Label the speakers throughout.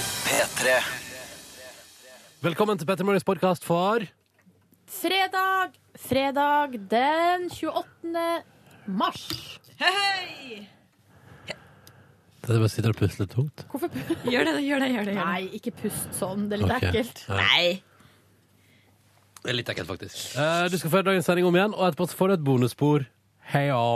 Speaker 1: P3.
Speaker 2: Velkommen til Petter Morgens podkast for
Speaker 3: Fredag, fredag den 28. mars.
Speaker 2: Det bare sitter og pusler tungt.
Speaker 3: Hvorfor pu-
Speaker 4: Gjør det, gjør det, gjør det.
Speaker 3: Nei, ikke pust sånn. Det er litt
Speaker 2: Ok.
Speaker 3: ekkelt.
Speaker 4: Nei.
Speaker 2: Det er litt ekkelt, faktisk. Eh, du skal få dagens sending om igjen, og etterpå så får du et bonusspor. Heia.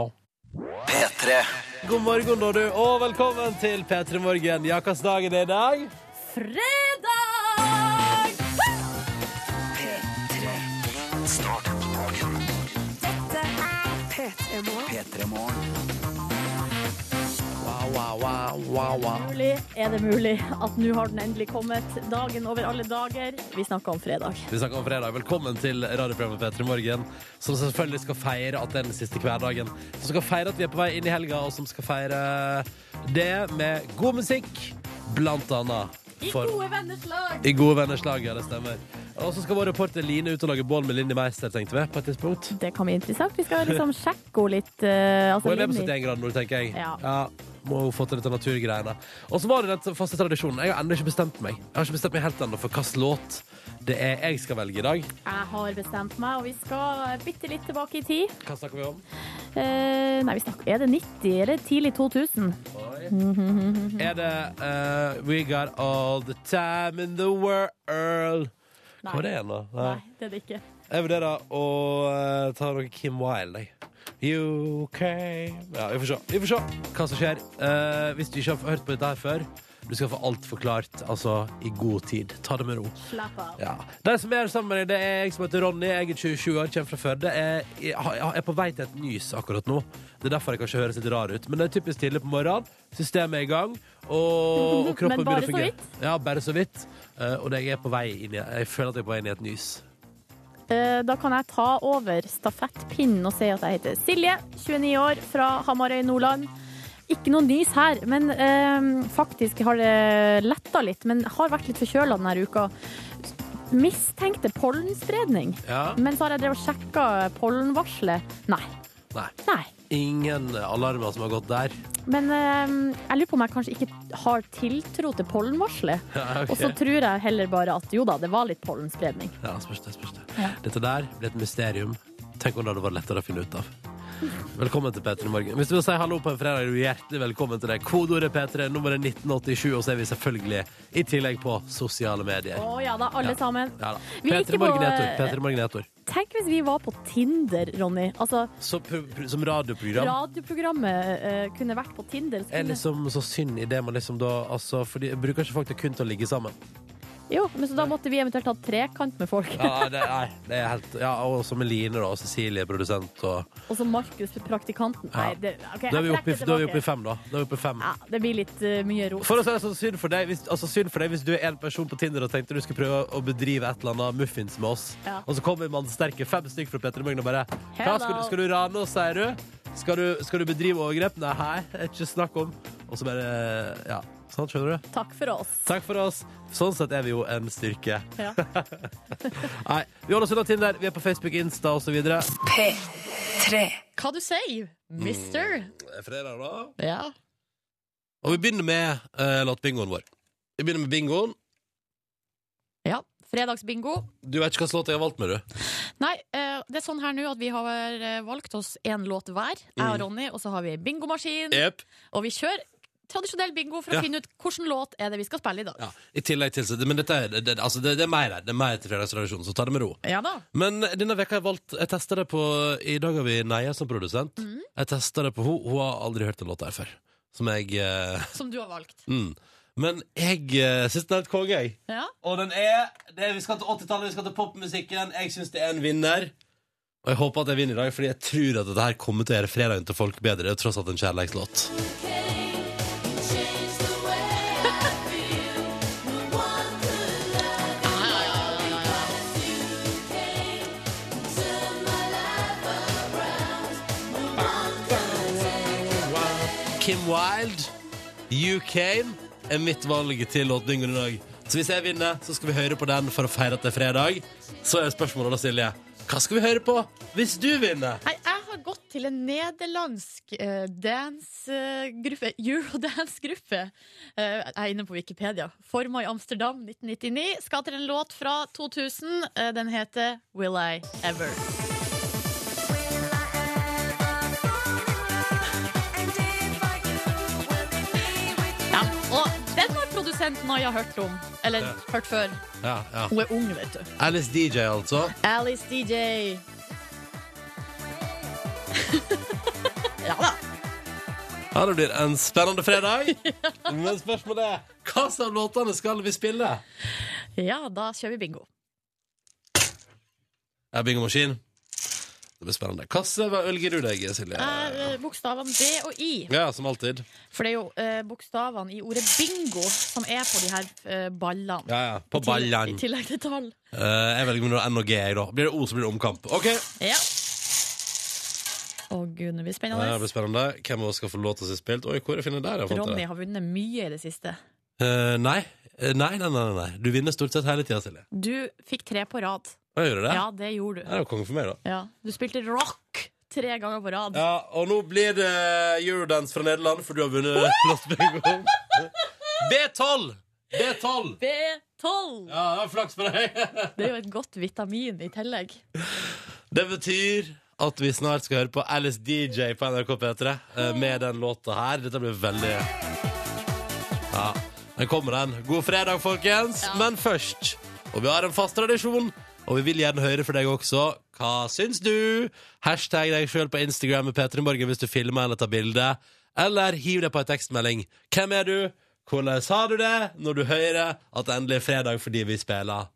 Speaker 1: P3.
Speaker 2: God morgen, da, du, og velkommen til P3 Morgen. Ja, hvilken dag er det i dag?
Speaker 3: Fredag!
Speaker 1: Start på dagen.
Speaker 5: P3-morgen.
Speaker 1: P3 Morgen.
Speaker 2: Wow, wow, wow, wow, wow.
Speaker 3: Mulig, er det mulig at nå har den endelig kommet? Dagen over alle dager. Vi snakker om fredag.
Speaker 2: Vi snakker om fredag. Velkommen til radioprogrammet P3 Morgen, som selvfølgelig skal feire at det er den siste hverdagen. Som skal feire at vi er på vei inn i helga, og som skal feire det med god musikk, blant annet.
Speaker 3: I
Speaker 2: for-
Speaker 3: gode venners lag.
Speaker 2: I gode venners lag, ja, det stemmer. Og så skal vår reporter Line ut og lage bål med Linni Meister, tenkte vi. på et tidspunkt.
Speaker 3: Det kan bli interessant. Vi skal liksom sjekke henne litt. eh, altså,
Speaker 2: Hun er med på
Speaker 3: Linni.
Speaker 2: 71 grader nord, tenker jeg.
Speaker 3: Ja.
Speaker 2: Må hun få til dette naturgreiene. Og så var det den faste tradisjonen. Jeg har ennå ikke bestemt meg Jeg har ikke bestemt meg helt ennå for hvilken låt det er jeg skal velge i dag.
Speaker 3: Jeg har bestemt meg, og vi skal bitte litt tilbake i tid.
Speaker 2: Hva snakker vi om?
Speaker 3: Eh, nei, vi snakker Er det 90 eller tidlig 2000?
Speaker 2: Er det eh, We Got All The Time In The World? Hva var det igjen, da?
Speaker 3: Nei, det er det ikke.
Speaker 2: Jeg vurderer å eh, ta noe Kim Wilde, jeg. You came Ja, vi får se. Vi får se hva som skjer. Eh, hvis du ikke har hørt på dette her før, du skal få alt forklart altså, i god tid. Ta det med ro.
Speaker 3: Slapp av.
Speaker 2: Ja. De som er sammen med deg, det er jeg som heter Ronny. Jeg er 27 år, kommer fra Førde. Jeg, jeg, jeg er på vei til et nys akkurat nå. Det er derfor jeg kanskje høres litt rar ut. Men det er typisk tidlig på morgenen. Systemet er i gang. Og, og kroppen
Speaker 3: Men bare
Speaker 2: begynner å
Speaker 3: så
Speaker 2: fungere.
Speaker 3: vidt?
Speaker 2: Ja, bare så vidt. Eh, og jeg er på vei inn i Jeg føler at jeg er på vei inn i et nys.
Speaker 3: Eh, Da kan jeg ta over stafettpinnen og si at jeg heter Silje, 29 år, fra Hamarøy, Nordland. Ikke noe nys her, men eh, faktisk har det letta litt. Men har vært litt forkjøla denne uka. Mistenkte pollenspredning.
Speaker 2: Ja.
Speaker 3: Men så har jeg drevet og sjekka pollenvarselet. Nei.
Speaker 2: Nei.
Speaker 3: Nei.
Speaker 2: Ingen alarmer som har gått der.
Speaker 3: Men eh, jeg lurer på om jeg kanskje ikke har tiltro til pollenvarselet.
Speaker 2: Ja, ok.
Speaker 3: Og så tror jeg heller bare at jo da, det var litt pollenspredning.
Speaker 2: Ja, spørs det, spørs det. Dette der blir et mysterium. Tenk om det hadde vært lettere å finne ut av. Velkommen til P3 Morgen. Hvis du vil si hallo på en fredag, er du hjertelig velkommen til deg. Kodeordet P3, nummeret 1987, og så er vi selvfølgelig i tillegg på sosiale medier.
Speaker 3: Å ja da, alle
Speaker 2: Ja.
Speaker 3: sammen.
Speaker 2: Ja da.
Speaker 3: Vi er
Speaker 2: P3
Speaker 3: ikke
Speaker 2: Morgen
Speaker 3: på- eh,
Speaker 2: heter du. P3 Morgen heter du.
Speaker 3: Tenk hvis vi var på Tinder, Ronny. Altså,
Speaker 2: Så pr- pr- Som radioprogram.
Speaker 3: radioprogrammet eh, kunne vært på Tinder. så
Speaker 2: Er
Speaker 3: Kunne...
Speaker 2: liksom så synd i det man liksom da altså, For de bruker ikke folk til kun til å ligge sammen.
Speaker 3: Jo, men så da måtte vi eventuelt hatt trekant med folk.
Speaker 2: Ja, det, nei, det er helt Ja, og så med Line, da, og Cecilie, produsent, og
Speaker 3: Og så Markus, praktikanten. Nei,
Speaker 2: Ja.
Speaker 3: det, ok,
Speaker 2: Da er vi oppe
Speaker 3: jeg
Speaker 2: i,
Speaker 3: trekker
Speaker 2: da er vi oppe i
Speaker 3: tilbake.
Speaker 2: fem, da. Da er vi oppe i fem.
Speaker 3: Ja, det blir litt eh, mye ro.
Speaker 2: For å si det sånn, synd for deg hvis, altså, synd for deg hvis du er en person på Tinder og tenkte du skulle prøve å bedrive et eller annet muffins med oss,
Speaker 3: Ja.
Speaker 2: og så kommer man sterke fem stykker fra Petter i Morgen og bare Hva
Speaker 3: Hello.
Speaker 2: skal du, skal du rane oss, sier du? Skal du, skal du bedrive overgrep? Nei, hei, det er ikke snakk om. Og så bare Ja, sant, skjønner du?
Speaker 3: Takk for oss.
Speaker 2: Takk for oss. Sånn sett er vi jo en styrke.
Speaker 3: Ja.
Speaker 2: Nei, vi holder oss unna Tinder. Vi er på Facebook, Insta osv. Det
Speaker 5: P3.
Speaker 4: Hva du sier, mister?
Speaker 2: er fredag, da.
Speaker 4: Ja.
Speaker 2: Og vi begynner med uh, låtbingoen vår. Vi begynner med bingoen.
Speaker 4: ja. Fredagsbingo.
Speaker 2: Du vet ikke hva slags låt jeg har valgt med, du?
Speaker 4: Nei, eh, det er sånn her nå at vi har eh, valgt oss én låt hver, jeg
Speaker 2: Mm.
Speaker 4: og Ronny, og så har vi bingomaskin.
Speaker 2: Jepp.
Speaker 4: Og vi kjører tradisjonell bingo for å
Speaker 2: Ja.
Speaker 4: finne ut hvilken låt er det vi skal spille i dag.
Speaker 2: Ja, i tillegg til så- Men dette er, det, det- altså det, det er mer her. Det er mer til fredagstradisjonen, så ta det med ro.
Speaker 4: Ja da.
Speaker 2: Men denne veka har jeg valgt Jeg testa det på I dag har vi Neia som produsent. Jeg testa det på henne. Hun har aldri hørt en låt her før. Som jeg eh,
Speaker 4: Som du har valgt.
Speaker 2: mm. Men jeg uh, syns den er helt konge, jeg.
Speaker 4: Ja.
Speaker 2: Og den er det, Vi skal til 80-tallet, vi skal til popmusikken. Jeg syns det er en vinner. Og jeg håper at jeg vinner i dag, Fordi jeg tror at dette her kommer til å gjøre fredagen til folk bedre. Det er tross alt en kjærlighetslåt. Kim Wilde, You Came, er mitt valg til låtbingoen i dag. Så hvis jeg vinner, så skal vi høre på den for å feire at det er fredag. Så er spørsmålet da, Silje, hva skal vi høre på hvis du vinner?
Speaker 4: Nei, jeg har gått
Speaker 3: til en nederlandsk eh, dansegruppe, eurodance-gruppe. Eh, jeg er inne på Wikipedia. Forma i Amsterdam 1999. Skal til en låt fra 2000. Eh, den heter Will I Ever. Ja, og den har produsenten Naya hørt om. Eller
Speaker 2: Ja.
Speaker 3: hørt før.
Speaker 2: Ja, ja.
Speaker 3: Hun er ung, vet du.
Speaker 2: Alice DJ, altså.
Speaker 3: Alice DJ. ja da.
Speaker 2: Ja, Det blir en spennende fredag. Men spørsmålet er hva slags låtene skal vi spille?
Speaker 3: Ja, da kjører vi bingo.
Speaker 2: Ja, Bingomaskin. Det blir spennende. Hva slags ølgir du deg, Silje?
Speaker 3: Er eh, bokstavene B og I.
Speaker 2: Ja, som alltid.
Speaker 3: For det er jo eh, bokstavene i ordet bingo som er på de her eh, ballene.
Speaker 2: Ja, ja. På
Speaker 3: I
Speaker 2: ballen.
Speaker 3: tillegg til tall.
Speaker 2: Eh, jeg velger mellom N og G, jeg, da. Blir det O, så blir det omkamp. OK.
Speaker 3: Ja. Å gud, det
Speaker 2: Ja,
Speaker 3: blir
Speaker 2: det
Speaker 3: spennende.
Speaker 2: blir spennende. Hvem av oss skal få låta si spilt? Oi, hvor er jeg finner der? Jeg fant
Speaker 3: Ronny
Speaker 2: det.
Speaker 3: har vunnet mye i det siste.
Speaker 2: Eh, nei. Eh, nei, nei, nei, nei. Du vinner stort sett hele tida, Silje.
Speaker 3: Du fikk tre på rad.
Speaker 2: Hva gjør du det?
Speaker 3: Ja, det gjorde
Speaker 2: Ja,
Speaker 3: du.
Speaker 2: Det er jo konge for meg, da.
Speaker 3: Ja. Du spilte rock tre ganger på rad.
Speaker 2: Ja, og nå blir det Eurodance fra Nederland, for du har vunnet Lost Bingo. B12! B12!
Speaker 3: B12!
Speaker 2: Ja, det var flaks for deg.
Speaker 3: Det er jo et godt vitamin i tillegg.
Speaker 2: Det betyr at vi snart skal høre på Alice DJ på NRK P3 eh, med den låta her. Dette blir veldig Ja, den kommer, den. God fredag, folkens. Men først Og vi har en fast tradisjon, og vi vil gjerne høre fra deg også. Hva syns du? Hashtag deg sjøl på Instagram med P3 Morgen hvis du filmer eller tar bilde. Eller hiv deg på en tekstmelding. Hvem er du? Hvordan har du det når du hører at det endelig er fredag fordi vi spiller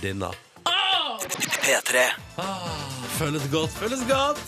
Speaker 2: denne?
Speaker 1: P3.
Speaker 2: Føles godt, føles godt.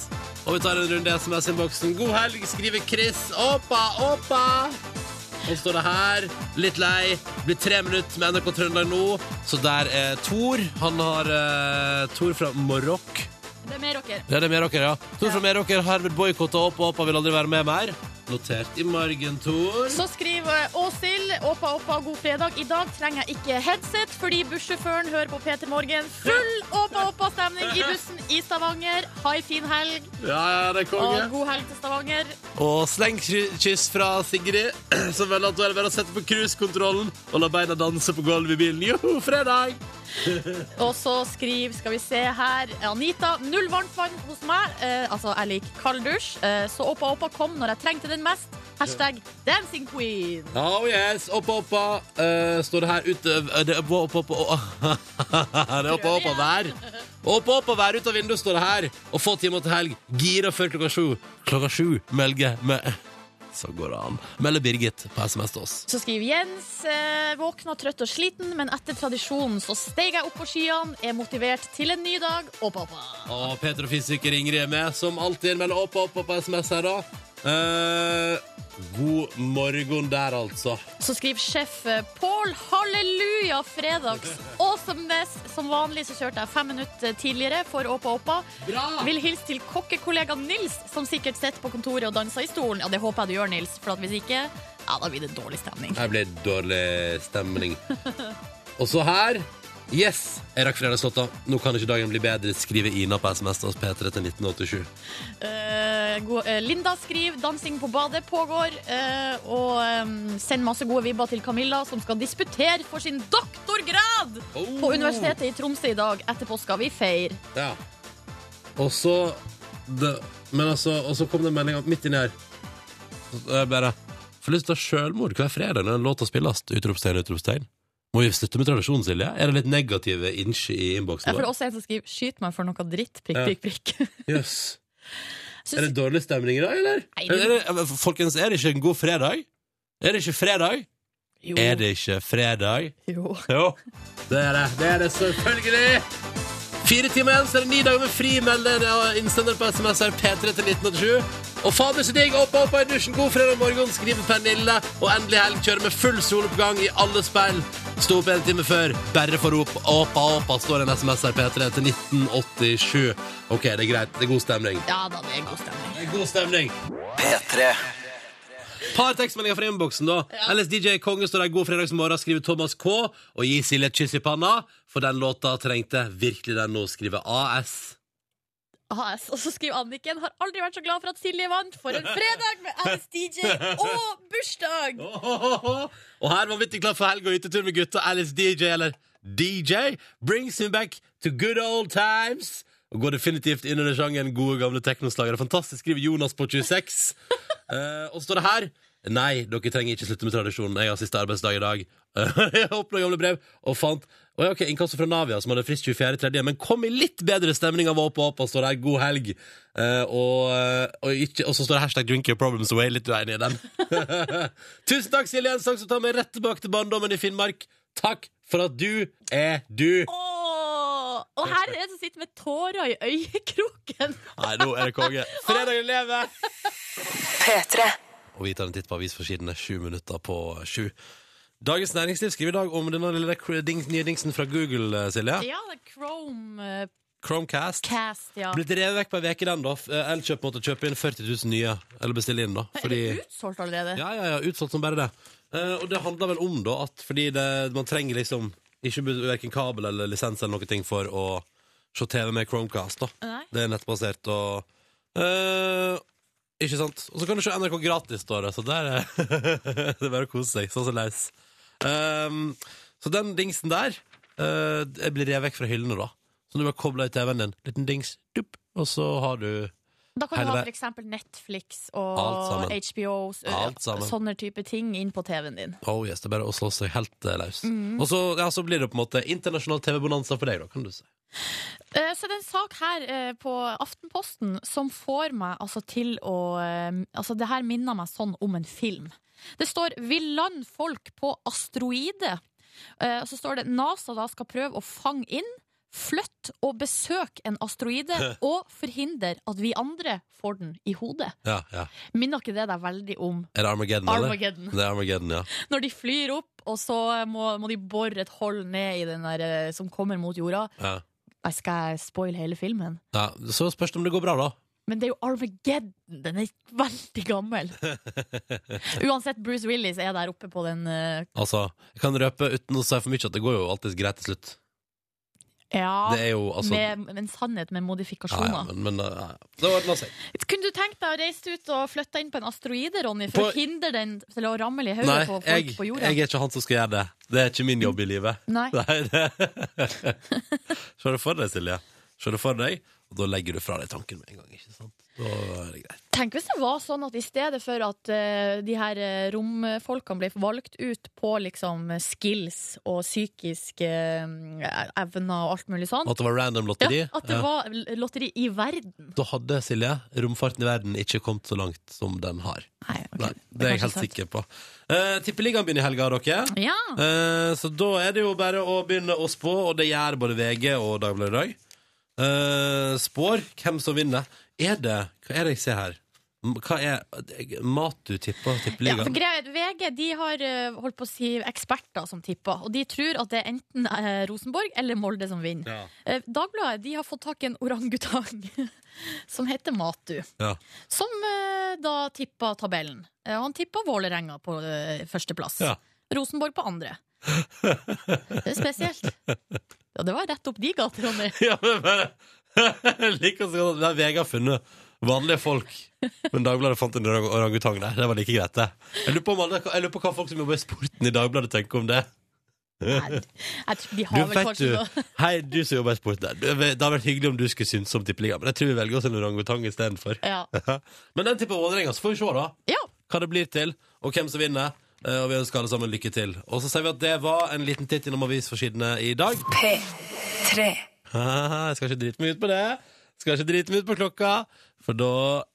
Speaker 2: Og vi tar en runde i SMS-innboksen. God helg, skriver Chris. Oppa, oppa. Og så står det her, litt lei. Blir tre minutter med NRK Trøndelag nå. Så der er Tor. Han har eh, Tor fra Marokk.
Speaker 3: Det er mer dere.
Speaker 2: Det er det med dere, ja. Tor fra Meråker har blitt boikotta opp og oppa vil aldri være med mer. Notert i margen, Tor.
Speaker 3: Så skriver Åshild Åpa, åpa, god fredag. I dag trenger jeg ikke headset fordi bussjåføren hører på Peter Morgen. Full Åpa, åpa-stemning i bussen i Stavanger. Ha ei fin helg,
Speaker 2: Ja, ja, det er
Speaker 3: og
Speaker 2: konge.
Speaker 3: god helg til Stavanger.
Speaker 2: Og slengkyss fra Sigrid, som velger at hun er bare å sette på cruisekontrollen og la beina danse på gulvet i bilen. Joho, fredag!
Speaker 3: Og så skriver, skal vi se her, Anita. Null varmt vann hos meg. Eh, altså, jeg liker kald dusj. Eh, så Åpa, åpa kom når jeg trengte den mest. Hashtag dancing queen.
Speaker 2: Oh yes, oppa, oppa. eh, står det her ute eh, Det er oppa, oppa, oppa. Det er oppa, oppa vær. Oppa, oppa vær ut av vinduet, står det her. Og få timer til helg. Gira før klokka sju. Klokka sju melger med Så går det an. Melder Birgit på SMS til oss.
Speaker 3: Så skriver Jens eh, våkna trøtt og sliten, men etter tradisjonen så steg jeg opp på skyene, er motivert til en ny dag. Og pappa.
Speaker 2: Og Peter og fysiker Ingrid er med, som alltid melder opp og opp på SMS her, da. Eh, god morgen der, altså.
Speaker 3: Så skriver sjef eh, Pål halleluja fredags. Awesomeness. Som vanlig så kjørte jeg fem minutter tidligere for Åpa Åpa.
Speaker 2: Bra!
Speaker 3: Vil hilse til kokkekollega Nils, som sikkert sitter på kontoret og danser i stolen. Ja, det håper jeg du gjør, Nils, for at hvis ikke, ja, da blir det dårlig stemning.
Speaker 2: Her blir det dårlig stemning. Og så her Yes! Jeg rakk fredagslåta. Nå kan ikke dagen bli bedre, skriver Ina på SMS til oss P3 til 1987.
Speaker 3: Eh, god, eh, Linda skriver 'Dansing på badet pågår', eh, og eh, send masse gode vibber til Camilla, som skal disputere for sin doktorgrad
Speaker 2: Oh.
Speaker 3: på Universitetet i Tromsø i dag. Etterpå skal vi feire.
Speaker 2: Ja. Og så det, Men altså Og så kom det en melding midt inni her. Så Jeg bare Får lyst til å ha sjølmord hver fredag når en låt spilles. Utropstegn, utropstegn. Må vi slutte med tradisjonen, Silje? Er det litt negative innsj i
Speaker 3: Ja,
Speaker 2: innboksen?
Speaker 3: for det er
Speaker 2: vår?
Speaker 3: også en som skriver 'skyt meg for noe dritt', prikk,
Speaker 2: Ja.
Speaker 3: prikk, prikk.
Speaker 2: Jøss.
Speaker 3: Synes-
Speaker 2: Er det dårlig stemning i dag, eller?
Speaker 3: Nei, det-
Speaker 2: Er det, er det- folkens, er det ikke en god fredag? Er det ikke fredag?
Speaker 3: Jo,
Speaker 2: Er det ikke fredag?
Speaker 3: jo.
Speaker 2: Jo, det er det. Det er det selvfølgelig. Fire timer igjen, så er det ni dager med fri. Meld deg og innsender på SMS her P3 til 1987. Og fader så digg! Oppa, oppa i dusjen. God fredag morgen, skriver Pernille. Og endelig helg kjører med full soloppgang i alle speil. Sto opp en time før, bare for rop. Oppa, oppa, står en SMS her P3 til 1987. OK, det er greit. Det er god stemning.
Speaker 3: Ja da, det er god stemning.
Speaker 2: Det er god stemning.
Speaker 1: P3.
Speaker 2: Par tekstmeldinger fra innboksen, da. Ellers DJ Konge står der god fredagsmorgen, skriver Thomas K. Og gi Silje et kyss i panna, for den låta trengte virkelig den nå, skriver AS.
Speaker 3: AS. Og så skriver Anniken har aldri vært så glad for at Silje vant for en fredag med Alice DJ og bursdag!
Speaker 2: Og her vanvittig glad for helg og utetur med gutta. Alice DJ, eller DJ, brings him back to good old times. Og går definitivt inn under sjangeren gode, gamle teknoslagere. Fantastisk, skriver Jonas på 26. Eh, og så står det her Nei, dere trenger ikke slutte med tradisjonen. Jeg har siste arbeidsdag i dag. jeg åpna gamle brev og fant Å ja, ok, Inkasso fra Navia, som hadde frist 24.3., men kom i litt bedre stemning av Åpa Åpa, står det her. God helg. Eh, og, og, ikke, og så står det hashtag 'drink your problems away'. Litt uenig i den. Tusen takk, Silje Jensang, som tar meg rett tilbake til barndommen i Finnmark. Takk for at du er du.
Speaker 3: Åh, og her er det en som sitter med tårer i øyekroken.
Speaker 2: Nei, nå er det konge. Fredagen lever! Og vi tar en titt på avisforsidene sju minutter på sju. Dagens Næringsliv skriver i dag om denne lille kr- ding, nye dingsen fra Google, eh, Silje.
Speaker 3: Ja, det er eh, Chromecast,
Speaker 2: Chromecast.
Speaker 3: ja.
Speaker 2: Blitt revet vekk på ei uke, den, da. F- eh, Elkjøp måtte kjøpe inn 40 000 nye. Eller bestille inn, da.
Speaker 3: Er det utsolgt allerede?
Speaker 2: Ja, ja, ja, utsolgt som bare det. Eh, og det handler vel om da at fordi det, man trenger liksom ikke verken kabel eller lisens eller noe ting for å se TV med Chromecast. da.
Speaker 3: Nei.
Speaker 2: Det er nettbasert og eh, Ikke sant? Og så kan du se NRK gratis, står det. Så der er det er bare å kose seg. Sånn som leis. Ehm, så den dingsen der eh, jeg blir revet vekk fra hyllene, da. Så du bare kobler i TV-en din. Liten dings, dupp, og så har du
Speaker 3: Da kan du
Speaker 2: Hele
Speaker 3: ha
Speaker 2: vei-
Speaker 3: for eksempel Netflix
Speaker 2: Alt
Speaker 3: og
Speaker 2: sammen.
Speaker 3: HBO, s-
Speaker 2: Alt sammen.
Speaker 3: sånne type ting inn på TV-en din.
Speaker 2: Oh yes, det er bare å slå seg helt eh, løs.
Speaker 3: Mm.
Speaker 2: Og så, ja, så blir det på en måte internasjonal TV-bonanza for deg, da, kan du si.
Speaker 3: Eh, Så det er en sak her eh, på Aftenposten som får meg altså, til å eh, Altså, det her minner meg sånn om en film. Det står 'Vil land folk på asteroide'. Eh, Og så står det 'NASA da skal prøve å fange inn, flytte og besøke en asteroide' 'og forhindre at vi andre får den i hodet'.
Speaker 2: Ja, ja.
Speaker 3: Minner ikke det deg veldig om
Speaker 2: Er det Armageddon,
Speaker 3: Armageddon.
Speaker 2: eller? Det er Armageddon, ja.
Speaker 3: når de flyr opp, og så må, må de bore et hull ned i den der eh, som kommer mot jorda.
Speaker 2: ja.
Speaker 3: Nei, skal jeg spoile hele filmen?
Speaker 2: ja. Så spørs det om det går bra, da.
Speaker 3: Men det er jo Armageddon! Den er veldig gammel. Uansett, Bruce Willis er der oppe på den eh,
Speaker 2: Altså, jeg kan røpe uten å si for mye at det går jo alltid greit til slutt.
Speaker 3: Ja,
Speaker 2: Det er jo altså
Speaker 3: med, med en sannhet med
Speaker 2: ja,
Speaker 3: modifikasjoner.
Speaker 2: ja, men, men eh, ja, ja. Det ordner seg.
Speaker 3: Kunne du tenkt deg å reise ut og flytte inn på en asteroide, Ronny,
Speaker 2: På-
Speaker 3: for å hindre den til å ramle i hodet
Speaker 2: Nei,
Speaker 3: på folk
Speaker 2: jeg,
Speaker 3: på
Speaker 2: jeg
Speaker 3: jorda?
Speaker 2: er ikke han som skal gjøre det. Det er ikke min jobb i livet.
Speaker 3: Nei.
Speaker 2: Nei, det Se det for deg, Silje. Se det for deg, og da legger du fra deg tanken med en gang. ikke sant? Da er det greit.
Speaker 3: Tenk hvis det var sånn at i stedet for at eh, de her eh, romfolkene ble valgt ut på liksom skills og psykiske eh, evner og alt mulig sånt
Speaker 2: At det var random lotteri?
Speaker 3: ja, At det
Speaker 2: Ja.
Speaker 3: var l- lotteri i verden.
Speaker 2: Da hadde Silje romfarten i verden ikke kommet så langt som den har.
Speaker 3: Nei, ok,
Speaker 2: Nei,
Speaker 3: det
Speaker 2: det er jeg
Speaker 3: kanskje
Speaker 2: helt
Speaker 3: sant.
Speaker 2: sikker på. Uh, Tippeligaen begynner i helga, dere.
Speaker 3: Ja.
Speaker 2: Eh, så da er det jo bare å begynne å spå, og det gjør både VG og Dagbladet i dag. Eh, spår hvem som vinner. Er det Hva er det jeg ser her? M- Hva er Mat du tipper
Speaker 3: Ja,
Speaker 2: Tippeligaen?
Speaker 3: for greia, er at VG de har eh, holdt på å si eksperter som tipper, og de tror at det er enten eh, Rosenborg eller Molde som vinner.
Speaker 2: Ja.
Speaker 3: Eh, Dagbladet de har fått tak i en orangutang som heter Matu.
Speaker 2: Ja.
Speaker 3: Som eh, da tippa tabellen. Eh, han tippa Vålerenga på eh, førsteplass.
Speaker 2: Ja.
Speaker 3: Rosenborg på andre. Det er spesielt. Ja, det var rett opp de gater, Ronny.
Speaker 2: Ja, men bare Jeg liker så godt at der VG har funnet vanlige folk. Men Dagbladet fant en orang- orangutang der. Det var like greit, det. Jeg lurer på, om alle, jeg lurer på hva folk som jobber i sporten i Dagbladet tenker om det.
Speaker 3: Nei, jeg tror de
Speaker 2: Du
Speaker 3: har vel
Speaker 2: vet
Speaker 3: kanskje
Speaker 2: du,
Speaker 3: noe
Speaker 2: Hei, du som jobber i sporten der. Du, Det hadde vært hyggelig om du skulle synes om tippeligaen, men jeg tror vi velger oss en orangutang istedenfor.
Speaker 3: ja.
Speaker 2: Men den tipper Vålerenga, så får vi se, da.
Speaker 3: ja.
Speaker 2: Hva det blir til, og hvem som vinner. Eh, Og vi ønsker alle sammen lykke til. Og så sier vi at det var en liten titt innom avisforsidene i dag.
Speaker 1: P3.
Speaker 2: Haha, Jeg skal ikke drite meg ut på det. Skal ikke drite meg ut på klokka, for da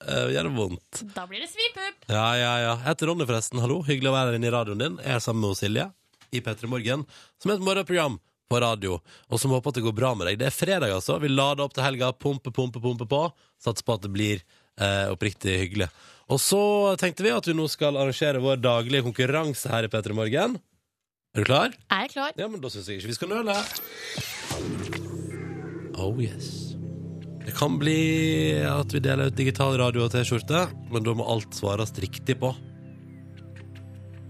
Speaker 2: eh, gjør det vondt.
Speaker 3: Da blir det svipup.
Speaker 2: Ja, ja, ja. Jeg heter Ronny, forresten. Hallo. Hyggelig å være her inne i radioen din. Jeg er sammen med Silje i P3 Morgen, som er et morgenprogram på radio, og som håper at det går bra med deg. Det er fredag, altså. Vi lader opp til helga. Pumpe, pumpe, pumpe på. Satser på at det blir eh, oppriktig hyggelig. Og så tenkte vi at vi nå skal arrangere vår daglige konkurranse her i P3 Morgen. Er du klar?
Speaker 3: Jeg er klar.
Speaker 2: Ja, men da syns jeg ikke vi skal nøle. Oh yes. Det kan bli at vi deler ut digital radio og T-skjorte, men da må alt svares riktig på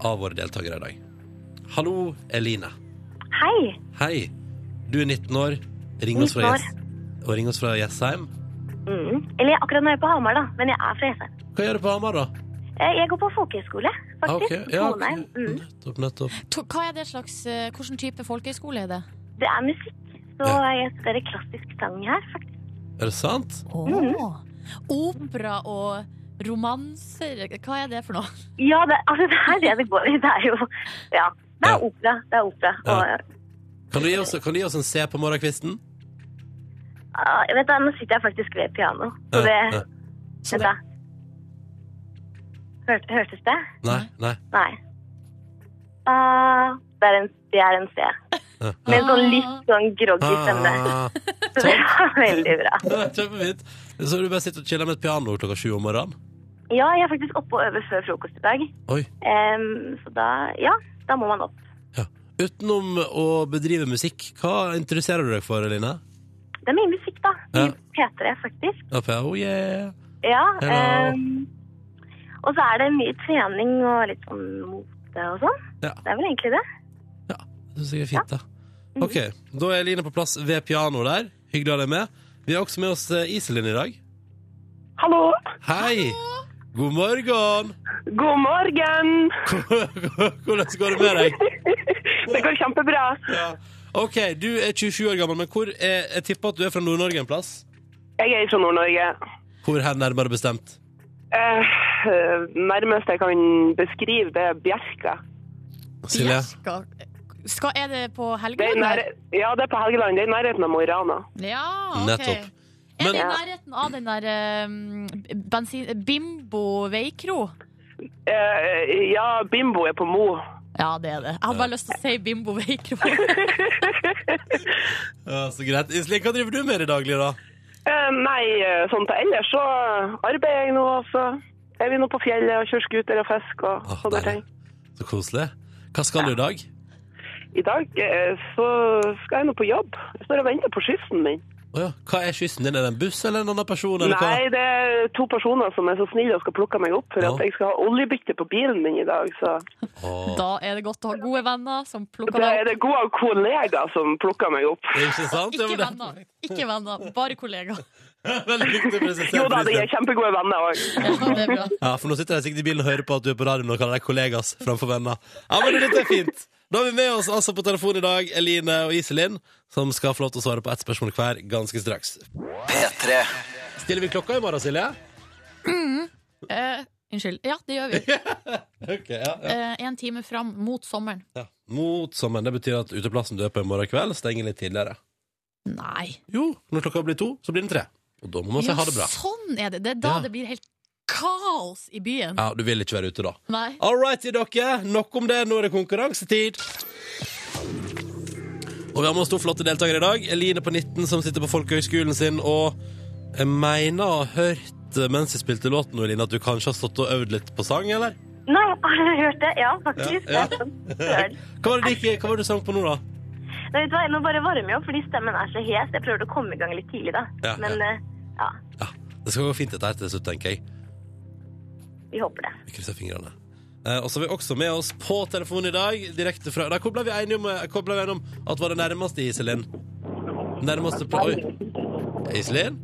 Speaker 2: av våre deltakere i dag. Hallo, Eline.
Speaker 6: Hei.
Speaker 2: Hei. Du er 19 år. Ring oss fra,
Speaker 6: 19 år.
Speaker 2: Jess og ring oss fra Jessheim.
Speaker 7: Mm. Eller akkurat nå er jeg på Hamar, da, men jeg er fra Jessheim.
Speaker 2: Hva gjør du på Hamar, da?
Speaker 7: Eh, Jeg går på folkehøyskole,
Speaker 2: Ah,
Speaker 7: faktisk.
Speaker 2: ok. Ja,
Speaker 7: Trondheim. Mm.
Speaker 2: nettopp, nettopp.
Speaker 3: To- Hva er det slags, eh, Hvilken type folkehøyskole er det?
Speaker 7: Det er musikk, så
Speaker 2: Ja.
Speaker 7: jeg studerer klassisk sang her, faktisk.
Speaker 2: Er det sant?
Speaker 3: Åh. Opera og romanser, hva er det for noe?
Speaker 7: Ja, det, altså, det er det det går i. Det er jo Ja. Det er
Speaker 2: Ja.
Speaker 7: opera. Det er opera.
Speaker 2: Ja.
Speaker 7: Og,
Speaker 2: Kan du gi oss, kan du gi oss en C på morgenkvisten?
Speaker 7: ah, jeg vet da, nå sitter jeg faktisk ved piano, så det
Speaker 2: Eh, eh,
Speaker 7: Vent, da. Hør, hørtes det?
Speaker 2: Nei, nei.
Speaker 7: Nei. Ah, det, er en, det er en C.
Speaker 2: Ja.
Speaker 7: Med en sånn litt sånn groggy stemme.
Speaker 2: eh. Ah,
Speaker 7: Så det er veldig bra.
Speaker 2: det er Kjempefint. Så du bare sitter og chiller med et piano klokka sju om morgenen?
Speaker 7: Ja, jeg er faktisk oppe og øver før frokost i dag.
Speaker 2: Oi.
Speaker 7: Em, så da, ja, da må man opp.
Speaker 2: Ja. Utenom å bedrive musikk, hva interesserer du deg for, Eline?
Speaker 7: Det er mye musikk, da.
Speaker 2: Ja.
Speaker 7: Mye P3, faktisk.
Speaker 2: Ja, for- Oh, yeah.
Speaker 7: Ja.
Speaker 2: Hello.
Speaker 7: em, og så er det mye trening og litt sånn mote og sånn.
Speaker 2: Ja.
Speaker 7: Det er vel egentlig det.
Speaker 2: Det synes jeg er fint, da. Ok, da er Eline på plass ved pianoet der. Hyggelig å ha deg med. Vi har også med oss eh, Iselin i dag.
Speaker 8: Hallo.
Speaker 2: Hei! God morgen!
Speaker 8: God morgen.
Speaker 2: Hvordan går det med deg?
Speaker 8: Det går kjempebra.
Speaker 2: Ok, du er 27 år gammel, men hvor er, jeg tipper at du er fra Nord-Norge en plass.
Speaker 8: Jeg er fra Nord-Norge.
Speaker 2: Hvor hen nærmere bestemt?
Speaker 8: Eh, nærmest jeg kan beskrive, det er Bjerka.
Speaker 2: Silje?
Speaker 3: Bjerka. Skal, er det på
Speaker 8: Det er
Speaker 3: Helgeland?
Speaker 8: nær,
Speaker 3: eller?
Speaker 8: ja, det er på Helgeland. Det er i nærheten av Mo i Rana.
Speaker 3: Ja, ok.
Speaker 2: Nettopp.
Speaker 3: Er det i
Speaker 2: Men-
Speaker 3: nærheten av den der eh, bensin... Bimbo veikro?
Speaker 8: Eh, ja, Bimbo er på Mo.
Speaker 3: Ja, det er det. Jeg har bare lyst til å si Bimbo veikro.
Speaker 2: Ja, så greit. Iselin, hva driver du med i det daglige, da?
Speaker 8: Eh, nei, eh, sånn til ellers så arbeider jeg nå, og så er vi nå på fjellet og kjører skuter og fisker og
Speaker 2: Å,
Speaker 8: sånne ting.
Speaker 2: deilig. Så koselig. Hva skal du i dag?
Speaker 8: I dag eh, så skal jeg nå på jobb. Jeg står og venter på skyssen min.
Speaker 2: Å ja. Hva er skyssen din? Er det en buss eller en annen person? Eller
Speaker 8: Nei,
Speaker 2: hva?
Speaker 8: det er to personer som er så snille og skal plukke meg opp for
Speaker 2: Ja.
Speaker 8: at jeg skal ha oljebytte på bilen min i dag. Så
Speaker 2: Å,
Speaker 3: Da er det godt å ha gode venner som plukker deg
Speaker 8: det er
Speaker 3: opp.
Speaker 8: det gode kollegaer som plukker meg opp.
Speaker 2: ikke sant? Ja,
Speaker 3: Ikke
Speaker 2: men det-
Speaker 3: venner, ikke venner, bare kollegaer.
Speaker 2: Veldig viktig å presisere.
Speaker 8: Jo da, de er
Speaker 2: Iselin.
Speaker 8: kjempegode venner òg.
Speaker 3: Ja, det er bra.
Speaker 2: Ja, for nå sitter de sikkert i bilen og hører på at du er på radioen og kaller deg kollegas framfor venner. Ja, men dette er fint. Da har vi med oss altså på telefonen i dag Eline og Iselin, som skal få lov til å svare på ett spørsmål hver ganske straks.
Speaker 1: P3.
Speaker 2: Stiller vi klokka i morgen, Silje?
Speaker 3: Eh, unnskyld. Ja, det gjør vi.
Speaker 2: Ok, ja, ja.
Speaker 3: Eh, en time fram mot sommeren.
Speaker 2: ja. Mot sommeren. Det betyr at uteplassen du er på i morgen kveld, stenger litt tidligere.
Speaker 3: Nei.
Speaker 2: Jo, når klokka blir to, så blir den tre. Og da må man si
Speaker 3: Ja,
Speaker 2: ha det bra.
Speaker 3: sånn er det. Det er da
Speaker 2: Ja.
Speaker 3: det blir helt kaos i byen.
Speaker 2: Ja, Du vil ikke være ute da.
Speaker 3: Nei.
Speaker 2: All righty, dere. Nok om det. Nå er det konkurransetid. Og vi har med oss to flotte deltakere i dag. Eline på 19 som sitter på folkehøgskolen sin. Og jeg mener å ha hørt eh, mens jeg spilte låten, Eline, at du kanskje har stått og øvd litt på sang, eller?
Speaker 7: Nei, har du hørt det? Ja, faktisk.
Speaker 2: Ja, ja.
Speaker 7: Det er sånn søren.
Speaker 2: Hva var det du, ikke, hva var det du sang på nå, da?
Speaker 7: Nei, vet du hva, Nå bare varmer jeg opp fordi stemmen er så hes. Jeg prøvde å komme i gang litt tidlig, da.
Speaker 2: Ja,
Speaker 7: Men
Speaker 2: ja.
Speaker 7: eh, ja,
Speaker 2: Ja, Det skal gå fint dette her til slutt, tenker jeg.
Speaker 7: vi håper det.
Speaker 2: Vi krysser fingrene. Eh, og så har vi også med oss på telefonen i dag, direkte fra Da, Hvor ble vi enige om, eh, hvor ble vi enige om at var det nærmeste, Iselin? Nærmeste på Oi. Iselin?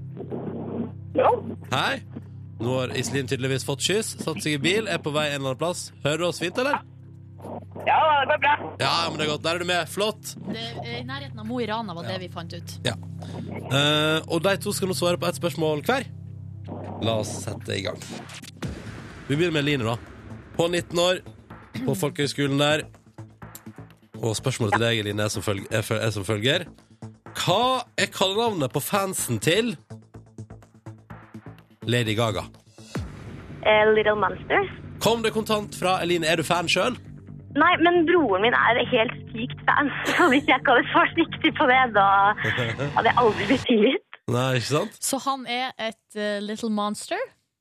Speaker 2: Hei. Nå har Iselin tydeligvis fått kyss, satt seg i bil, er på vei en eller annen plass. Hører du oss fint, eller?
Speaker 8: Ja, det går bra.
Speaker 2: Ja, men det er godt. Der er du med. Flott.
Speaker 3: Det, I nærheten av Mo i Rana var det vi fant ut.
Speaker 2: Ja. Eh, og de to skal nå svare på ett spørsmål hver. La oss sette i gang. Vi begynner med Line, da. På 19 år, på folkehøgskolen der. Og spørsmålet til deg, Line, er som, følger, er, føl- er som følger. Hva er kallenavnet på fansen til Lady Gaga?
Speaker 7: Eh, Little Monsters.
Speaker 2: Kom det kontant fra Eline. Er du fan sjøl?
Speaker 7: Nei, men broren min er helt sykt fan. Så hvis jeg ikke hadde svart riktig på det, da hadde jeg aldri blitt tilgitt.
Speaker 2: Nei, ikke sant?
Speaker 3: Så han er et eh, little monster.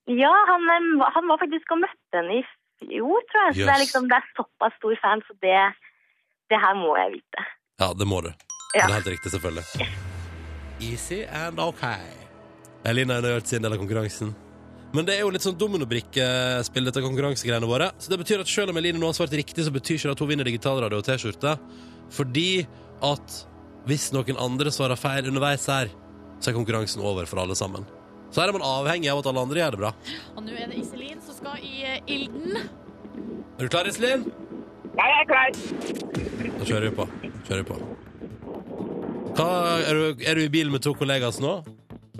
Speaker 7: Ja, han, em, han var faktisk og møtte henne i fjor, tror jeg. Så det,
Speaker 2: Jøss.
Speaker 7: er liksom, det er såpass stor fan, så det, det her må jeg vite.
Speaker 2: Ja, det må du. Det
Speaker 7: Ja.
Speaker 2: er helt riktig, selvfølgelig. Easy and ok. Eline har gjort sin del av konkurransen. Men det er jo litt sånn dominobrikkespill, dette konkurransegreiene våre. Så det betyr at selv om Eline nå har svart riktig, så betyr ikke det at hun vinner digitalradio og T-skjorte. Fordi at hvis noen andre svarer feil underveis her, så er konkurransen over for alle sammen. Så her er man avhengig av at alle andre gjør det bra.
Speaker 3: Og nå er det Iselin som skal i eh, ilden.
Speaker 2: Er du klar, Iselin?
Speaker 8: Jeg er klar.
Speaker 2: Da kjører vi på. Kjører vi på. Hva, er, du, er du i bilen med to kollegas nå?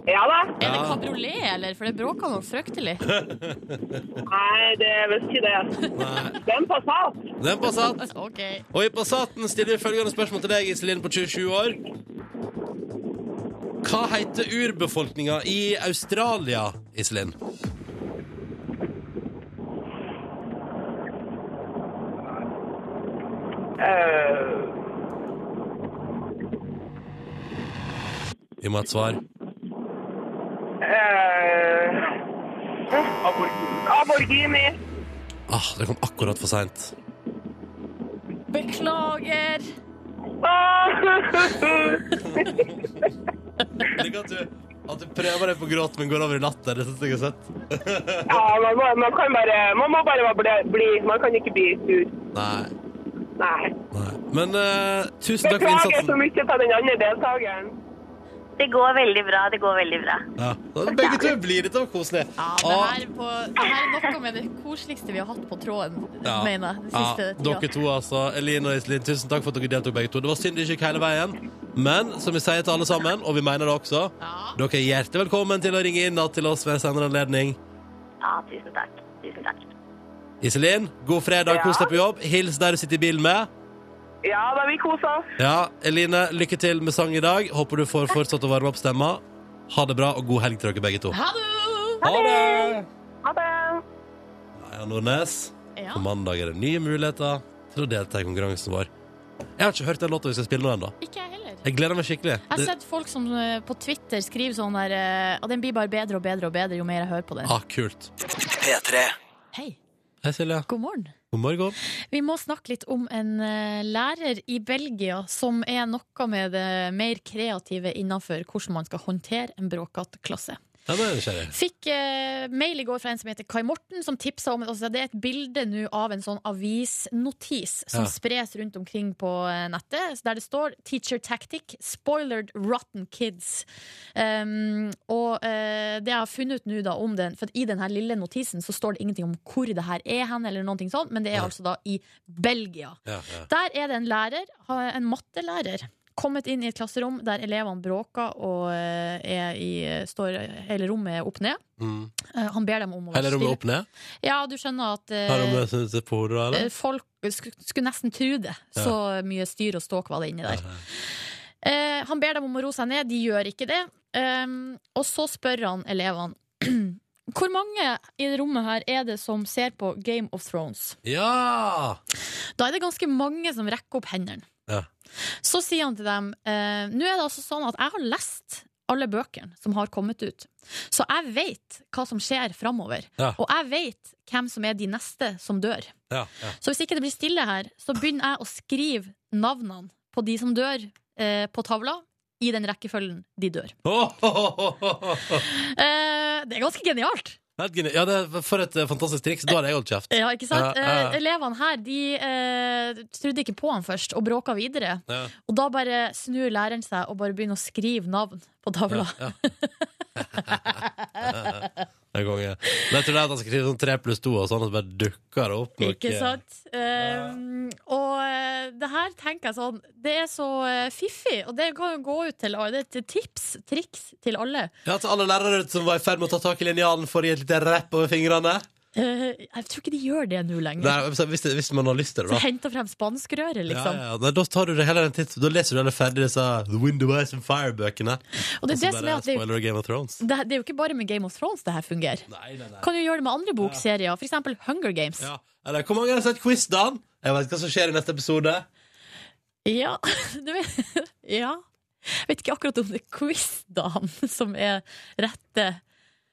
Speaker 8: Ja da.
Speaker 3: Er det
Speaker 2: Ja.
Speaker 3: kabriolet, eller? For det bråker noe fryktelig.
Speaker 8: Nei, det visste ikke det.
Speaker 2: Nei.
Speaker 8: Den Passat.
Speaker 2: Den Passat.
Speaker 3: OK.
Speaker 2: Og i Passaten stiller vi følgende spørsmål til deg, Iselin på 27 år. Hva heter urbefolkninga i Australia, Iselin?
Speaker 8: Eh,
Speaker 2: Vi må ha et svar.
Speaker 8: eh, Aborgini. Aborgini.
Speaker 2: Ah, det kom akkurat for seint.
Speaker 3: Beklager.
Speaker 8: Ah.
Speaker 2: Ligg at du, at du prøver deg på gråt, men går over i latter. Det synes jeg er søtt.
Speaker 8: Ja, man, må, man kan bare Man må bare bli, bli. Man kan ikke bli sur.
Speaker 2: Nei.
Speaker 8: Nei.
Speaker 2: nei. Men eh, tusen takk for
Speaker 8: Beklager så
Speaker 2: innsatsen.
Speaker 8: mye på den andre deltakeren.
Speaker 7: Det går veldig bra, det går veldig bra.
Speaker 2: Ja. Begge to blir litt koselig.
Speaker 3: Ja, det her, på, det her er noe med det koseligste vi har hatt på tråden,
Speaker 2: Ja.
Speaker 3: mener jeg. Den siste
Speaker 2: ja,
Speaker 3: tida.
Speaker 2: Dere to, altså. Eline og Iselin, tusen takk for at dere deltok begge to. Det var synd det ikke gikk hele veien, men som vi sier til alle sammen, og vi mener det også,
Speaker 3: Ja.
Speaker 2: dere er hjertelig velkommen til å ringe inn da, til oss ved senere anledning.
Speaker 7: Ja, tusen takk. Tusen takk.
Speaker 2: Iselin, god fredag,
Speaker 8: Ja.
Speaker 2: kos deg på jobb. Hils der du sitter i bilen med.
Speaker 8: Ja, da vi koser oss.
Speaker 2: Ja, Eline, lykke til med sang i dag. Håper du får fortsatt å varme opp stemma. Ha det bra, og god helg til dere begge to.
Speaker 3: Ha det!
Speaker 2: Ha det!
Speaker 8: Ha det.
Speaker 2: Maja Nordnes.
Speaker 3: Ja.
Speaker 2: På mandag er det nye muligheter til å delta i konkurransen vår. Jeg har ikke hørt den låta vi skal spille nå ennå.
Speaker 3: Ikke jeg heller.
Speaker 2: Jeg gleder meg skikkelig.
Speaker 3: Jeg har
Speaker 2: Det,
Speaker 3: sett folk som eh, på Twitter skriver sånn der eh, Og den blir bare bedre og bedre og bedre jo mer jeg hører på den.
Speaker 2: ah, kult.
Speaker 1: P3.
Speaker 3: Hei,
Speaker 2: Hei, Silje.
Speaker 3: god morgen.
Speaker 2: God morgen.
Speaker 3: Vi må snakke litt om en eh, lærer i Belgia som er noe med det mer kreative innenfor hvordan man skal håndtere en bråkete klasse.
Speaker 2: Ja, nå er jeg nysgjerrig.
Speaker 3: Fikk eh, mail i går fra en som heter Kai Morten, som tipsa om altså, Det er et bilde nå av en sånn avisnotis som
Speaker 2: Ja.
Speaker 3: spres rundt omkring på eh, nettet, der det står 'Teacher tactic spoiled rotten kids'. Um, og eh, det jeg har funnet ut nå, da, om den For i den her lille notisen så står det ingenting om hvor det her er hen, eller noe sånt, men det er
Speaker 2: Nei.
Speaker 3: altså da i Belgia.
Speaker 2: Ja, ja.
Speaker 3: Der er det en lærer, ha- en mattelærer, kommet inn i et klasserom der elevene bråker og eh, er i, står hele rommet er opp ned.
Speaker 2: Mm.
Speaker 3: Eh, Han ber dem om å
Speaker 2: Hele rommet
Speaker 3: stille.
Speaker 2: opp ned?
Speaker 3: Ja, du skjønner at eh,
Speaker 2: Her rommet synes jeg er på, da,
Speaker 3: eh,
Speaker 2: eller?
Speaker 3: folk sk- skulle nesten tro det.
Speaker 2: Ja.
Speaker 3: Så mye styr og ståk var det inni der. Eh, han ber dem om å roe seg ned, de gjør ikke det. Um, og så spør han elevene hvor mange i det rommet her er det som ser på Game of Thrones?
Speaker 2: Ja!
Speaker 3: Da er det ganske mange som rekker opp hendene.
Speaker 2: Ja.
Speaker 3: Så sier han til dem eh, Nå er det altså sånn at jeg har lest alle bøkene som har kommet ut. Så jeg vet hva som skjer framover.
Speaker 2: Ja.
Speaker 3: Og jeg vet hvem som er de neste som dør.
Speaker 2: Ja, ja.
Speaker 3: Så hvis ikke det blir stille her, så begynner jeg å skrive navnene på de som dør eh, på tavla. I den rekkefølgen de dør.
Speaker 2: Oh, oh, oh, oh, oh.
Speaker 3: Eh, det er ganske genialt!
Speaker 2: Helt geni- Ja, det er for et eh, fantastisk triks. Da hadde jeg holdt kjeft.
Speaker 3: Ja, ikke sant?
Speaker 2: Ja, ja, ja.
Speaker 3: Eh, elevene her de eh, trodde ikke på han først, og bråka videre.
Speaker 2: Ja,
Speaker 3: Og da bare snur læreren seg og bare begynner å skrive navn på
Speaker 2: ja,
Speaker 3: tavla.
Speaker 2: ja. Det er konge. Men jeg tror det er at han skal skrive sånn tre pluss to, og sånn, og så bare dukker det opp noe.
Speaker 3: Ikke sant? Um, og eh, det her tenker jeg sånn Det er så eh, fiffig, og det kan jo gå ut til alle. Det er et tips, triks til alle.
Speaker 2: Ja, til alle lærere som var i ferd med å ta tak i linjalen for å gi et lite rapp over fingrene.
Speaker 3: Eh, jeg tror ikke de gjør det nå
Speaker 2: Nei,
Speaker 3: lenger.
Speaker 2: altså, hvis, det, hvis man har lyst til det,
Speaker 3: Så
Speaker 2: da.
Speaker 3: henter frem spanskrøret,
Speaker 2: Ja,
Speaker 3: Mm. liksom.
Speaker 2: ja, nei, da, tar du det heller en titt, da leser du heller ferdig disse The Window Eyes and Fire-bøkene.
Speaker 3: Og det er det
Speaker 2: Så
Speaker 3: som
Speaker 2: Altså, bare
Speaker 3: er at det, er jo-
Speaker 2: spoiler og Game of Thrones.
Speaker 3: det, det er jo ikke bare med Game of Thrones det her fungerer.
Speaker 2: Nei, nei, nei.
Speaker 3: Kan jo gjøre det med andre bokserier, for eksempel Hunger Games.
Speaker 2: Ja. Eller, hvor mange har sett quiz, Dan? Jeg vet hva som skjer i neste episode.
Speaker 3: Ja, du vet Ja. Jeg vet ikke akkurat om det er quiz-dagen som er rette.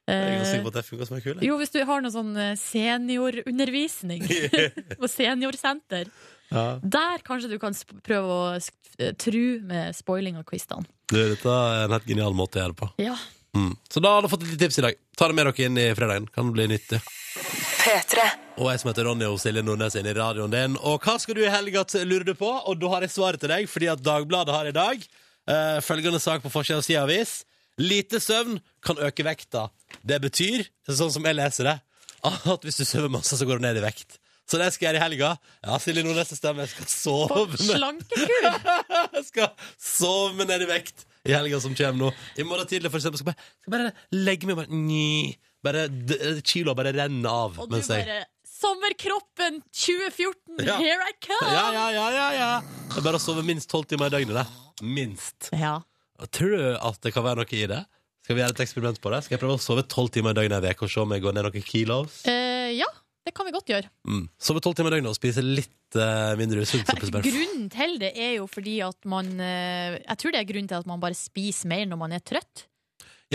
Speaker 2: Jeg er
Speaker 3: Eh,
Speaker 2: ganske sikker på at det funker som en kule.
Speaker 3: jo, hvis du har noe sånn eh, seniorundervisning på seniorsenter.
Speaker 2: Ja.
Speaker 3: Der kanskje du kan sp prøve å sk- eh, tru med spoiling av quiz-dagen.
Speaker 2: Du, dette er en helt genial måte å gjøre det på.
Speaker 3: Ja.
Speaker 2: Mm. Så da har dere fått et lite tips i dag. Ta det med dere inn i fredagen. Kan bli nyttig. Og jeg som heter Ronny og Silje Nordnes inn i radioen din. Og hva skal du i helga, t- lurer du på? Og da har jeg svaret til deg, fordi at Dagbladet har i dag eh, følgende sak på forsida av si avis. Lite søvn kan øke vekta. Det betyr, sånn som jeg leser det, at hvis du sover masse, så går du ned i vekt. Så det skal jeg gjøre i helga. Ja, Silje Nordnes det stemmer. Jeg skal sove med,
Speaker 3: Slankekur!
Speaker 2: jeg skal sove meg ned i vekt i helga som kommer nå. I morgen tidlig, for eksempel, skal jeg bare, skal jeg bare legge meg bare, Nyi. bare d- Kiloa bare renner av.
Speaker 3: Og du
Speaker 2: mens jeg-
Speaker 3: bare Sommerkroppen 2014,
Speaker 2: Ja.
Speaker 3: here I come!
Speaker 2: Ja, ja, ja, ja, ja. Det er bare å sove minst tolv timer i døgnet. Det. Minst.
Speaker 3: Ja.
Speaker 2: Jeg tror at det kan være noe i det. Skal vi gjøre et eksperiment på det? Skal jeg prøve å sove tolv timer i døgnet i en uke og se om jeg går ned noen kilos?
Speaker 3: Eh, ja, det kan vi godt gjøre.
Speaker 2: Mm. Sove tolv timer i døgnet og spise litt eh, mindre usunt. så plutselig bare-
Speaker 3: Grunnen til det er jo fordi at man eh, Jeg tror det er grunnen til at man bare spiser mer når man er trøtt.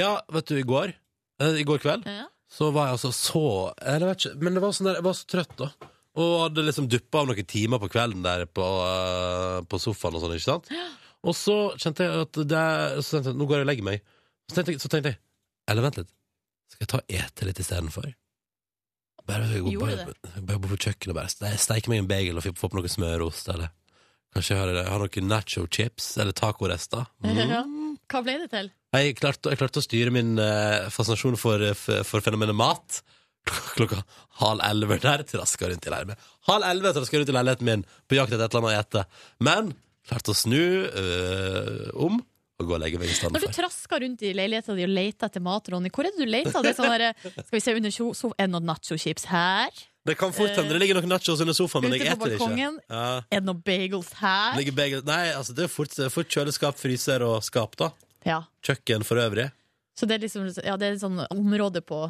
Speaker 2: Ja, vet du, i går eh, I går kveld
Speaker 3: Ja.
Speaker 2: så var jeg altså så Eller jeg vet ikke, men det var sånn der, jeg var så trøtt, da. Og hadde liksom duppa av noen timer på kvelden der på, eh, på sofaen og sånn, ikke sant? Og så kjente jeg at det Så tenkte jeg, nå går jeg og legger meg. Så tenkte jeg, så tenkte jeg Eller vent litt. Skal jeg ta og ete litt istedenfor? Bare, jeg går-
Speaker 3: Gjorde
Speaker 2: bare, bare gå på kjøkkenet og bare ste- steike meg en bagel og få få på noe smørost, eller Kanskje jeg har, har noen nacho chips eller tacorester. Mm.
Speaker 3: Hva ble det til?
Speaker 2: Jeg klarte, jeg klarte å styre min eh, fascinasjon for, for, for fenomenet mat klokka halv elleve der traska rundt i leiligheten min. Halv elleve traska jeg rundt i leiligheten min på jakt etter et eller annet å ete. Men klarte å snu eh, om og gå og legge meg i stedet
Speaker 3: Når du
Speaker 2: for.
Speaker 3: trasker rundt i leiligheta di og leter etter mat, Ronny, hvor er det du leter? Det er sånn der, skal vi se under so- so- Er det noen nachochips her?
Speaker 2: Det kan fort hende det ligger noen nachos under sofaen, men
Speaker 3: ute
Speaker 2: jeg
Speaker 3: på
Speaker 2: eter det ikke.
Speaker 3: balkongen.
Speaker 2: Ja.
Speaker 3: Er det noen bagels her?
Speaker 2: Ligger begge, nei, altså det er fort, det er fort kjøleskap, fryser og skap, da.
Speaker 3: Ja.
Speaker 2: Kjøkken for øvrig.
Speaker 3: Så det er liksom ja, det er et sånn område på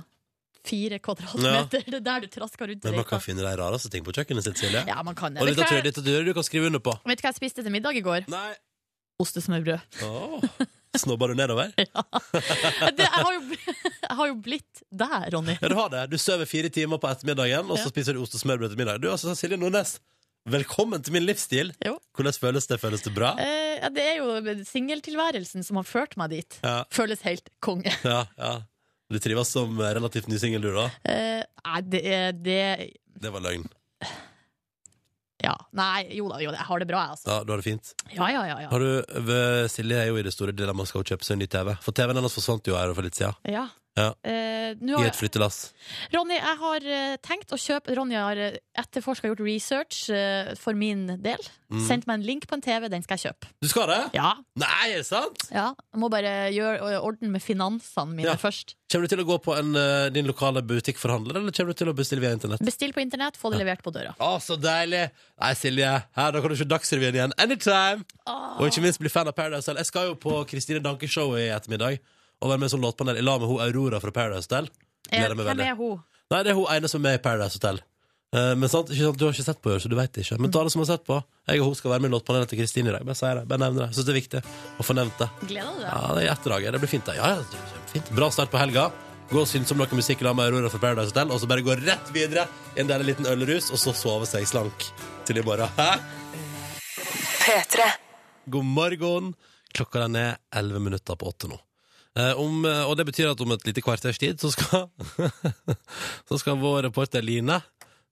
Speaker 3: fire kvadratmeter. Det er der du trasker rundt i
Speaker 2: Men man
Speaker 3: leiligheta.
Speaker 2: kan finne de rareste ting på kjøkkenet sitt, Silje.
Speaker 3: Ja, man kan det.
Speaker 2: Og
Speaker 3: Vet du hva
Speaker 2: litteratur,
Speaker 3: jeg-
Speaker 2: litteratur du kan skrive under på.
Speaker 3: vet du hva jeg spiste til middag i går?
Speaker 2: Nei.
Speaker 3: Ostesmørbrød.
Speaker 2: Åh. Snobber du nedover?
Speaker 3: Det, jeg, har jo, jeg har jo blitt der, Ronny.
Speaker 2: Ja, du har det. Du sover fire timer på ettermiddagen, og så
Speaker 3: Ja.
Speaker 2: spiser du ost og smørbrød til middag. Du, altså, Silje Nordnes, velkommen til min livsstil.
Speaker 3: Jo.
Speaker 2: Hvordan føles det? Føles det bra?
Speaker 3: Eh, ja, det er jo singeltilværelsen som har ført meg dit.
Speaker 2: Ja.
Speaker 3: Føles helt konge.
Speaker 2: Ja, ja. Du trives som eh, relativt ny singel, du, da?
Speaker 3: Eh, nei, det er det
Speaker 2: Det var løgn.
Speaker 3: Ja. Nei, jo da, jo, da, jeg har det bra, jeg, altså.
Speaker 2: Ja, du har det fint.
Speaker 3: Ja, ja, ja. ja.
Speaker 2: Har du, v- Silje er jo i det store dilemmaet skal hun kjøpe seg en ny TV. For TV-en hennes forsvant jo her for litt siden.
Speaker 3: ja.
Speaker 2: Ja.
Speaker 3: Eh, nå
Speaker 2: I
Speaker 3: har
Speaker 2: et flyttelass.
Speaker 3: jeg- Ronny, jeg har eh, tenkt å kjøpe Ronny har eh, etterforska og gjort research eh, for min del.
Speaker 2: Mm.
Speaker 3: Sendt meg en link på en TV, den skal jeg kjøpe.
Speaker 2: Du skal det?
Speaker 3: Ja.
Speaker 2: Nei, er det sant?
Speaker 3: ja. Jeg må bare gjøre orden med finansene mine
Speaker 2: Ja.
Speaker 3: først.
Speaker 2: Kommer du til å gå på en, eh, din lokale butikkforhandler, eller kommer du til å bestille via internett?
Speaker 3: Bestill på internett, få det levert på døra.
Speaker 2: Å, så deilig! Nei, Silje, her, da kan du se Dagsrevyen igjen anytime! Og ikke minst bli fan av Paradise Hotel. Jeg skal jo på Kristine Danke-showet i ettermiddag og være med i sånn låtpanel i lag med hun Aurora fra Paradise Hotel.
Speaker 3: Eh,
Speaker 2: Gleder meg
Speaker 3: Hvem
Speaker 2: veldig.
Speaker 3: er hun?
Speaker 2: Nei, det er hun ene som er med i Paradise Hotel. Eh, men sant, ikke sant, Du har ikke sett på henne, så du vet ikke. Men ta det som har sett på. Jeg og hun skal være med i låtpanelet til Kristine i dag. Bare sier det. Bare nevner det. Jeg Syns det er viktig å få nevnt det.
Speaker 3: Gleder du deg?
Speaker 2: Ja, det er i etterdraget. Det blir fint, det. Ja, ja, det blir kjempefint. Bra start på helga. Gå og syns om noe musikk i lag med Aurora fra Paradise Hotel, og så bare gå rett videre i en deilig liten ølrus, og så sove seg slank til i morgen. Hæ? God morgen. Klokka den er 11 minutter på åtte nå. Eh, om, eh, og det betyr at om et lite kvarters tid så skal, så skal vår reporter Line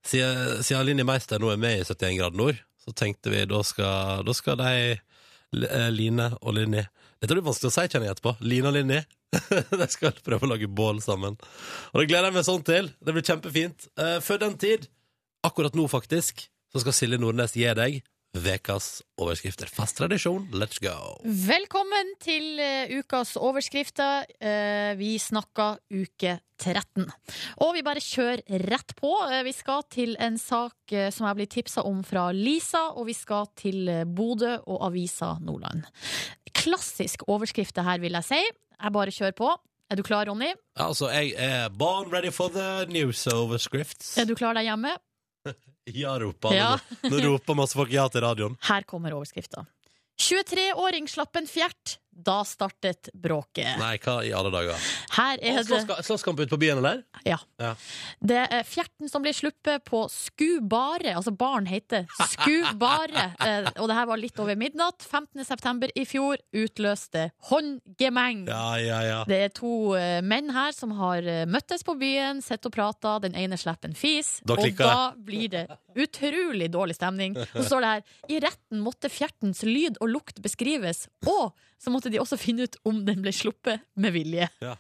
Speaker 2: Siden siden Line Meister nå er med i 71 grader nord, så tenkte vi da skal, da skal de L- eh, Line og Linni Dette blir vanskelig å si, kjenner jeg etterpå. Line og Linni. de skal prøve å lage bål sammen. Og det gleder jeg meg sånn til. Det blir kjempefint. Eh, før den tid, akkurat nå faktisk, så skal Silje Nordnes gi deg Vekas overskrifter. Fast tradisjon, let's go!
Speaker 3: Velkommen til eh, ukas overskrifter. Eh, vi snakker uke 13. Og vi bare kjører rett på. Eh, vi skal til en sak eh, som jeg blir tipsa om fra Lisa, og vi skal til eh, Bodø og avisa Nordland. Klassisk overskrift det her, vil jeg si. Jeg bare kjører på. Er du klar, Ronny?
Speaker 2: Altså, jeg er born ready for the news overskrifts.
Speaker 3: Er du klar der hjemme?
Speaker 2: Ja, roper alle
Speaker 3: Ja.
Speaker 2: nå. Nå roper masse folk ja til radioen.
Speaker 3: Her kommer overskrifta. 23-åring slapp en fjert. Da startet bråket.
Speaker 2: Nei, hva i alle dager?
Speaker 3: Her er det
Speaker 2: Slåsska- Slåsskamp ute på byen, eller?
Speaker 3: Ja.
Speaker 2: Ja.
Speaker 3: Det er fjerten som blir sluppet på Skubare, altså barn heter Skubare, eh, og det her var litt over midnatt. 15. september i fjor utløste håndgemeng.
Speaker 2: Ja, ja, ja.
Speaker 3: Det er to eh, menn her som har eh, møttes på byen, sett og prata. Den ene slipper en fis,
Speaker 2: Da
Speaker 3: og
Speaker 2: klikker
Speaker 3: da blir det Utrolig dårlig stemning. Og så står det her I retten måtte fjertens lyd og lukt beskrives, og så måtte de også finne ut om den ble sluppet med vilje.
Speaker 2: Ja.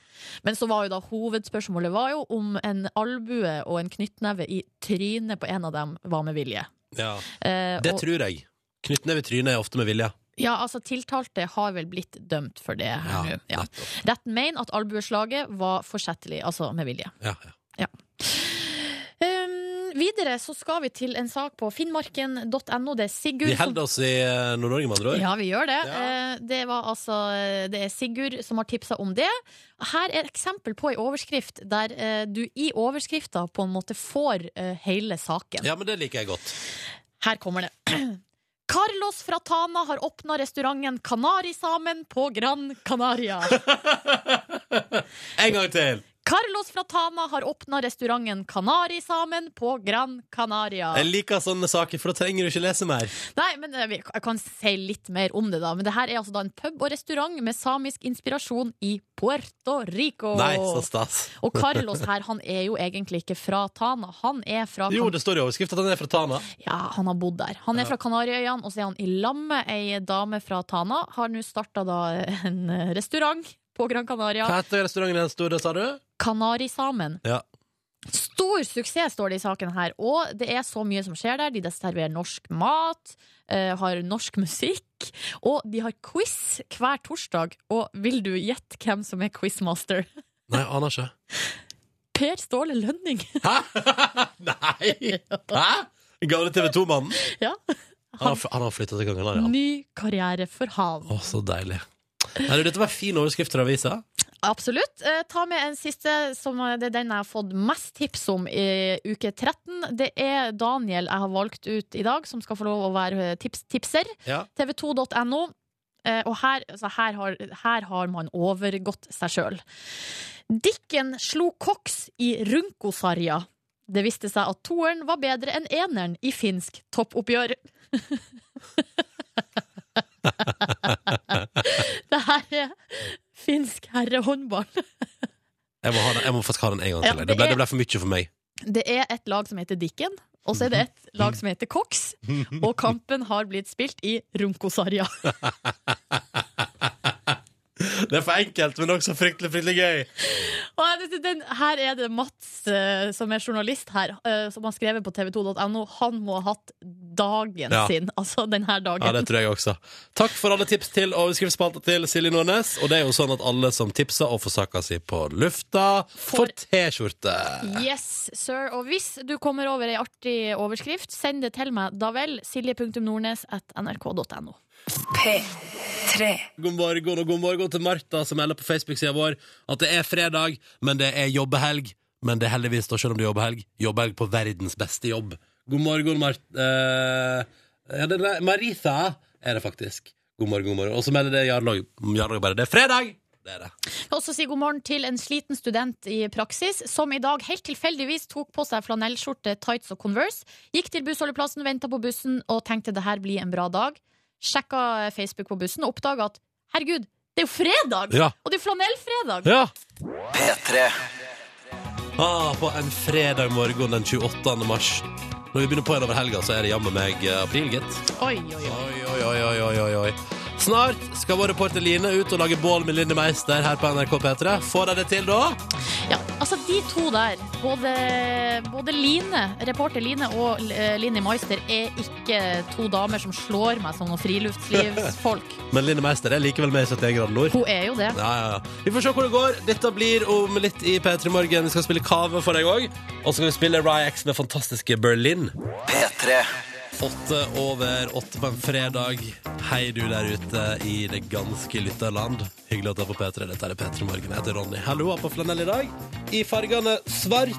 Speaker 3: Men så var jo da hovedspørsmålet var jo om en albue og en knyttneve i trynet på en av dem var med vilje.
Speaker 2: Ja.
Speaker 3: Eh,
Speaker 2: Det
Speaker 3: og,
Speaker 2: tror jeg. Knyttneve i trynet er ofte med vilje.
Speaker 3: ja, altså Tiltalte har vel blitt dømt for det. her nå. Ja.
Speaker 2: nettopp.
Speaker 3: Retten mener at albueslaget var forsettlig, altså med vilje.
Speaker 2: Ja, ja.
Speaker 3: Um, videre så skal vi til en sak på finnmarken.no. Det er Sigurd
Speaker 2: Vi holder oss i eh, Nord-Norge, med andre ord.
Speaker 3: Ja, vi gjør det.
Speaker 2: Ja.
Speaker 3: Eh, Det, var altså, eh, det er Sigurd som har tipsa om det. Her er et eksempel på ei overskrift der eh, du i overskrifta på en måte får eh, hele saken.
Speaker 2: Ja, men det liker jeg godt.
Speaker 3: Her kommer det. Carlos fra Tana har åpna restauranten Kanarisamen på Gran Canaria.
Speaker 2: En gang til!
Speaker 3: Carlos fra Tana har åpna restauranten Kanarisamen på Gran Canaria.
Speaker 2: Jeg liker sånne saker, for da trenger du ikke lese mer.
Speaker 3: Nei, men eh, vi- Jeg kan si litt mer om det, da. Men det her er altså da en pub og restaurant med samisk inspirasjon i Puerto Rico.
Speaker 2: Nei, så stas.
Speaker 3: Og Carlos her, han er jo egentlig ikke fra Tana. Han er fra
Speaker 2: Jo, det står i overskrift at han er fra Tana.
Speaker 3: Ja, han har bodd der. Han er fra Kanariøyene, og så er han i lag med ei dame fra Tana. Har nå starta da en eh, restaurant på Gran Canaria.
Speaker 2: Hva heter restauranten den store, sa du?
Speaker 3: Kanarisamen.
Speaker 2: Ja.
Speaker 3: Stor suksess, står det i saken her. Og det er så mye som skjer der. De serverer norsk mat, eh, har norsk musikk, og de har quiz hver torsdag. Og vil du gjette hvem som er quizmaster?
Speaker 2: Nei, aner ikke.
Speaker 3: Per Ståle Lønning.
Speaker 2: Hæ? Nei! Hæ? Den Gamle TV 2-mannen?
Speaker 3: ja.
Speaker 2: Han, har- han har flytta til Kongelaria. Å,
Speaker 3: Ny karriere for han.
Speaker 2: så deilig. Nei, du, dette var fin overskrift fra avisa.
Speaker 3: Absolutt. Eh, ta med en siste, som eh, det er den jeg har fått mest tips om i uke 13. Det er Daniel jeg har valgt ut i dag, som skal få lov å være eh, tips tipser.
Speaker 2: Ja.
Speaker 3: tv2.no. eh, Og her, altså her, har, her har man overgått seg sjøl. Dikken slo Cox i Runkosarja. Det viste seg at toeren var bedre enn eneren i finsk toppoppgjør. det her er finsk herrehåndball.
Speaker 2: Jeg må, ha den, jeg må faktisk ha den en gang til. jeg.
Speaker 3: Ja, det
Speaker 2: det, ble,
Speaker 3: er-
Speaker 2: det ble for mye for meg.
Speaker 3: Det er et lag som heter Dikken, og så er det et lag som heter Cox. Og kampen har blitt spilt i Runkosarja.
Speaker 2: Det er for enkelt, men også fryktelig, fryktelig gøy.
Speaker 3: Og jeg synes den, her er det Mats, eh, som er journalist her, eh, som har skrevet på tv2.no. Han må ha hatt dagen
Speaker 2: Ja.
Speaker 3: sin, altså denne dagen.
Speaker 2: Ja, det tror jeg også. Takk for alle tips til overskriftsspalta til Silje Nordnes. Og det er jo sånn at alle som tipser og får saka si på lufta, får T-skjorte.
Speaker 3: Yes, sir. Og hvis du kommer over ei artig overskrift, send det til meg. Da vel. Silje.nordnes.nrk.no.
Speaker 2: God morgen og god morgen til Martha som melder på Facebook-sida vår at det er fredag, men det er jobbehelg. Men det er heldigvis, da, selv om det er jobbehelg, jobbehelg på verdens beste jobb. God morgen, Mart... eh, ja, det er Maritha er det faktisk. God morgen, god morgen. Og så melder det Jarl Log- Jarl Log bare det er fredag! Det er det.
Speaker 3: Jeg vil også si god morgen til en sliten student i praksis, som i dag helt tilfeldigvis tok på seg flanellskjorte, tights og Converse, gikk til bussholdeplassen, venta på bussen og tenkte det her blir en bra dag. Sjekka Facebook på bussen og oppdaga at herregud, det er jo fredag!
Speaker 2: Ja.
Speaker 3: Og det er flanellfredag!
Speaker 2: Ja!
Speaker 1: P3.
Speaker 2: Ah, på en fredag morgen den 28. mars. Når vi begynner på igjen over helga, så er det jammen meg eh, april, gitt.
Speaker 3: Oi, oi, oi.
Speaker 2: Oi, oi, oi, oi, oi, oi, oi. Snart skal vår reporter Line ut og lage bål med Linni Meister her på NRK P3. Får de det til da?
Speaker 3: Ja, altså de to der, både, både Line, reporter Line og eh, Linni Meister, er ikke to damer som slår meg som noen friluftslivsfolk.
Speaker 2: Men Linni Meister er likevel med i 71 grader nord.
Speaker 3: Hun er jo det.
Speaker 2: Ja, ja, ja. Vi får se hvor det går. Dette blir om litt i P3 Morgen. Vi skal spille Kave for deg òg. Og så skal vi spille Ryax med fantastiske Berlin.
Speaker 1: P3.
Speaker 2: Åtte over åtte på en fredag. Hei, du der ute i det ganske lytterland. Hyggelig at du er på P3. Dette er P3 Morgen. Jeg heter Ronny. Hallo, har på flanell i dag. I fargene svart,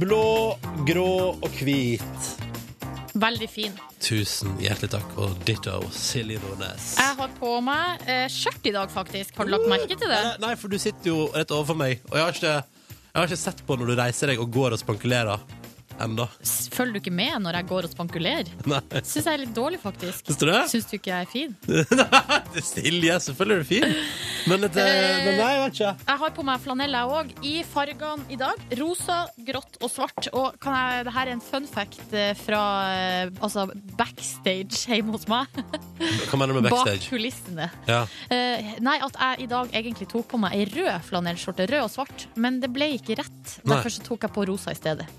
Speaker 2: blå, grå og hvit.
Speaker 3: Veldig fin.
Speaker 2: Tusen hjertelig takk, og ditto, Silje Nordnes.
Speaker 3: Jeg har på meg eh, skjørt i dag, faktisk. Har du lagt merke til det?
Speaker 2: Nei, Nei, for du sitter jo rett overfor meg, og jeg har ikke, jeg har ikke sett på når du reiser deg og går og spankulerer. Enda.
Speaker 3: S- Følger du ikke med når jeg går og spankulerer?
Speaker 2: Nei,
Speaker 3: Syns jeg er litt dårlig, faktisk.
Speaker 2: syns du det?
Speaker 3: Syns du ikke jeg er fin?
Speaker 2: Nei, Silje, selvfølgelig er du fin. Men, et, eh, men nei, jeg vet ikke.
Speaker 3: Jeg har på meg flanell jeg òg, i fargene i dag. Rosa, grått og svart. Og kan jeg, det her er en fun fact eh, fra eh, altså backstage hjemme hos meg.
Speaker 2: Hva mener du med
Speaker 3: Bak
Speaker 2: backstage?
Speaker 3: kulissene.
Speaker 2: Ja.
Speaker 3: Eh, nei, at jeg i dag egentlig tok på meg ei rød flanellskjorte. Rød og svart. Men det ble ikke rett.
Speaker 2: Nei.
Speaker 3: Derfor så tok jeg på rosa i stedet.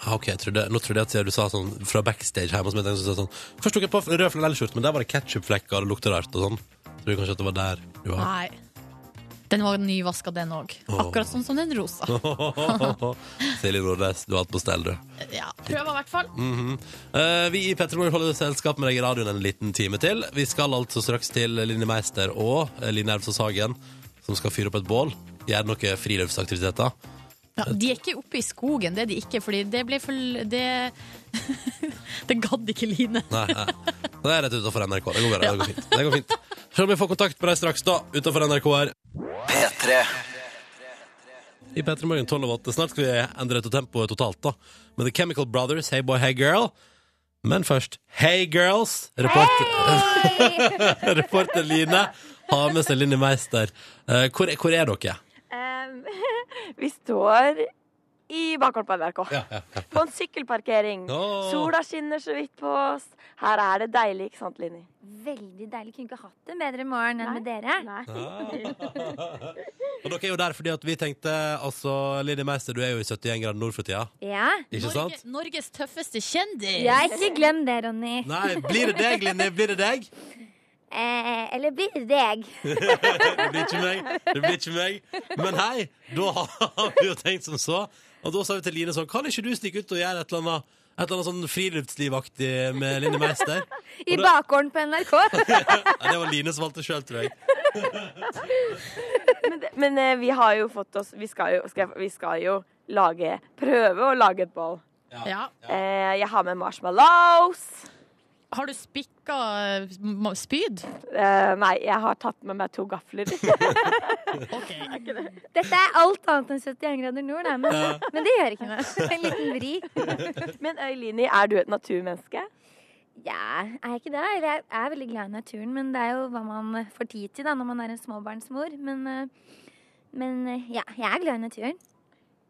Speaker 2: Ah, ok, jeg trodde, Nå trodde jeg at du sa sånn fra backstage hjemme hos meg. tenkte jeg sånn, Først tok jeg på rød flanellskjorte, men der var det ketsjupflekker og det lukta rart. og sånn. Tror kanskje at det var der du var.
Speaker 3: Nei. Den var nyvaska, den òg. Akkurat sånn som den rosa.
Speaker 2: Silje Nordnes, du har alt på stell, du.
Speaker 3: Ja, Prøva i hvert fall.
Speaker 2: Mm. Eh, vi i Petterborg holder selskap med deg i radioen en liten time til. Vi skal altså straks til Linni Meister og eh, Line Elvsås Hagen, som skal fyre opp et bål. Gjøre noen friluftsaktiviteter.
Speaker 3: Ja, de er ikke oppe i skogen, det er de ikke, fordi det ble for Det, det gadd ikke Line.
Speaker 2: Nei, nei. Det er rett utenfor NRK. Det går bra. Det går fint. Det går fint. Se om vi får kontakt med deg straks, da, utenfor NRK her.
Speaker 1: P3.
Speaker 2: I Pettermorgen 12 og 8. Snart skal vi endre tempoet totalt, da. Med The Chemical Brothers, Hey Boy, Hey Girl. Men først Hey Girls! Reporter, reporter Line har med seg Linni Meister. Eh, hvor, er- hvor er dere?
Speaker 9: Em, vi står i bakgården på NRK. På en sykkelparkering.
Speaker 2: Åh.
Speaker 9: Sola skinner så vidt på oss. Her er det deilig, ikke sant, Linni?
Speaker 10: Veldig deilig. Kunne ikke hatt det bedre i morgen enn med dere.
Speaker 2: Og dere er jo der fordi at vi tenkte Altså, Linni Meister, du er jo i 71 grader nord for tida.
Speaker 10: Ja.
Speaker 2: Ikke sant?
Speaker 3: Norge, Norges tøffeste kjendis.
Speaker 10: ja, ikke glem det, Ronny.
Speaker 2: Nei, blir det deg, Linni? Blir det deg?
Speaker 10: Eh, eller blir det deg?
Speaker 2: Det blir ikke meg. Det blir ikke meg. Men hei, da har vi jo tenkt som så. Og da sa vi til Line sånn Kan ikke du stikke ut og gjøre et eller annet, et eller annet sånn friluftslivaktig med Line Meister?
Speaker 10: I
Speaker 2: Og da-
Speaker 10: bakgården på NRK.
Speaker 2: Nei, det var Line som valgte sjøl, tror jeg.
Speaker 9: Men, det- men eh, vi har jo fått oss Vi skal jo, skal, jeg- vi skal jo lage Prøve å lage et bål.
Speaker 3: Ja.
Speaker 9: Eh, jeg har med marshmallows.
Speaker 3: Har du spikka eh, m- spyd?
Speaker 9: Eh, nei, jeg har tatt med meg to gafler.
Speaker 10: Dette er alt annet enn 71 grader nord, da. Men, men det gjør ikke noe. En liten vri.
Speaker 9: men Øylini, er du et naturmenneske?
Speaker 10: Ja, er jeg ikke det? Eller jeg er veldig glad i naturen, men det er jo hva man får tid til da når man er en småbarnsmor. Men, eh, men eh, ja, jeg er glad i naturen.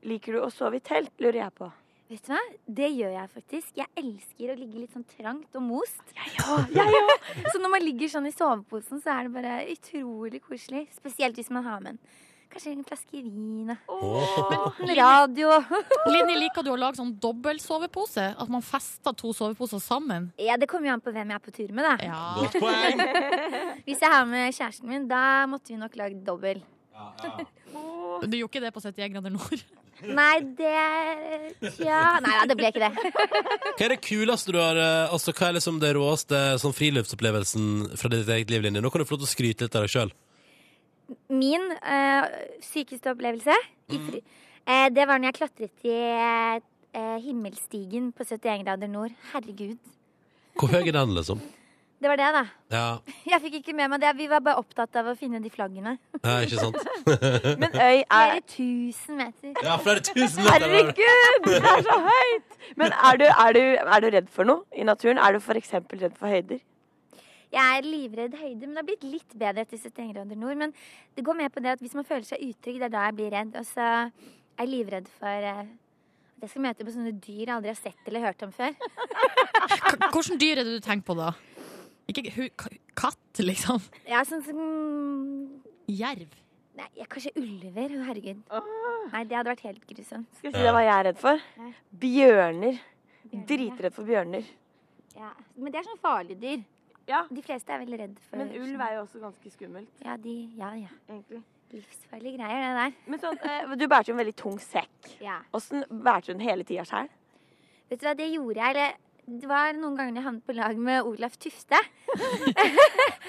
Speaker 9: Liker du å sove i telt, lurer jeg på.
Speaker 10: Vet du hva? Det gjør jeg faktisk. Jeg elsker å ligge litt sånn trangt og most. så når man ligger sånn i soveposen, så er det bare utrolig koselig. Spesielt hvis man har med en kanskje en flaske vin og
Speaker 9: Åh.
Speaker 10: en radio.
Speaker 3: Linni, liker du å lage sånn dobbeltsovepose? At man fester to soveposer sammen?
Speaker 10: Ja, det kommer jo an på hvem jeg er på tur med, da.
Speaker 3: Ja.
Speaker 2: Godt poeng.
Speaker 10: Hvis jeg har med kjæresten min, da måtte vi nok lagd dobbel.
Speaker 3: Du gjorde ikke det på 71 grader nord?
Speaker 10: Nei, det Tja. Nei da, det ble ikke det.
Speaker 2: Hva er det kuleste du har eh, Altså, hva er liksom det råeste sånn friluftsopplevelsen fra ditt eget liv, Linje? Nå kan du få lov til å skryte litt av deg sjøl.
Speaker 10: Min eh, sykeste opplevelse i fri, eh, Det var når jeg klatret i eh, himmelstigen på 71 grader nord. Herregud.
Speaker 2: Hvor høy er den, liksom?
Speaker 10: Det var det, da.
Speaker 2: Ja,
Speaker 10: Jeg fikk ikke med meg det. Vi var bare opptatt av å finne de flaggene.
Speaker 2: ja ikke sant?
Speaker 9: Men Øy er
Speaker 10: Flere tusen meter.
Speaker 2: Ja, flere tusen
Speaker 9: Herregud, det er så høyt! Men er du, er, du, er du redd for noe i naturen? Er du f.eks. redd for høyder?
Speaker 10: Jeg er livredd høyde, men det har blitt litt bedre etter 71 grader nord. Men det går med på det at hvis man føler seg utrygg, det er da jeg blir redd. Og så er jeg livredd for eh, at jeg skal møte på sånne dyr jeg aldri har sett eller hørt om før.
Speaker 3: K- Hvordan dyr er det du tenker på da? Ikke hu k- katt, liksom?
Speaker 10: Jeg er sånn som
Speaker 3: Jerv?
Speaker 10: Nei, jeg, kanskje ulver. Å, herregud. Nei, det hadde vært helt grusomt.
Speaker 9: Skal jeg si deg hva jeg er redd for?
Speaker 10: Nei.
Speaker 9: Bjørner. Dritredd for bjørner.
Speaker 10: Ja. Men det er sånn farlige dyr.
Speaker 9: Ja.
Speaker 10: De fleste er veldig redd for
Speaker 9: Men ulv er jo også ganske skummelt,
Speaker 10: Ja, de Ja, ja.
Speaker 9: egentlig.
Speaker 10: Livsfarlige greier, det der.
Speaker 9: Men sånn, eh, du bærte jo en veldig tung sekk.
Speaker 10: Ja.
Speaker 9: Åssen bærte du den hele tida sjøl?
Speaker 10: Vet du hva, det gjorde jeg. Eller det var noen ganger jeg havnet på lag med Olaf Tufte.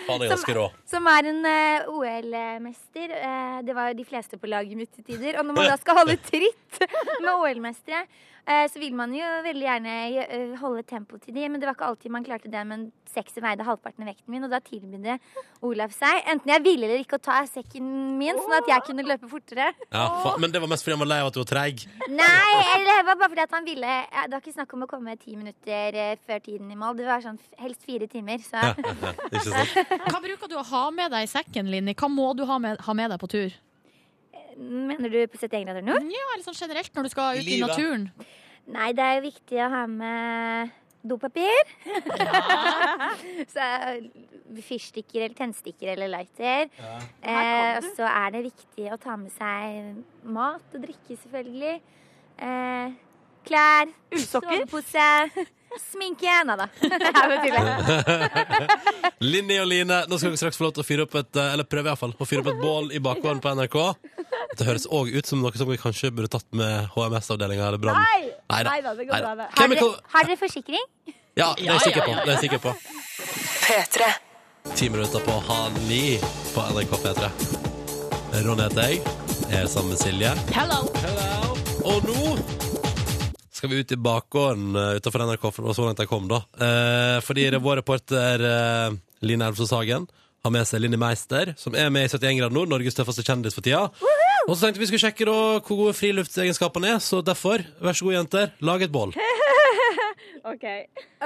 Speaker 2: Han er ganske rå.
Speaker 10: Som er en eh, OL-mester. Eh, det var de fleste på laget mitt til tider. Og når man da skal holde tritt med OL-mestere, eh, så vil man jo veldig gjerne eh, holde tempo til de, men det var ikke alltid man klarte det. Men sekser veide halvparten av vekten min, og da tilbød Olaf seg, enten jeg ville eller ikke, å ta sekken min, sånn at jeg kunne løpe fortere.
Speaker 2: Ja, fa men det var mest fordi han var lei av at du var treig.
Speaker 10: Nei, eller det var bare fordi at han ville ja, Det var ikke snakk om å komme ti minutter eh, før tiden i mål. Det var sånn f- helst fire timer, så
Speaker 2: Ja, ja, ikke sant?
Speaker 3: Hva bruker du å ha med deg i sekken, Linni? Hva må du ha med, ha med deg på tur?
Speaker 10: Mener du på 71 grader nord?
Speaker 3: Ja, eller sånn generelt når du skal ut i
Speaker 2: Livet.
Speaker 3: naturen.
Speaker 10: Nei, det er jo viktig å ha med dopapir. så eh, fyrstikker eller tennstikker eller lighter. Eh, og så er det viktig å ta med seg mat og drikke, selvfølgelig. Eh, klær,
Speaker 9: Ullsokker.
Speaker 10: sovepose, sminke. Nei da. Ja, men tydelig.
Speaker 2: Linni og Line, nå skal dere straks få lov til å fyre opp et eh, Eller prøve i hvert fall, å fyre opp et bål i bakgården på NRK. Det høres òg ut som noe som vi kanskje burde tatt med HMS-avdelinga eller Brann.
Speaker 9: Nei!
Speaker 2: Neida.
Speaker 9: Nei da, det går bra,
Speaker 2: Neida.
Speaker 9: det.
Speaker 10: har,
Speaker 2: Chemical...
Speaker 10: dere, har dere forsikring?
Speaker 2: Ja, det er jeg sikker på. Det er jeg sikker på.
Speaker 1: P3.
Speaker 2: Ti minutter på halv ni på NRK P3. Ronny heter jeg. Jeg er sammen med Silje.
Speaker 3: Hello!
Speaker 2: Og nå skal vi ut i bakgården eh, utenfor NRK, for det var så langt jeg kom, da. Eh, fordi det er vår reporter eh, Line Elvsås Hagen har med seg Linni Meister, som er med i 71 grader nord, Norges tøffeste kjendis for tida. Og så tenkte vi skulle sjekke da hvor gode friluftsegenskapene er, så derfor, vær så god, jenter, lag et bål.
Speaker 9: OK.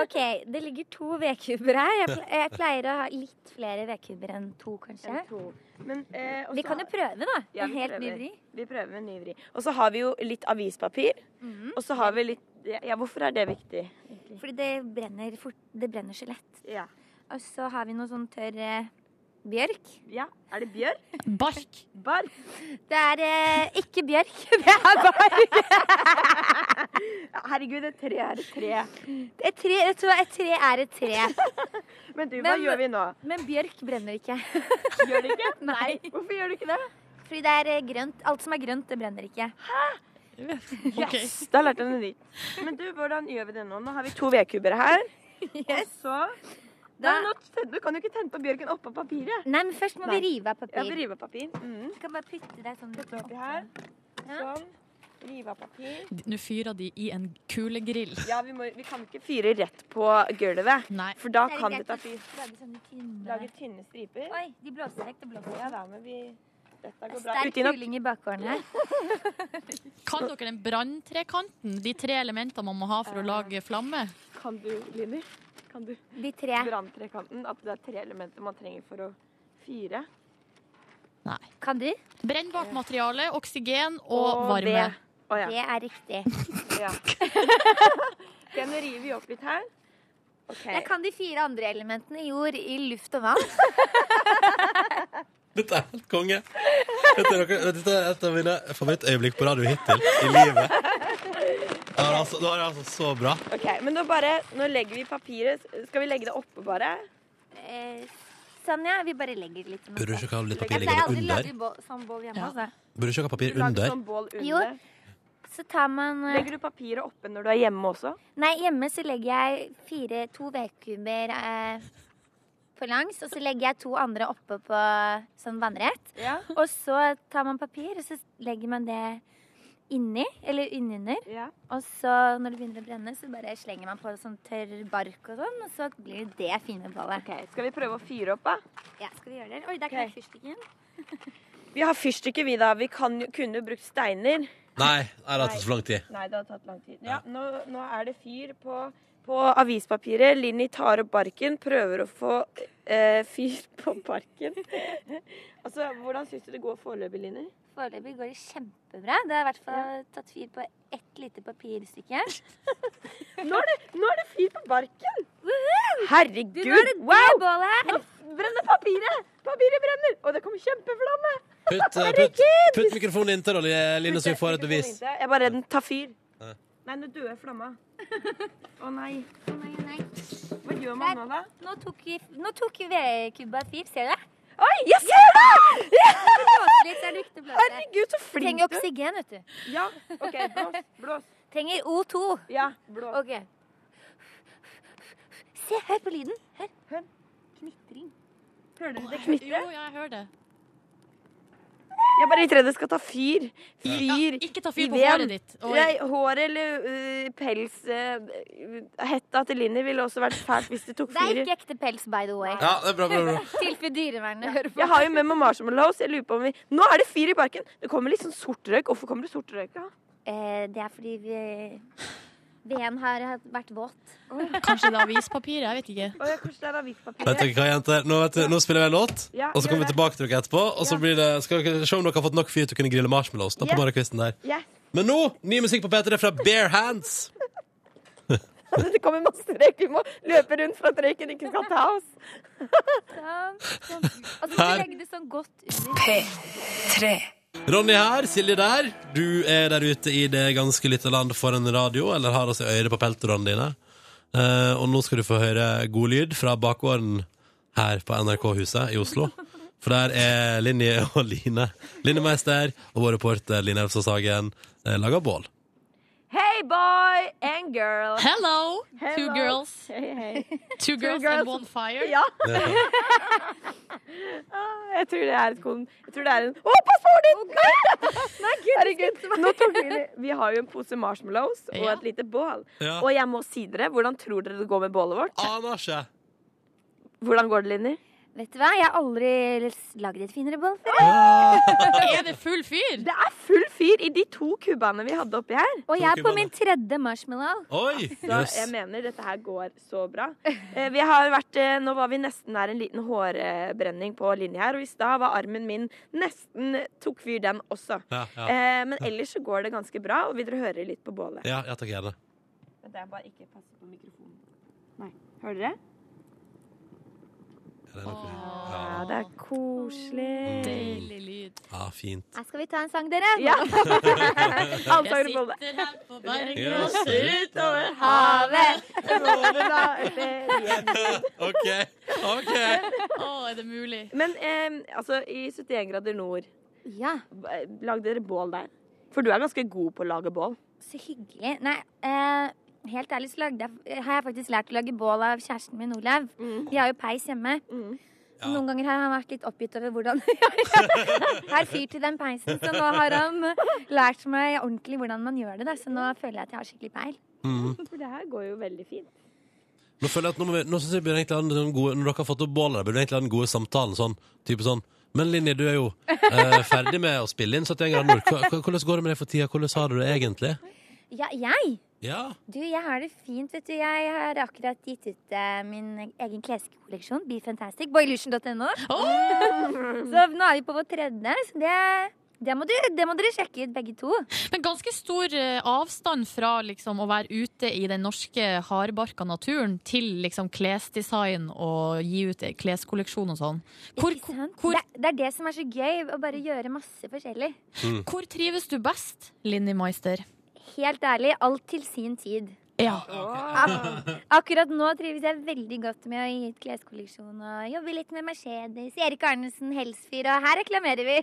Speaker 10: OK, det ligger to vedkubber her. Jeg, ple- jeg pleier å ha litt flere vedkubber enn to, kanskje.
Speaker 9: Men, eh, også-
Speaker 10: Vi kan jo prøve, da.
Speaker 9: Ja,
Speaker 10: En
Speaker 9: vi
Speaker 10: helt ny
Speaker 9: prøver.
Speaker 10: vri.
Speaker 9: Vi prøver med en ny vri. Mhm. Og så har vi jo litt avispapir. Og så har vi litt ja, Ja, hvorfor er det viktig?
Speaker 10: Fordi det brenner fort. Det brenner så lett.
Speaker 9: Ja.
Speaker 10: Og så har vi noe sånn tørr eh, bjørk.
Speaker 9: ja. Er det bjørk?
Speaker 3: Bark.
Speaker 9: Bark?
Speaker 10: Det er eh, ikke bjørk, det er bark.
Speaker 9: Ja, Herregud, et tre er et tre.
Speaker 10: Et tre, jeg tror et tre er et tre.
Speaker 9: Men du, hva
Speaker 10: Men-
Speaker 9: gjør vi nå?
Speaker 10: Men bjørk brenner ikke.
Speaker 9: Gjør det ikke?
Speaker 10: Nei.
Speaker 9: Hvorfor gjør du ikke det?
Speaker 10: Fordi det er eh, grønt. Alt som er grønt, det brenner ikke.
Speaker 9: Yes, da lærte jeg noe nytt. Men du, hvordan gjør vi det nå? Nå har vi to vedkubber her. Og så
Speaker 10: Da,
Speaker 9: Nei, nå tenner- Du kan jo ikke tenne på bjørken oppå papiret.
Speaker 10: nei, men først må
Speaker 9: Nei.
Speaker 10: vi rive av
Speaker 9: Ja, vi
Speaker 10: papir.
Speaker 9: river av papir. Mm.
Speaker 10: Du kan bare putte deg sånn
Speaker 9: Putter oppi her.
Speaker 10: Ja.
Speaker 9: Sånn. Rive av papir.
Speaker 3: Nå fyrer de i en kulegrill.
Speaker 9: Ja, vi, må, vi kan ikke fyre rett på gulvet.
Speaker 3: Nei.
Speaker 9: For da
Speaker 10: Det er
Speaker 9: kan
Speaker 10: greit
Speaker 9: det ta
Speaker 10: å
Speaker 9: fyr.
Speaker 10: Lage sånne tynne
Speaker 9: Lage tynne striper.
Speaker 10: Oi, de blåser vekk. Det blåser
Speaker 9: Ja
Speaker 10: vekk.
Speaker 9: da, men vi Dette går bra.
Speaker 10: Sterk
Speaker 9: Uti nok.
Speaker 10: kuling i bakgården her.
Speaker 3: Kan dere den branntrekanten? De tre elementene man må ha
Speaker 9: Eh.
Speaker 3: for å lage flamme?
Speaker 9: Kan du, Linni? Kan du
Speaker 10: De tre.
Speaker 9: branntrekanten? At det er tre elementer man trenger for å fyre?
Speaker 10: Kan du?
Speaker 3: Brennbart materiale, oksygen og varme.
Speaker 9: Eh. ved. Å ja.
Speaker 10: Det er riktig.
Speaker 9: ja. Ok, nå river vi opp litt her. OK.
Speaker 10: Jeg kan de fire andre elementene i jord, i luft og vann.
Speaker 2: Dette er helt konge. Dette er, noe, dette er et av mine favorittøyeblikk på radio hittil i livet. Det var altså, det var altså så bra.
Speaker 9: Ok, Men nå bare Nå legger vi papiret Skal vi legge det oppe, bare?
Speaker 10: Eh, sånn, ja. Vi bare legger litt
Speaker 2: Burde du ikke ha litt papir
Speaker 10: Jeg pleier
Speaker 2: liggende
Speaker 10: aldri å
Speaker 2: under?
Speaker 10: lage bål, sånn bål hjemme.
Speaker 3: Ja.
Speaker 10: altså.
Speaker 2: Burde du ikke ha papir
Speaker 9: Lage
Speaker 2: under?
Speaker 9: sånn bål under.
Speaker 10: Jo. Så tar man eh,
Speaker 9: Legger du papiret oppe når du er hjemme også?
Speaker 10: Nei, hjemme så legger jeg fire, to vedkubber eh, på langs, og så legger jeg to andre oppå på sånn vannrett.
Speaker 9: Ja.
Speaker 10: Og så tar man papir, og så legger man det inni, eller innunder.
Speaker 9: ja.
Speaker 10: Og så når det begynner å brenne, så bare slenger man på sånn tørr bark og sånn, og så blir det det fine bålet.
Speaker 9: Ok, Skal vi prøve å fyre opp, da?
Speaker 10: Ja, skal vi gjøre det? Oi, der
Speaker 9: Ok.
Speaker 10: knakk fyrstikken.
Speaker 9: Vi har fyrstikker, vi, da. Vi kan, jo- kunne jo brukt steiner.
Speaker 2: Nei, det har tatt for lang tid.
Speaker 9: Nei, det har tatt lang tid. Ja, nå, nå er det fyr på, på avispapiret. Linni tar opp barken, prøver å få eh, fyr på barken. altså, Hvordan syns du det går foreløpig, Linni?
Speaker 10: Foreløpig går det kjempebra. Det har i hvert fall tatt fyr på ett lite papirstykke.
Speaker 9: Nå er det, nå er det fyr på barken! Herregud! wow!
Speaker 10: bålet
Speaker 9: Nå
Speaker 10: her.
Speaker 9: brenner papiret! Papiret brenner! Og det kommer kjempeflamme!
Speaker 2: Putt, eh, putt, putt mikrofonen inntil, da, Line, så vi får et bevis.
Speaker 9: Jeg er bare redd den tar fyr.
Speaker 2: Ja.
Speaker 9: Nei, nå døde flamma. Å nei.
Speaker 10: Å, Nei, nei.
Speaker 9: Hva gjør man nå, da?
Speaker 10: Nå tok, vi- nå tok vi vedkubba et fyr, ser du det?
Speaker 9: Oi, jeg ser det!
Speaker 10: Blåser litt, der lukter blåser.
Speaker 9: Herregud, så flink
Speaker 10: Trenger
Speaker 9: du er.
Speaker 10: oksygen, vet du.
Speaker 9: Ja, OK, blås. Blås.
Speaker 10: Trenger O2.
Speaker 9: Ja, blås.
Speaker 10: Ok. Se, hør på lyden. Hør.
Speaker 9: Hør.
Speaker 10: Knitring.
Speaker 9: Hører dere det
Speaker 3: Jo,
Speaker 9: knitre?
Speaker 3: jeg hører det.
Speaker 9: Jeg er bare litt redd det skal ta fyr. Fyr.
Speaker 3: Ikke ta fyr
Speaker 9: I
Speaker 3: på
Speaker 9: ven.
Speaker 3: håret ditt. Og
Speaker 9: Nei, håret eller øh, pels øh, Hetta til Linni ville også vært fælt hvis det tok
Speaker 10: Det er
Speaker 9: fyr.
Speaker 10: ikke ekte pels, by the way.
Speaker 2: Ja, det er bra, bra, bra.
Speaker 10: Tilfelle dyrevernet hører på.
Speaker 9: Jeg har jo med meg marshmallows. Jeg lurer på om vi Nå er det fyr i parken! Det kommer litt sånn sort røyk. Hvorfor kommer det sort røyk? Ja?
Speaker 10: Eh, det er fordi vi Veden har hatt- vært våt.
Speaker 3: kanskje det er avispapir. Jeg vet ikke.
Speaker 9: Å, ja, kanskje det er
Speaker 2: Vet
Speaker 9: avispapir.
Speaker 2: dere hva, jenter? Nå, vet dere- nå spiller vi en låt,
Speaker 9: Ja,
Speaker 2: og så kommer
Speaker 9: gjør
Speaker 2: vi
Speaker 9: det.
Speaker 2: tilbake til dere etterpå. Og så
Speaker 9: Ja.
Speaker 2: blir det, skal dere se om dere har fått nok fyr til å kunne grille marshmallows. Da, på
Speaker 9: Ja.
Speaker 2: morgenkvisten der
Speaker 9: Ja.
Speaker 2: Men nå, ny musikk på P3 fra Bare Hands.
Speaker 9: Det kommer masse røyk. Vi må løpe rundt for at røyken ikke skal ta oss.
Speaker 10: Sånn, sånn. Og så må
Speaker 2: Her.
Speaker 10: vi legge det sånn godt under.
Speaker 2: Ronny her, Silje der. Du er der ute i det ganske lille land foran radio, eller har altså øyre på peltrådene dine. Eh, og nå skal du få høre god lyd fra bakgården her på NRK-huset i Oslo. For der er Linje og Line. Line Meister og vår reporter Line Elfsås Hagen eh, lager bål.
Speaker 9: Hey boy and girl.
Speaker 3: Hello, two
Speaker 9: Hello.
Speaker 3: girls.
Speaker 9: Hei, hei.
Speaker 3: Two girls and
Speaker 9: girls.
Speaker 3: one fire.
Speaker 9: Ja. Ah, Jeg tror det er et kon... Jeg tror det er en Å, pass på håret ditt! Nei! Herregud. Nå tok vi Vi har jo en pose marshmallows og
Speaker 3: Ja.
Speaker 9: et lite bål.
Speaker 2: Ja.
Speaker 9: Og jeg må si dere, hvordan tror dere det går med bålet vårt?
Speaker 2: Aner ikke.
Speaker 9: Hvordan går det, Linni?
Speaker 10: Vet du hva, jeg har aldri lagd et finere boll før.
Speaker 2: Ah!
Speaker 3: Er det full fyr?
Speaker 9: Det er full fyr i de to kubbene vi hadde oppi her.
Speaker 10: Og jeg er på min tredje marshmallow.
Speaker 2: Oi!
Speaker 9: Så
Speaker 2: Jøss.
Speaker 9: jeg mener dette her går så bra. Eh, Vi har vært, eh, nå var vi nesten nær en liten hårbrenning på linje her, og i stad var armen min nesten tok fyr, den også.
Speaker 2: Ja, ja.
Speaker 9: Eh, Men ellers så går det ganske bra, og vil dere høre litt på bålet?
Speaker 2: Ja, ja, takk gjerne.
Speaker 9: Vent, jeg bare ikke passer på mikrofonen. Nei. Hører dere?
Speaker 2: Ja, det er nok-
Speaker 9: Ja, det er koselig.
Speaker 3: Deilig lyd.
Speaker 2: Ja, fint.
Speaker 10: Her skal vi ta en sang, dere.
Speaker 9: Ja. Alle
Speaker 3: Jeg
Speaker 9: tar på det.
Speaker 3: sitter her på Bergen
Speaker 2: Ja.
Speaker 3: og ser utover
Speaker 10: Havet.
Speaker 2: OK. ok
Speaker 3: Å, er det mulig?
Speaker 9: Men eh, altså, i 71 grader nord,
Speaker 10: Ja,
Speaker 9: eh, lagde dere bål der? For du er ganske god på å lage bål.
Speaker 10: så hyggelig. Nei, eh, helt ærlig så lagde jeg, eh, har jeg faktisk lært å lage bål av kjæresten min, Olav. Vi har jo peis hjemme. Så Noen ganger har han vært litt oppgitt over hvordan Jeg har fyr til den peisen, så nå har han eh, lært meg ordentlig hvordan man gjør det. Da. Så nå føler jeg at jeg har skikkelig peil.
Speaker 9: For det her går jo veldig fint.
Speaker 2: Nå føler jeg at nå, må vi, nå synes jeg vi burde egentlig ha den sånn gode Når dere har fått opp bålet, der, burde vi egentlig ha den gode samtalen sånn. Type sånn Men Linje, du er jo eh, ferdig med å spille inn 71 grader nord. Hva- hva- Hvordan går det med deg for tida? Hvordan har du det egentlig?
Speaker 10: Ja, jeg?
Speaker 2: Ja.
Speaker 10: Du, jeg har det fint, vet du. Jeg har akkurat gitt ut eh, min egen kleskolleksjon, Be Fantastic, på illusion.no. Så nå er vi på vår tredje, så det, det, må, du, det må dere sjekke ut, begge to.
Speaker 3: Men ganske stor eh, avstand fra liksom, å være ute i den norske hardbarka naturen til liksom, klesdesign og gi ut en kleskolleksjon og sånn. Hvor,
Speaker 10: Ikke sant?
Speaker 3: hvor,
Speaker 10: Det, det er det som er så gøy, å bare gjøre masse forskjellig.
Speaker 3: hvor trives du best, Linni Meister?
Speaker 10: Helt ærlig, alt til sin tid.
Speaker 3: Ja.
Speaker 10: Akkurat nå trives jeg veldig godt med å gi ut kleskolleksjon og jobbe litt med Mercedes, Erik Arnesen, Helsfyr, og her reklamerer vi.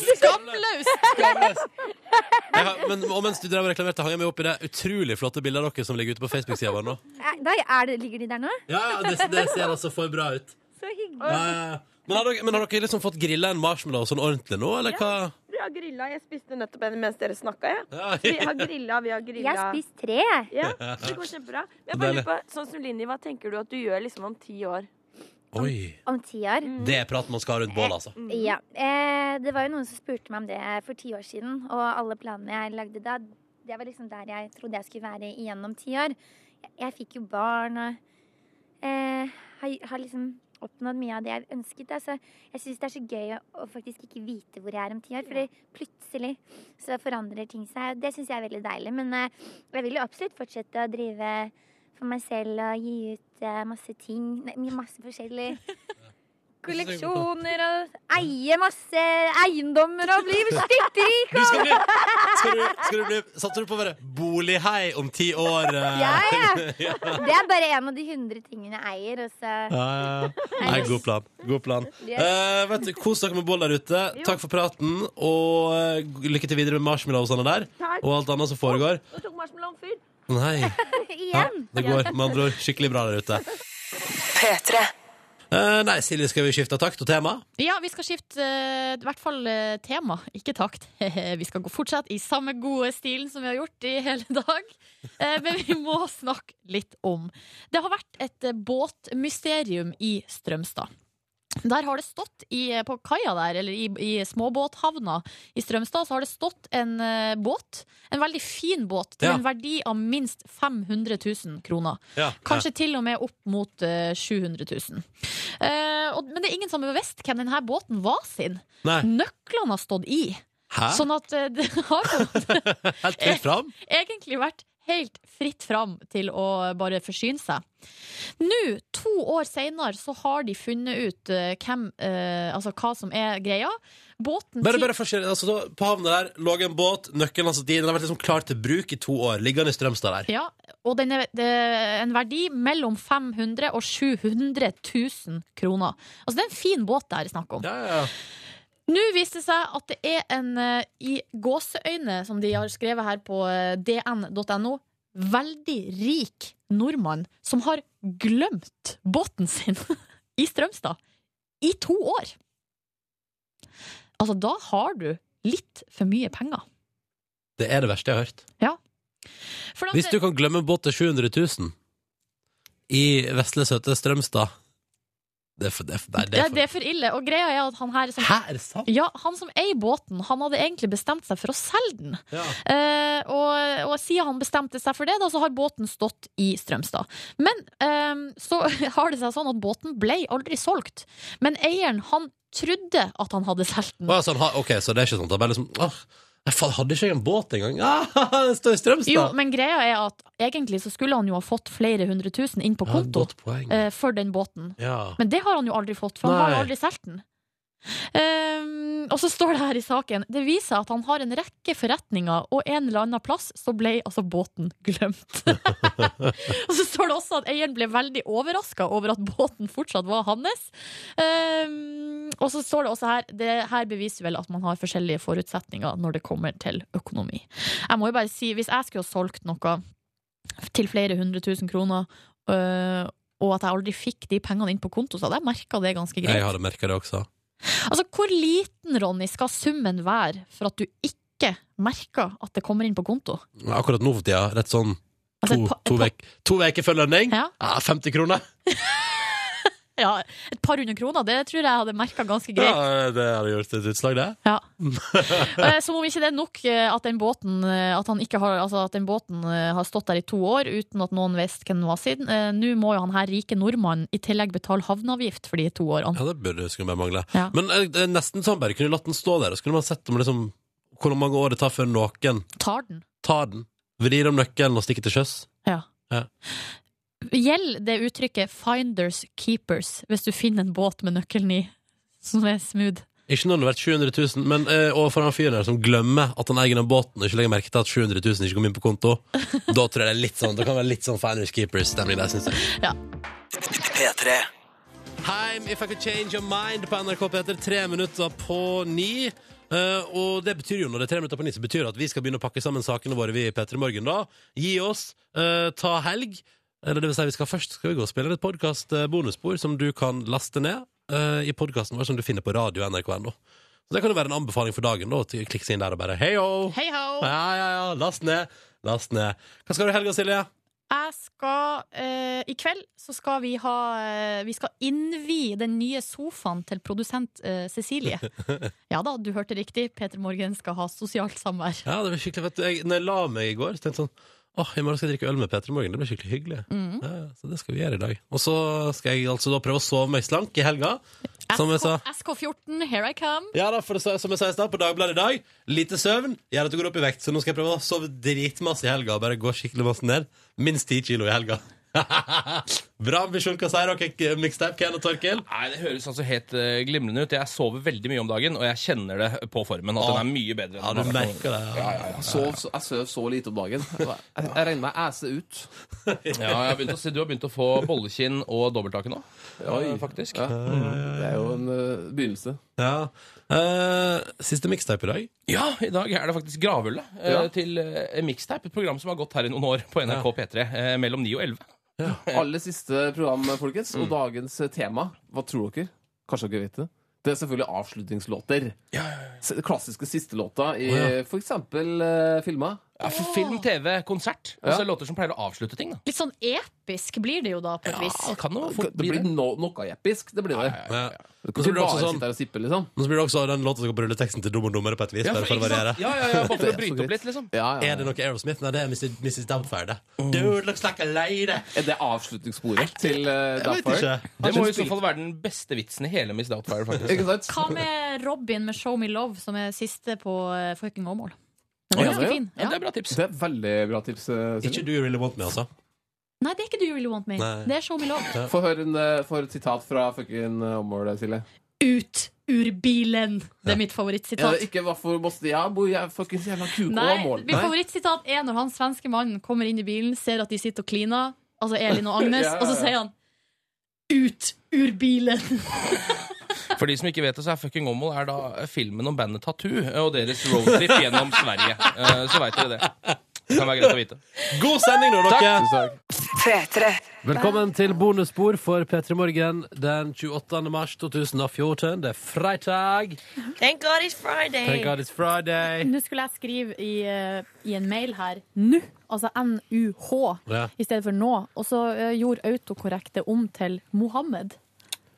Speaker 3: Skamløst!
Speaker 2: Skamløs. Jeg har, men, og mens du drev og reklamerte, hang jeg meg opp i det utrolig flotte bildet av dere som ligger ute på Facebook-sida vår nå.
Speaker 10: Eh, Da er det, ligger de der nå?
Speaker 2: Ja, ja, det, det ser altså for bra ut.
Speaker 10: Så hyggelig.
Speaker 2: Ja, ja, ja. Men har dere, men har dere liksom fått grilla en marshmallow sånn ordentlig nå, eller hva?
Speaker 9: Vi har grilla. Jeg spiste nettopp en mens dere snakka, jeg.
Speaker 2: Ja.
Speaker 9: Vi har grilla, vi har grilla.
Speaker 10: Jeg har spist tre, jeg.
Speaker 9: Ja, det går kjempebra. Men jeg bare
Speaker 2: Deilig.
Speaker 9: lurer på, sånn som Linni, hva tenker du at du gjør liksom om ti år?
Speaker 2: Oi.
Speaker 10: Om ti år.
Speaker 2: Det er praten man skal ha rundt bålet, altså.
Speaker 10: Ja. Eh, det var jo noen som spurte meg om det for ti år siden, og alle planene jeg lagde da, det var liksom der jeg trodde jeg skulle være igjen om ti år. Jeg, jeg fikk jo barn og eh, har, har liksom oppnådd mye av det jeg ønsket. Da. Så jeg syns det er så gøy å, å faktisk ikke vite hvor jeg er om ti år, for plutselig så forandrer ting seg. og Det syns jeg er veldig deilig. Men eh, jeg vil jo absolutt fortsette å drive for meg selv og gi ut eh, masse ting. Nei, masse forskjellig. Kolleksjoner og eie masse eiendommer og bli styrtrik.
Speaker 2: Du skal bli, skal du, skal du bli Satser du på å være bolighei om ti år? eh?
Speaker 10: Ja, ja. Det er bare en av de hundre tingene jeg eier. Og så
Speaker 2: Ja, ja. Nei, god plan. God plan.
Speaker 10: Yes.
Speaker 2: Eh, vet du, Kos dere med boll der ute. Takk for praten. Og eh, lykke til videre med marshmallowsene der.
Speaker 9: Takk.
Speaker 2: Og alt annet som foregår.
Speaker 9: Nå tok marshmallowen fyr.
Speaker 2: Nei, ja,
Speaker 10: igjen.
Speaker 2: det går med andre ord skikkelig bra der ute. Eh, nei, Silje, skal vi skifte takt og tema?
Speaker 3: Ja, vi skal skifte eh, i hvert fall eh, tema, ikke takt. Vi skal gå fortsatt i samme gode stilen som vi har gjort i hele dag. Eh, Men vi må snakke litt om Det har vært et eh, båtmysterium i Strømstad. Der har det stått i, eh, På kaia der, eller i, i småbåthavna i Strømstad, så har det stått en eh, båt. En veldig fin båt til
Speaker 2: Ja.
Speaker 3: en verdi av minst 500 000 kroner.
Speaker 2: Ja.
Speaker 3: Kanskje til og med opp mot eh, 700 000. Eh, og, men det er ingen som har visst hvem denne båten var sin.
Speaker 2: Nei.
Speaker 3: Nøklene har stått i.
Speaker 2: Hæ? Eh,
Speaker 3: Sånn at eh, det har på en måte
Speaker 2: Helt fritt fram?
Speaker 3: egentlig vært helt fritt fram til å bare forsyne seg. Nå, to år senere, så har de funnet ut eh, hvem, eh, altså hva som er greia. Båten
Speaker 2: Bare,
Speaker 3: til-
Speaker 2: bare forskjell, altså, da, På havna der lå en båt, nøkkelen altså, den har vært liksom klar til bruk i to år. Liggende i Strømstad der.
Speaker 3: Ja, og den er det er en verdi mellom 500 000 og 700 000 kroner. Altså det er en fin båt det her er snakk om.
Speaker 2: Ja, ja, ja.
Speaker 3: Nå viste det seg at det er en eh, i gåseøyne, som de har skrevet her på eh, dn.no, veldig rik nordmann som har glemt båten sin i Strømstad i to år. Altså, da har du litt for mye penger.
Speaker 2: Det er det verste jeg har hørt.
Speaker 3: For at-
Speaker 2: Hvis du kan glemme en båt til 700 000 i vesle, søte Strømstad Det er for, det er for, nei, det
Speaker 3: Ja,
Speaker 2: er for
Speaker 3: det er for ille. Og greia er at han her som
Speaker 2: Hæ, er det sant?
Speaker 3: Ja, han som eier båten, han hadde egentlig bestemt seg for å selge den.
Speaker 2: Ja.
Speaker 3: Eh, og, og siden han bestemte seg for det, da, så har båten stått i Strømstad. Men eh, så har det seg sånn at båten ble aldri solgt. Men eieren, han trodde at han hadde solgt den.
Speaker 2: Å, ja, sånn, ha- ok, så det er ikke sånn at det er bare liksom åh, Nei, faen, hadde ikke jeg en båt engang? Ah, den står i Strømstad!
Speaker 3: Jo, men greia er at egentlig så skulle han jo ha fått flere hundre tusen inn på
Speaker 2: ja,
Speaker 3: konto
Speaker 2: godt poeng.
Speaker 3: eh, for den båten.
Speaker 2: ja.
Speaker 3: Men det har han jo aldri fått, for han har
Speaker 2: Nei.
Speaker 3: jo aldri solgt den. Ehm, og så står det her i saken Det viser seg at han har en rekke forretninger, og en eller annen plass så ble altså båten glemt. og så står det også at eieren ble veldig overraska over at båten fortsatt var hans. Ehm, og så står det også her Det her beviser vel at man har forskjellige forutsetninger når det kommer til økonomi. Jeg må jo bare si, hvis jeg skulle ha solgt noe til flere hundre tusen kroner, øh, og at jeg aldri fikk de pengene inn på konto, så hadde jeg merka det ganske greit.
Speaker 2: Jeg hadde merka det også.
Speaker 3: Altså, hvor liten, Ronny, skal summen være for at du ikke merker at det kommer inn på konto?
Speaker 2: Men Akkurat nå for tida, rett sånn to
Speaker 3: Altså, et, pa,
Speaker 2: to
Speaker 3: et,
Speaker 2: vek- to uker før lønning,
Speaker 3: Ja.
Speaker 2: ja, 50 kroner.
Speaker 3: pa, ja, et par hundre kroner, det tror jeg jeg hadde merka ganske greit.
Speaker 2: Ja, eh, det hadde gjort et utslag, det.
Speaker 3: Ja. Eh, Som om ikke det er nok eh, at den båten, eh, at han ikke har, altså at den båten eh, har stått der i to år uten at noen visste hvem den var siden. Eh, Nå må jo han her rike nordmannen i tillegg betale havneavgift for de to årene.
Speaker 2: Ja, det burde skulle bare mangle.
Speaker 3: Ja.
Speaker 2: Men eh, det er nesten sånn bare kunne latt den stå der, og så kunne man sett om liksom, hvor mange år det tar før noen
Speaker 3: Tar den.
Speaker 2: tar den, vrir om nøkkelen og stikker til sjøs.
Speaker 3: Ja.
Speaker 2: Ja.
Speaker 3: Gjeld det uttrykket 'finders keepers' hvis du finner en båt med nøkkelen i, som er smooth.
Speaker 2: Ikke når den har vært 700 000, men eh, overfor han fyren der som glemmer at han eier den båten og ikke legger merke til at 700 000 ikke kom inn på konto, da tror jeg det er litt sånn, det kan være litt sånn Finders Keepers-stemning der, synes jeg.
Speaker 1: P3.
Speaker 2: Heim, If I Could Change Your Mind på NRK P3, tre minutter på ni. Eh, og det betyr jo når det er tre minutter på ni, så betyr det at vi skal begynne å pakke sammen sakene våre vi i P3 Morgen da. Gi oss, eh, ta helg. Eller det vil si, vi skal først skal vi gå og spille inn et podcast eh, bonusspor som du kan laste ned eh, i podcasten vår som du finner på radio nrk.no. Så det kan jo være en anbefaling for dagen da, til å klikke seg inn der og bare hei ho!
Speaker 3: Hei ho!
Speaker 2: Ja, ja, ja, last ned, last ned. Hva skal du i helga, Silje?
Speaker 3: Jeg skal eh, I kveld så skal vi ha eh, Vi skal innvie den nye sofaen til produsent eh, Cecilie. Ja da, du hørte riktig. Peter Morgen skal ha sosialt samvær.
Speaker 2: Ja, det blir skikkelig fett. Jeg, når jeg la meg i går, så tenkte jeg sånn Åh, i morgen skal jeg drikke øl med Peter i morgen. Det blir skikkelig hyggelig. Ja, så det skal vi gjøre i dag. Og så skal jeg altså da prøve å sove meg slank i helga. Som jeg sa.
Speaker 3: SK, SK14, here I come.
Speaker 2: Ja da, for det, som jeg sa i stad, på Dagbladet i dag, lite søvn gjør at du går opp i vekt. Så nå skal jeg prøve å sove dritmasse i helga og bare gå skikkelig masse ned. Minst ti kilo i helga. Bra ambisjon. Hva sier dere, Mixtape, Ken og Torkil?
Speaker 11: Nei, Det høres altså helt eh, glimrende ut. Jeg sover veldig mye om dagen, og jeg kjenner det på formen. At
Speaker 2: Ja.
Speaker 11: den er mye bedre.
Speaker 2: Ja, du
Speaker 11: enn den var.
Speaker 2: merker det. Ja.
Speaker 11: Ja, ja, ja.
Speaker 12: Sov, så, jeg sov så lite om dagen. Jeg, jeg regner meg æse ut.
Speaker 11: ja jeg har begynt å se, du har begynt å få bollekinn og dobbelthake nå. Ja,
Speaker 12: Oi.
Speaker 11: faktisk.
Speaker 12: Ja. Det er jo en eh, begynnelse.
Speaker 2: Eh, siste mixtape i dag.
Speaker 11: Ja, i dag er det faktisk Gravhullet eh,
Speaker 12: Ja.
Speaker 11: til eh, Mixtape. Et program som har gått her i noen år på NRK P3 eh, mellom 9 og Mm. 11. Aller siste program, folkens. Og dagens eh, tema, hva tror dere? Kanskje dere vet det? Det er selvfølgelig avslutningslåter. S- Klassiske sistelåta i
Speaker 1: Å, ja.
Speaker 11: for eksempel eh, filma.
Speaker 1: Ja, for film, TV, konsert. Og så
Speaker 11: Altså,
Speaker 1: er det låter som pleier å avslutte ting. da
Speaker 13: Litt sånn episk blir det jo da, på et vis.
Speaker 1: det kan jo fort
Speaker 11: Det
Speaker 1: bli
Speaker 11: blir no noe episk. Det blir det.
Speaker 14: Ja. Nå så blir
Speaker 11: Du kan ikke
Speaker 14: det
Speaker 11: bare
Speaker 14: også sånn-
Speaker 11: sitte der og sippe, liksom.
Speaker 14: Nå så blir det også den låta som går på rulleteksten til Dum og dummere på et vis.
Speaker 11: Ja,
Speaker 14: bare for å
Speaker 11: for- ikke sant?
Speaker 14: variere.
Speaker 11: Ja, ja, ja, bare for å
Speaker 14: Det er
Speaker 11: bryte
Speaker 14: så
Speaker 11: opp litt, liksom. Ja, ja, ja.
Speaker 14: Er det noe Aerosmith? Nei, det er Mrs. Mrs. Doubtfire, det.
Speaker 1: Mm.
Speaker 14: Dude looks like a lady.
Speaker 11: Er det avslutningssporet til eh,
Speaker 14: Jeg vet ikke.
Speaker 1: Det må i så fall være den beste vitsen i hele Miss Doubtfire. faktisk
Speaker 13: Hva med Robin med 'Show Me Love', som er siste på eh, fucking Åmål? Den
Speaker 11: Ja,
Speaker 13: er ganske
Speaker 11: ja.
Speaker 13: fin. Ja.
Speaker 1: Det er bra tips.
Speaker 11: Det er veldig bra tips. eh, Silje.
Speaker 14: Ikke Do You Really Want Me, altså?
Speaker 13: Nei, det er ikke Do You Really Want Me.
Speaker 11: Nei.
Speaker 13: Det er Show Me Love.
Speaker 11: Få høre en, eh, få høre et sitat fra fucking eh, området, Silje.
Speaker 13: Ut ur bilen! Det er mitt
Speaker 11: Ja,
Speaker 13: favorittsitat.
Speaker 11: Eh, ikke hvorfor måste jeg bo jeg fuckings jævla kuko og
Speaker 13: Nei,
Speaker 11: mål.
Speaker 13: mitt favorittsitat er når han svenske mannen kommer inn i bilen, ser at de sitter og kliner, altså Elin og Agnes,
Speaker 1: Ja, ja, ja.
Speaker 13: og så sier han Ut ur bilen!
Speaker 1: For de som ikke vet det, så er Fucking Omol er da filmen om bandet Tattoo eh, og deres roadtrip gjennom Sverige. Eh, Så veit dere det. Det kan være greit å vite.
Speaker 14: God sending nå,
Speaker 1: dere!
Speaker 2: Velkommen til bonusspor for P3 Morgen den 28. mars 2014. Det er fredag.
Speaker 9: Thank God it's Friday.
Speaker 2: Thank God it's Friday.
Speaker 3: Nå skulle jeg skrive i, eh, i en mail her NU, altså N-U-H,
Speaker 2: Ja.
Speaker 3: i stedet for nå. Og så eh, gjorde autokorrekt det om til Mohammed.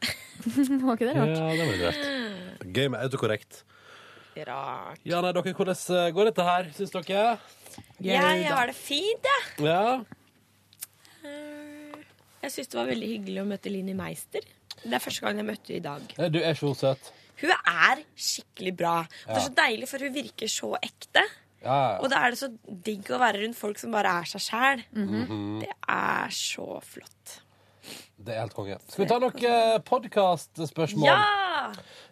Speaker 3: var ikke det rart?
Speaker 2: Ja, det var litt rart. Gøy med autokorrekt.
Speaker 9: Rart.
Speaker 2: Ja, nei, dere, hvordan eh, går dette her, syns dere?
Speaker 9: Jeg har det fint, jeg.
Speaker 2: Ja.
Speaker 9: Jeg syns det var veldig hyggelig å møte Linni Meister. Det er første gang jeg møtte henne i dag.
Speaker 2: Eh, Du er så søt.
Speaker 9: Hun er skikkelig bra. Og Det er så deilig, for hun virker så ekte.
Speaker 2: Ja,
Speaker 9: Og da er det så digg å være rundt folk som bare er seg sjæl.
Speaker 2: Mhm.
Speaker 9: Det er så flott.
Speaker 2: Det er helt konge. Skal vi ta noen podkastspørsmål?
Speaker 9: Ja!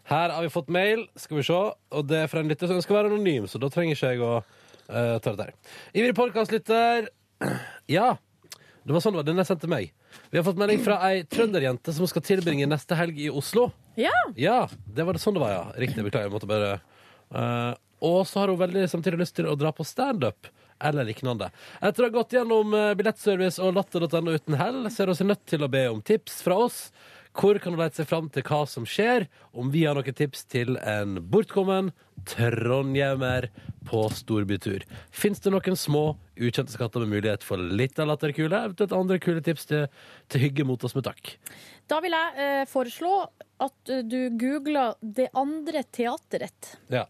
Speaker 2: Her har vi fått mail, skal vi se, og det er fra en lytter som ønsker å være anonym, så da trenger ikke jeg å eh, ta det der. Ivrig podkastlytter. Ja, det var sånn det var. Den jeg sendte meg. Vi har fått melding fra ei trønderjente som skal tilbringe neste helg i Oslo.
Speaker 3: Ja.
Speaker 2: Ja, det var det sånn det var, ja. Riktig, beklager. Jeg måtte bare eh, Og så har hun veldig samtidig lyst til å dra på standup. Eller lignende. Etter å ha gått gjennom eh, billettservice og latter.no uten hell, ser hun seg nødt til å be om tips fra oss. Hvor kan hun lete seg fram til hva som skjer, om vi har noen tips til en bortkommen trondhjemmer på storbytur? Fins det noen små, ukjente skatter med mulighet for litt av latterkule? Eventuelt andre kule tips til, til hygge mot oss med takk.
Speaker 3: Da vil jeg eh, foreslå at eh, du googler Det andre teateret.
Speaker 2: Ja.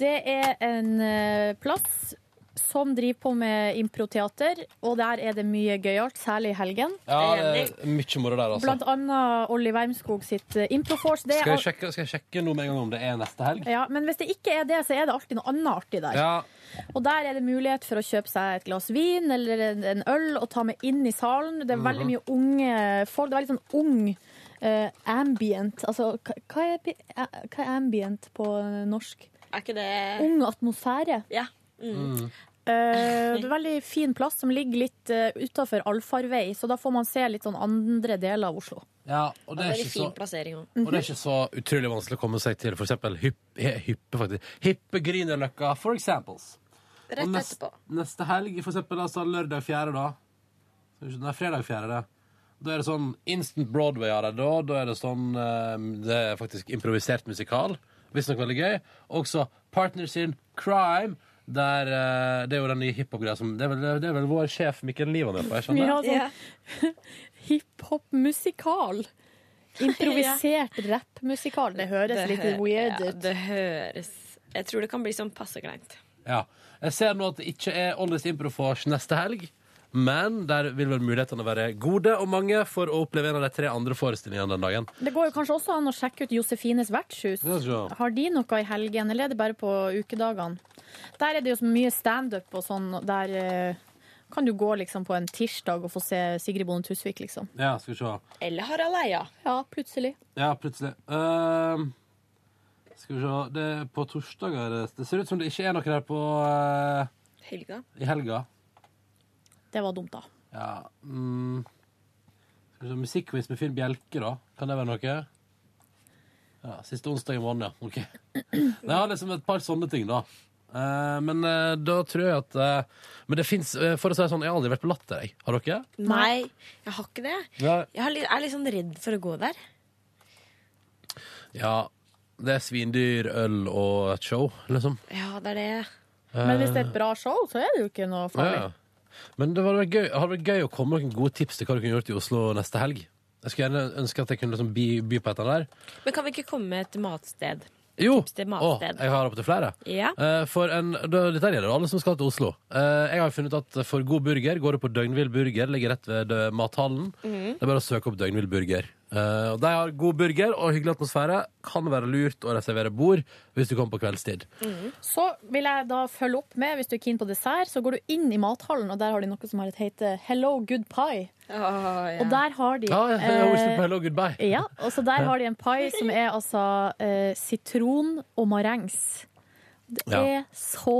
Speaker 3: Det er en eh, plass som driver på med improteater, og der er det mye gøyalt, særlig i helgen.
Speaker 2: Ja, det er mye moro der, altså.
Speaker 3: Blant annet Olli Wermskog sitt eh, Improforce. Det er
Speaker 2: Skal jeg,
Speaker 3: al-
Speaker 2: sjekke, skal jeg sjekke noe med en gang om det er neste helg?
Speaker 3: Ja, men hvis det ikke er det, så er det alltid noe annet artig der.
Speaker 2: Ja.
Speaker 3: Og der er det mulighet for å kjøpe seg et glass vin eller en, en øl og ta med inn i salen. Det er veldig
Speaker 2: Mhm.
Speaker 3: mye unge folk. Det er veldig sånn ung eh, ambient. Altså, hva- hva er, bi- eh, hva er ambient på norsk?
Speaker 9: Er ikke det
Speaker 3: Ung atmosfære.
Speaker 9: Ja.
Speaker 3: Eh, det er en veldig fin plass som ligger litt uh, utafor allfarvei, så da får man se litt sånn andre deler av Oslo.
Speaker 2: Ja, og det er ikke så...
Speaker 9: plassering òg.
Speaker 2: Og det er ikke så utrolig vanskelig å komme seg til for eksempel hypp- he- hyppe, faktisk. Hyppe Grünerløkka, for examples.
Speaker 9: Rett
Speaker 2: Og nest-
Speaker 9: etterpå.
Speaker 2: Neste helg, for eksempel altså lørdag 4. da. Skal vi se, Nei, fredag 4. det. Da er det sånn instant Broadway av det da. Da er det sånn eh, Det er faktisk improvisert musikal. Visstnok veldig gøy. Også Partners in Crime. Der, eh, det er jo den nye hiphop-greia som det er, vel, det er vel vår sjef Mikkel Liv han er på? Jeg skjønner.
Speaker 3: Ja, sånn Hiphop-musikal. Improvisert rappmusikal. Det høres litt
Speaker 9: hø-
Speaker 3: weird
Speaker 9: ja,
Speaker 3: ut.
Speaker 9: det høres Jeg tror det kan bli sånn passe kleint.
Speaker 2: Ja. Jeg ser nå at det ikke er Ollis Improfors neste helg, men der vil vel mulighetene være gode og mange for å oppleve en av de tre andre forestillingene den dagen.
Speaker 3: Det går jo kanskje også an å sjekke ut Josefines vertshus.
Speaker 2: Ja, så.
Speaker 3: Har de noe i helgen, eller er det bare på ukedagene? Der er det jo så mye standup og sånn. og Der eh, kan du gå liksom på en tirsdag og få se Sigrid Bonde Tusvik, liksom.
Speaker 2: Ja, skal vi se.
Speaker 9: Eller Harald Eia.
Speaker 3: Ja, plutselig.
Speaker 2: Ja, plutselig. Ehm, skal vi se. Det er på torsdager. Det ser ut som det ikke er noe der på eh,
Speaker 9: Helga.
Speaker 2: i helga.
Speaker 3: Det var dumt, da.
Speaker 2: Ja. Mm. Skal vi se. Musikkquiz med Finn Bjelke, da. Kan det være noe? Ja, Siste onsdag i måneden, ja. OK. Nei, Jeg har liksom et par sånne ting, da. Eh, men eh, da tror jeg at eh, Men det fins For å si det sånn, jeg har aldri vært på Latter, jeg. Har dere?
Speaker 9: Nei, jeg har ikke det.
Speaker 2: Nei.
Speaker 9: Jeg har litt- er litt sånn redd for å gå der.
Speaker 2: Ja. Det er svindyr, øl og et show, liksom.
Speaker 9: Ja, det er det.
Speaker 2: Men hvis det er et
Speaker 3: bra show, så er det jo ikke noe
Speaker 2: Ja. Men det hadde vært gøy, hadde vært gøy å komme med noen gode tips til hva du kunne gjort i Oslo neste helg. Jeg skulle gjerne ønske at jeg kunne liksom by, by på et eller annet der.
Speaker 9: Men kan vi ikke komme med et matsted?
Speaker 2: Jo!
Speaker 9: Tips til
Speaker 2: Å,
Speaker 9: matsted.
Speaker 2: jeg har opptil flere.
Speaker 9: Ja.
Speaker 2: Eh, for en, da, dette gjelder alle som skal til Oslo. Eh, jeg har funnet ut at for god burger går du på Døgnvill Burger, ligger rett ved eh, mathallen.
Speaker 9: Mhm.
Speaker 2: Det er bare å søke opp Døgnvill Burger. Eh, og de har god burger og hyggelig atmosfære. Kan være lurt å reservere bord hvis du kommer på kveldstid.
Speaker 3: Så vil jeg da følge opp med, hvis du er keen på dessert, så går du inn i mathallen, og der har de noe som har et heter Hello Good Pie. Og der har de
Speaker 2: Ja, jeg, jeg,
Speaker 3: eh,
Speaker 2: jeg, hello, goodbye.
Speaker 3: ja, og så der har de en pai som er altså eh, sitron og marengs. Det
Speaker 2: Ja.
Speaker 3: er så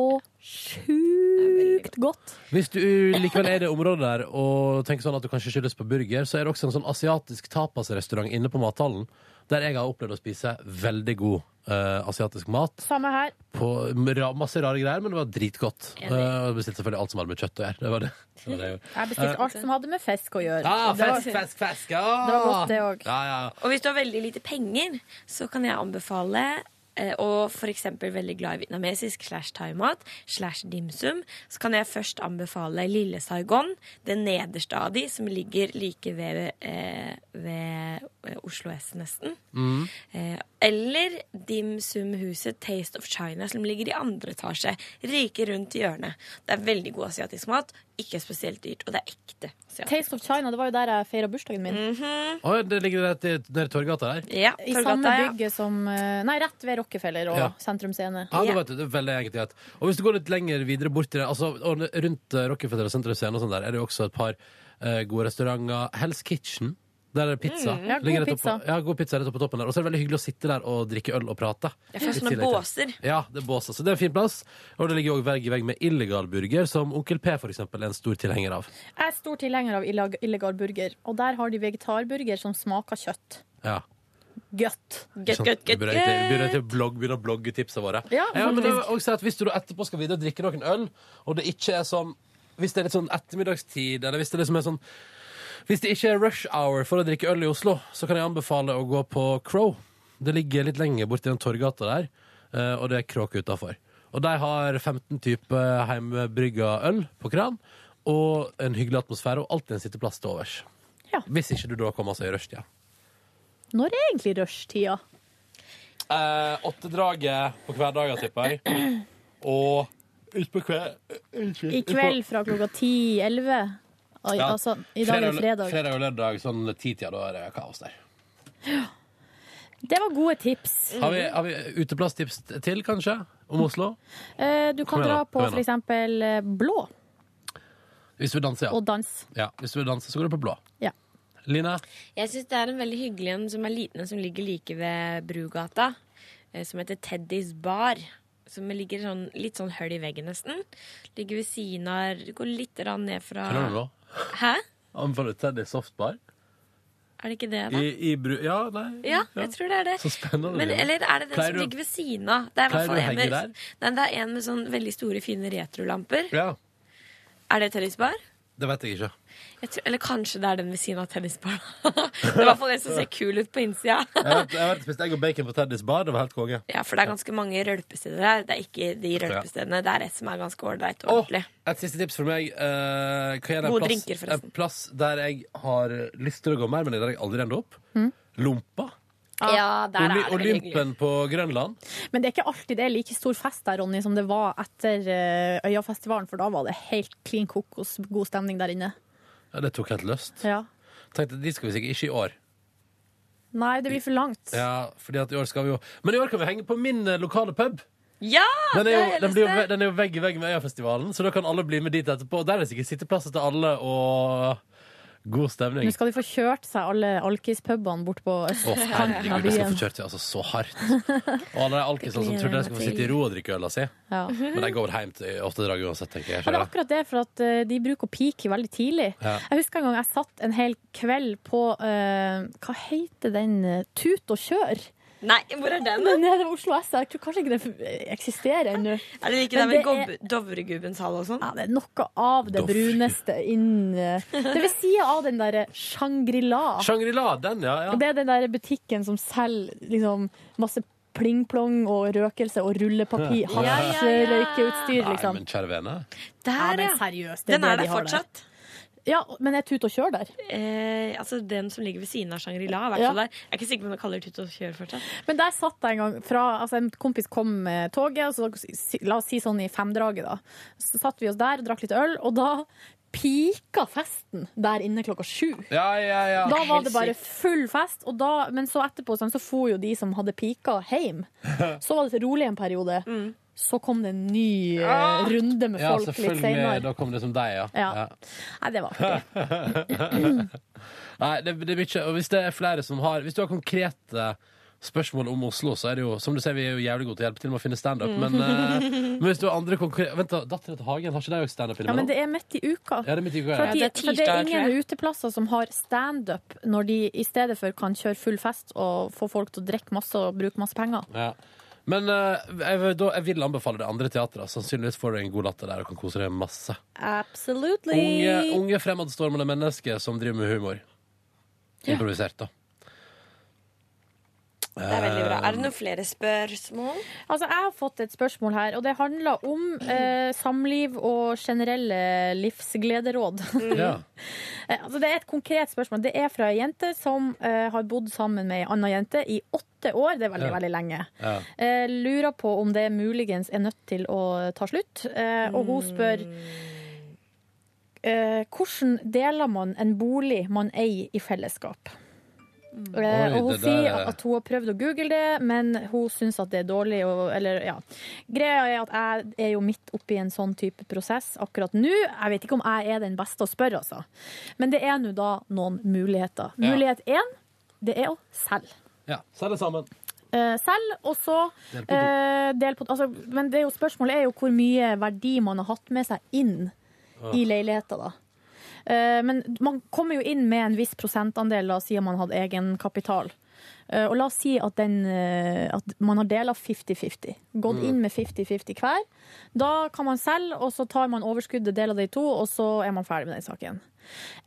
Speaker 3: sjukt godt.
Speaker 2: Hvis du eh, likevel er i det området der og tenker sånn at du kanskje skyldes på burger, så er det også en sånn asiatisk tapasrestaurant inne på mathallen der jeg har opplevd å spise veldig god eh, asiatisk mat.
Speaker 3: Samme her.
Speaker 2: På ra- masse rare greier, men det var dritgodt.
Speaker 3: Enig.
Speaker 2: Eh, Og bestilte selvfølgelig alt som hadde med kjøtt å gjøre. Det var det. det, var det gjorde.
Speaker 3: Jeg bestilte
Speaker 2: Eh,
Speaker 3: alt som hadde med fisk å gjøre.
Speaker 2: Ah,
Speaker 3: Det var-
Speaker 2: fisk, fisk, fisk!
Speaker 9: Det var godt, det
Speaker 3: òg.
Speaker 2: ah! Ja, ja, ja.
Speaker 9: Og hvis du har veldig lite penger, så kan jeg anbefale eh, og f.eks. veldig glad i vietnamesisk slash thaimat slash dimsum, så kan jeg først anbefale Lille Saigon, den nederste av de, som ligger like ved, eh, ved eh, Oslo S nesten.
Speaker 15: Mm.
Speaker 9: Eh, eller Dim Sum-huset Taste of China, som ligger i andre etasje. Rike rundt i hjørnet. Det er veldig god asiatisk mat, ikke spesielt dyrt, og det er ekte.
Speaker 3: Taste of China, det var jo der jeg feira bursdagen min.
Speaker 2: Å, ja, det ligger rett i nede i Torgata der?
Speaker 9: Ja,
Speaker 3: I samme bygge som eh, Nei, rett ved Rockefeller og
Speaker 2: Ja.
Speaker 3: Sentrum Scene.
Speaker 2: Ja, da vet du, det er veldig enkelt greit. Og hvis du går litt lenger videre bort til det, altså, og rundt eh, Rockefeller og Sentrum Scene og sånn der, er det jo også et par eh, gode restauranter. Hell's Kitchen, der er det pizza.
Speaker 9: Mm, ja, god
Speaker 2: Ligger rett
Speaker 9: pizza.
Speaker 2: oppå- ja, god pizza rett oppe på toppen der. Og så er det veldig hyggelig å sitte der og drikke øl og prate.
Speaker 9: Jeg
Speaker 2: I
Speaker 9: får sånne
Speaker 2: tillegg til-
Speaker 9: båser.
Speaker 2: Ja, det er båser. Så det er en fin plass. Og det ligger jo også vegg i vegg med illegal burger, som Onkel P for eksempel er en stor tilhenger av.
Speaker 3: Jeg er stor tilhenger av illag- illegal burger, og der har de vegetarburger som smaker kjøtt.
Speaker 2: Ja.
Speaker 3: Godt.
Speaker 2: Sånn, Vi burde egentlig- vi burde egentlig blogg, begynne å blogge tipsene våre.
Speaker 3: Ja,
Speaker 2: men det
Speaker 3: faktisk.
Speaker 2: vil også si at Hvis du da etterpå skal videre og drikke noen øl, og det ikke er sånn Hvis det er litt sånn ettermiddagstid, eller hvis det liksom er sånn Hvis det ikke er rush hour for å drikke øl i Oslo, så kan jeg anbefale å gå på Crow. Det ligger litt lenger borti den torggata der, eh, og det er kråk utafor. Og de har 15 typer heimbrygga øl på kran, og en hyggelig atmosfære, og alltid en sitteplass til overs. Hvis ikke du da kommer seg i rushtida.
Speaker 3: Når er egentlig rushtida?
Speaker 2: Eh, Åttedraget på hverdager, tipper jeg. Og utpå kveld
Speaker 3: I kveld fra klokka ti-elleve. Altså, I dag er det fredag.
Speaker 2: Fredag og lørdag, sånn titida, da er det kaos der.
Speaker 3: Det var gode tips.
Speaker 2: Har vi, har vi uteplasstips til, kanskje? Om Oslo?
Speaker 3: Eh, Du kan
Speaker 2: Kom igjen da,
Speaker 3: dra på
Speaker 2: kom igjen da.
Speaker 3: for eksempel eh, blå
Speaker 2: Hvis du vil danse, ja.
Speaker 3: og dans.
Speaker 2: ja. Hvis du vil danse, så går du på blå.
Speaker 3: Ja.
Speaker 2: Line?
Speaker 9: Jeg syns det er en veldig hyggelig en som er liten, en som ligger like ved Brugata. eh, Som heter Teddys Bar. Som ligger sånn, litt sånn høl i veggen, nesten. Ligger ved siden av Går litt rann ned fra
Speaker 2: Hva er det nå?
Speaker 9: Hæ?
Speaker 2: Anbefaler Teddy softbar?
Speaker 9: Er det ikke det, da?
Speaker 2: I, i bru... Ja, nei
Speaker 9: Ja, jeg tror det er det.
Speaker 2: Så spennende.
Speaker 9: Men,
Speaker 2: Line.
Speaker 9: eller er det den
Speaker 2: Pleier
Speaker 9: som
Speaker 2: du-
Speaker 9: ligger ved siden av? Det er i hvert
Speaker 2: Pleier
Speaker 9: fall
Speaker 2: du å
Speaker 9: en med,
Speaker 2: henge der?
Speaker 9: Nei, det er en med sånn veldig store, fine retrolamper.
Speaker 2: Ja,
Speaker 9: Er det tennisbar?
Speaker 2: det vet jeg ikke.
Speaker 9: Jeg tror, eller kanskje det er den ved siden av tennisbaren. det er i hvert fall den som ser kul ut på innsida.
Speaker 2: Jeg har vært- jeg har vært og spist egg og bacon på Teddys bar. Det var helt konge.
Speaker 9: Ja, for det er ganske mange rølpesteder her. Det er ikke de rølpestedene. Det er et som er ganske ålreit og ordentlig.
Speaker 2: Et siste tips for meg. eh, hva er det en
Speaker 9: Gode
Speaker 2: plass,
Speaker 9: drinker, forresten.
Speaker 2: En plass der jeg har lyst til å gå mer, men der jeg aldri ender opp.
Speaker 3: Mm.
Speaker 2: Lompa.
Speaker 9: Ja, der er det
Speaker 2: Oly-
Speaker 9: veldig hyggelig.
Speaker 2: Olympen på Grønland.
Speaker 3: Men det er ikke alltid det er like stor fest der, Ronny, som det var etter eh, Øyafestivalen, for da var det helt klin kokos god stemning der inne.
Speaker 2: Ja, det tok helt lyst.
Speaker 3: Ja.
Speaker 2: Tenkte De skal vi sikkert ikke i år.
Speaker 3: Nei, det blir for langt.
Speaker 2: Ja, fordi at i år skal vi jo Men i år kan vi henge på min eh, lokale pub.
Speaker 9: Ja!
Speaker 2: Den er,
Speaker 9: det
Speaker 2: jo,
Speaker 9: har jeg
Speaker 2: den,
Speaker 9: lyst
Speaker 2: blir jo,
Speaker 9: til.
Speaker 2: ve- den er jo vegg i vegg med Øyafestivalen, så da kan alle bli med dit etterpå. Og Der er det sikkert sitteplasser til alle og god stemning.
Speaker 3: Nå skal de få kjørt seg alle alkispubene bort på
Speaker 2: Å,
Speaker 3: østkanten av
Speaker 2: herregud, jeg skal
Speaker 3: byen.
Speaker 2: få kjørt det altså så hardt. Og alle de alkisene som
Speaker 3: gleder
Speaker 2: trodde de
Speaker 3: jeg
Speaker 2: skulle
Speaker 3: meg
Speaker 2: få sitte i
Speaker 3: til.
Speaker 2: ro og drikke altså. øla si.
Speaker 3: Ja.
Speaker 2: Men de går hjem til åtte drag uansett, tenker jeg.
Speaker 3: Ja, det er
Speaker 2: skjønner du?
Speaker 3: akkurat det, for at eh, de bruker å pike veldig tidlig.
Speaker 2: Ja.
Speaker 3: Jeg husker en gang jeg satt en hel kveld på eh, Hva heter den? eh, Tut og kjør?
Speaker 9: Nei, hvor er den?
Speaker 3: Den er ved Oslo S. Jeg tror kanskje ikke den eksisterer ennå.
Speaker 9: Er det ikke
Speaker 3: Men
Speaker 9: der ved
Speaker 3: det er-
Speaker 9: Gob- Dovregubbens hall og sånn?
Speaker 3: Ja, det er noe av det bruneste innen eh, Det vil si av den derre Shangri-La.
Speaker 2: Shangri-La, den, ja. ja.
Speaker 3: Det er den der butikken som selger liksom, masse pling-plong og røkelse og rullepapir.
Speaker 2: Ja, ja, ja.
Speaker 3: Hasjrøykeutstyr,
Speaker 2: Nei,
Speaker 3: liksom.
Speaker 2: men kjære vene.
Speaker 3: ja. Men seriøst, det
Speaker 9: Den er
Speaker 3: det de
Speaker 9: der
Speaker 3: har der.
Speaker 9: fortsatt?
Speaker 3: Ja, men er Tut og Kjør der?
Speaker 9: Eh, altså Den som ligger ved siden av Shangri-La. i hvert
Speaker 3: Ja.
Speaker 9: fall der. Jeg er ikke sikker på om jeg kaller det ut og kjøre fortsatt.
Speaker 2: Eh.
Speaker 3: Men der satt jeg en gang fra Altså, en kompis kom med toget, og så, si- la oss si sånn i femdraget, da. Så satt vi oss der og drakk litt øl, og da pika festen der inne klokka sju.
Speaker 2: Ja, ja, ja.
Speaker 3: Da var det bare full fest, og da, men så etterpå sånn, så for jo de som hadde pika, hjem. Så var det rolig en periode. Så kom det en ny eh,
Speaker 2: Ah!
Speaker 3: runde med
Speaker 2: Mm. Ja,
Speaker 3: folk litt
Speaker 2: selvfølgelig.
Speaker 3: senere.
Speaker 2: Da kom det som deg, ja.
Speaker 3: Ja. Nei, det var artig.
Speaker 2: Nei, det, det er mye. Og hvis det er flere som har Hvis du har konkrete spørsmål om Oslo, så er det jo Som du ser, vi er jo jævlig gode til å hjelpe til med å finne standup,
Speaker 3: Mm.
Speaker 2: men, eh, men hvis du har andre konkrete Vent, da. Dattera til Hagen, har ikke de òg standup
Speaker 3: Ja, men
Speaker 2: innimellom?
Speaker 3: det er midt i uka.
Speaker 2: Ja, det er midt i uka, ja.
Speaker 3: For, at de,
Speaker 2: Ja, det er
Speaker 3: for det
Speaker 2: tirsdag,
Speaker 3: er
Speaker 2: tror
Speaker 3: ingen
Speaker 2: jeg.
Speaker 3: uteplasser som har standup når de i stedet for kan kjøre full fest og få folk til å drikke masse og bruke masse penger.
Speaker 2: Ja. Men eh, jeg, vil- da, jeg vil anbefale det andre teatret. Sannsynligvis får du en god latter der og kan kose deg masse.
Speaker 3: Absolutely.
Speaker 2: Unge, unge fremadstormende mennesker som driver med humor. Improvisert, da.
Speaker 9: Det er veldig bra. Er det noen flere spørsmål?
Speaker 3: Altså, jeg har fått et spørsmål her, og det handler om eh, samliv og generelle livsglederåd.
Speaker 2: Ja.
Speaker 3: Eh, altså, det er et konkret spørsmål. Det er fra ei jente som eh, har bodd sammen med ei anna jente i åtte år. Det er veldig,
Speaker 16: Ja.
Speaker 3: veldig lenge.
Speaker 16: Ja.
Speaker 3: Eh, lurer på om det muligens er nødt til å ta slutt, eh, og hun spør eh, hvordan deler man en bolig man eier i fellesskap? Eh,
Speaker 16: Mm. Oi,
Speaker 3: og hun
Speaker 16: det der
Speaker 3: sier
Speaker 16: er-
Speaker 3: at hun har prøvd å google det, men hun syns at det er dårlig. Og, eller, ja. Greia er at jeg er jo midt oppi en sånn type prosess akkurat nå. Jeg vet ikke om jeg er den beste å spørre, altså. Men det er nå da noen muligheter.
Speaker 2: Ja.
Speaker 3: Mulighet én, det er å selge.
Speaker 2: Ja, Selg det sammen.
Speaker 3: Eh, selv, og så
Speaker 2: Del på to.
Speaker 3: eh, del på, altså, Men det er jo, spørsmålet er jo hvor mye verdi man har hatt med seg inn
Speaker 16: Ja.
Speaker 3: i leiligheta, da. Eh, men man kommer jo inn med en viss prosentandel, la oss si at man hadde egenkapital. Eh, og la oss si at, den, eh, at man har dela 50-50. Gått
Speaker 16: Mm.
Speaker 3: inn med 50-50 hver. Da kan man selge, og så tar man overskuddet, deler det i to, og så er man ferdig med den saken.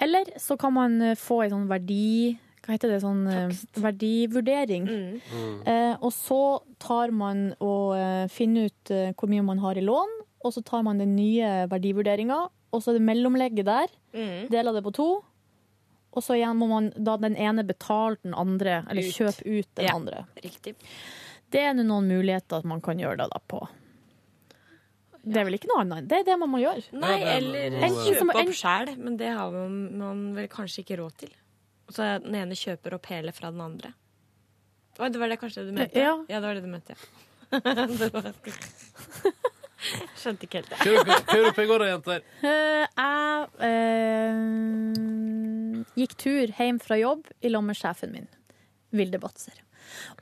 Speaker 3: Eller så kan man eh, få en sånn verdi... Hva heter det? Sånn eh, verdivurdering.
Speaker 16: Mm.
Speaker 3: Eh, og så tar man og eh, finner ut eh, hvor mye man har i lån, og så tar man den nye verdivurderinga, og så er det mellomlegget der.
Speaker 16: Mm.
Speaker 3: Deler det på to. Og så igjen må man da den ene betale den andre, eller
Speaker 16: Ut.
Speaker 3: kjøpe ut den andre.
Speaker 9: Riktig.
Speaker 3: Det er nå noen muligheter at man kan gjøre det da på. Det er vel ikke noe annet. Det er det man må gjøre.
Speaker 9: Nei, eller
Speaker 3: Enten så må-
Speaker 9: kjøpe opp sjæl, men det har man, man vel kanskje ikke råd til. Og så den ene kjøper opp hele fra den andre. Oi, det var det kanskje du mente?
Speaker 16: Ja.
Speaker 9: det var det du mente, ja. Det var- Skjønte ikke helt
Speaker 2: Hva gjorde dere- hva gjorde dere i går da, jenter?
Speaker 3: Eh, jeg eh, gikk tur hjem fra jobb i lag med sjefen min, Vilde Batzer.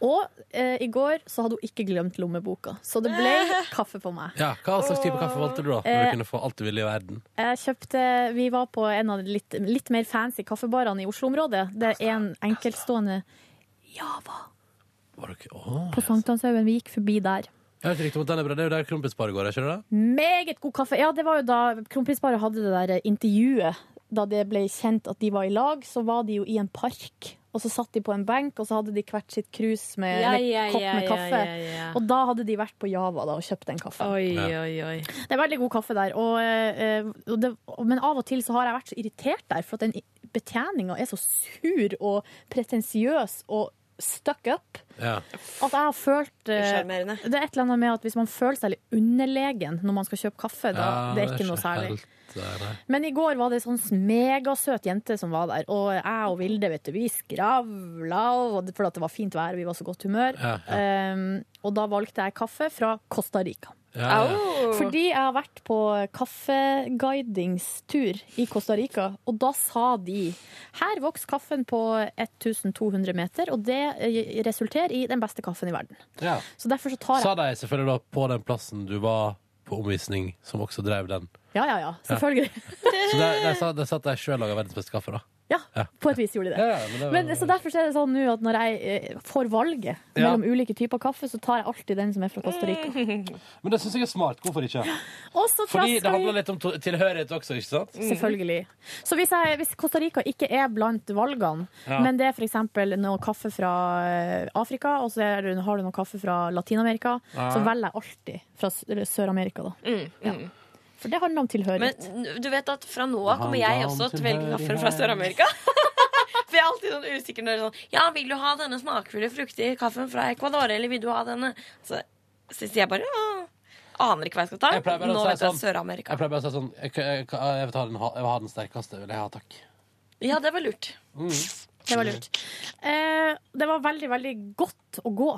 Speaker 3: Og eh, i går så hadde hun ikke glemt lommeboka, så det ble kaffe på meg.
Speaker 2: Ja, Hva slags type kaffe valgte du, da? Når
Speaker 3: Eh,
Speaker 2: du kunne få alt du ville i verden?
Speaker 3: Jeg kjøpte, Vi var på en av de litt, litt mer fancy kaffebarene i Oslo-området. Det er en enkeltstående Java
Speaker 2: Var dere, Åh.
Speaker 3: på Sankthanshaugen. Vi gikk forbi der.
Speaker 2: Jeg har ikke riktig om at den er bra. Det er jo der kronprinsparet går, er ikke det? det?
Speaker 3: Meget god kaffe. Ja, det var jo da Kronprinsparet hadde det der intervjuet. Da det ble kjent at de var i lag, så var de jo i en park. Og så satt de på en benk, og så hadde de hvert sitt krus Eh, med
Speaker 9: Ja,
Speaker 3: eller
Speaker 9: ja,
Speaker 3: kopp
Speaker 9: ja,
Speaker 3: med
Speaker 9: ja,
Speaker 3: kaffe.
Speaker 9: ja, ja.
Speaker 3: Og da hadde de vært på Java da, og kjøpt den kaffen.
Speaker 9: Oi, oi, oi.
Speaker 3: Det er veldig god kaffe der. Og, eh, og det, men av og til så har jeg vært så irritert der, for at den betjeninga er så sur og pretensiøs og stuck up.
Speaker 2: Ja.
Speaker 3: At jeg har følt eh,
Speaker 9: Sjarmerende.
Speaker 3: Det er et eller annet med at hvis man føler seg litt underlegen når man skal kjøpe kaffe, da
Speaker 2: Ja,
Speaker 3: det er ikke noe særlig.
Speaker 2: helt, eh, nei.
Speaker 3: Men i går var det ei sånn megasøt jente som var der, og jeg og Vilde vet du, vi skravla og- fordi at det var fint vær og vi var så godt humør.
Speaker 16: Ja,
Speaker 3: Um, og da valgte jeg kaffe fra Costa Rica.
Speaker 16: Ja, ja. Au!
Speaker 3: Fordi jeg har vært på kaffeguidingstur i Costa Rica, og da sa de her vokser kaffen på 1200 meter, og det eh, resulterer i den beste kaffen i verden.
Speaker 2: Ja.
Speaker 3: Så derfor så tar jeg
Speaker 2: Sa de selvfølgelig da på den plassen du var på omvisning, som også drev den.
Speaker 3: Ja, ja, ja. Selvfølgelig.
Speaker 2: Så der, der, sa- der satt de sjøl og laga verdens beste kaffe, da.
Speaker 3: Ja, på et vis gjorde de det.
Speaker 2: Ja, ja, men det var-
Speaker 3: men, så derfor så er det sånn nå at når jeg eh, får valget
Speaker 2: Ja.
Speaker 3: mellom ulike typer kaffe, så tar jeg alltid den som er fra Costa Rica.
Speaker 2: Men det syns jeg er smart. Hvorfor ikke?
Speaker 3: Og så fra
Speaker 2: Fordi det
Speaker 3: Sverige-
Speaker 2: handler litt Mm. om to- tilhørighet også, ikke sant?
Speaker 3: Selvfølgelig. Så hvis, jeg, hvis Costa Rica ikke er blant valgene,
Speaker 2: Ja.
Speaker 3: men det er f.eks. noe kaffe fra eh, Afrika, og så er, det- har du noe kaffe fra Latin-Amerika,
Speaker 9: Ja.
Speaker 3: så velger jeg alltid fra S- eller Sør-Amerika, da.
Speaker 2: Mm,
Speaker 3: Ja. For det handler om tilhørighet.
Speaker 9: Men du vet at fra nå av kommer jeg
Speaker 3: Handler om
Speaker 9: også til å velge kaffe fra
Speaker 3: tilhørighet.
Speaker 9: Sør-Amerika. For jeg er alltid sånn usikker når det er sånn Ja, vil du ha denne smakfulle, fruktige kaffen fra Ecuador, eller vil du ha denne? Så syns jeg bare ja, Aner ikke hva jeg skal ta.
Speaker 2: Jeg pleier bare
Speaker 9: Nå
Speaker 2: å si
Speaker 9: vet jeg
Speaker 2: sånn-
Speaker 9: Sør-Amerika.
Speaker 2: Jeg pleier bare å si sånn Jeg, jeg, jeg vil ta den, ha- jeg vil ha den sterkeste. Vil jeg ha, takk.
Speaker 9: Ja, det var lurt.
Speaker 3: Det var lurt. Eh, det var veldig, veldig godt å gå.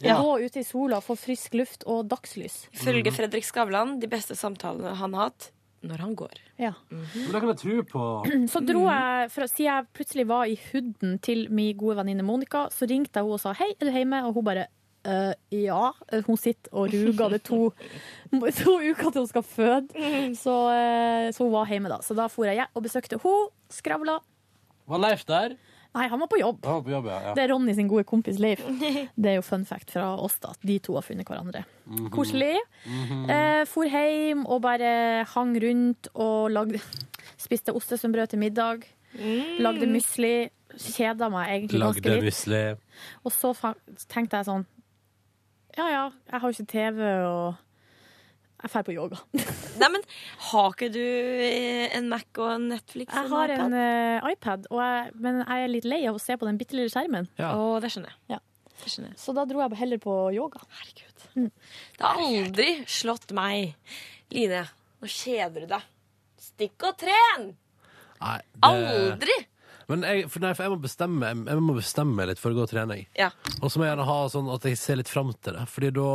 Speaker 9: Ja.
Speaker 3: Gå ute i sola, få frisk luft og dagslys.
Speaker 2: Mm.
Speaker 9: Ifølge Fredrik Skavlan, de beste samtalene han har hatt når han går.
Speaker 3: Ja.
Speaker 2: Men det kan jeg tro på.
Speaker 3: Mm. Så dro jeg, for å si jeg plutselig var i huden til min gode venninne Monica, så ringte jeg henne og sa hei, er du hjemme? Og hun bare «Eh, ja. Hun sitter og ruger det to, to uker til hun skal føde. Så, eh, så hun var hjemme da. Så da for jeg hjem og besøkte hun, skravla.
Speaker 2: Var Leif der?
Speaker 3: Nei, han var på jobb.
Speaker 2: Han var på jobb, ja. ja.
Speaker 3: Det er Ronny sin gode kompis Leif. Det er jo fun fact fra oss da, at de to har funnet hverandre.
Speaker 2: Mhm.
Speaker 3: Koselig.
Speaker 2: Mhm.
Speaker 3: Eh, for hjem og bare hang rundt og lagde, spiste ostesømbrød til middag. Lagde musli. Kjeda meg egentlig ganske
Speaker 2: Lagde
Speaker 3: litt.
Speaker 2: musli.
Speaker 3: Og så fa- tenkte jeg sånn Ja ja, jeg har jo ikke TV, og jeg drar på yoga.
Speaker 9: Nei, men har ikke du eh, en Mac og en Netflix?
Speaker 3: Jeg har en eh, iPad, og jeg, men jeg er litt lei av å se på den bitte lille skjermen.
Speaker 9: Ja. Å, det skjønner jeg.
Speaker 3: Ja. Så da dro jeg heller på yoga.
Speaker 9: Det har aldri slått meg. Line, nå kjeder du deg. Stikk og tren!
Speaker 2: Nei, det-
Speaker 9: Aldri!
Speaker 2: Men jeg, for nei, for jeg, må bestemme, jeg, jeg må bestemme meg litt for å gå og trene. Jeg.
Speaker 9: Ja.
Speaker 2: Og så må jeg gjerne ha sånn at jeg ser litt fram til det. Fordi da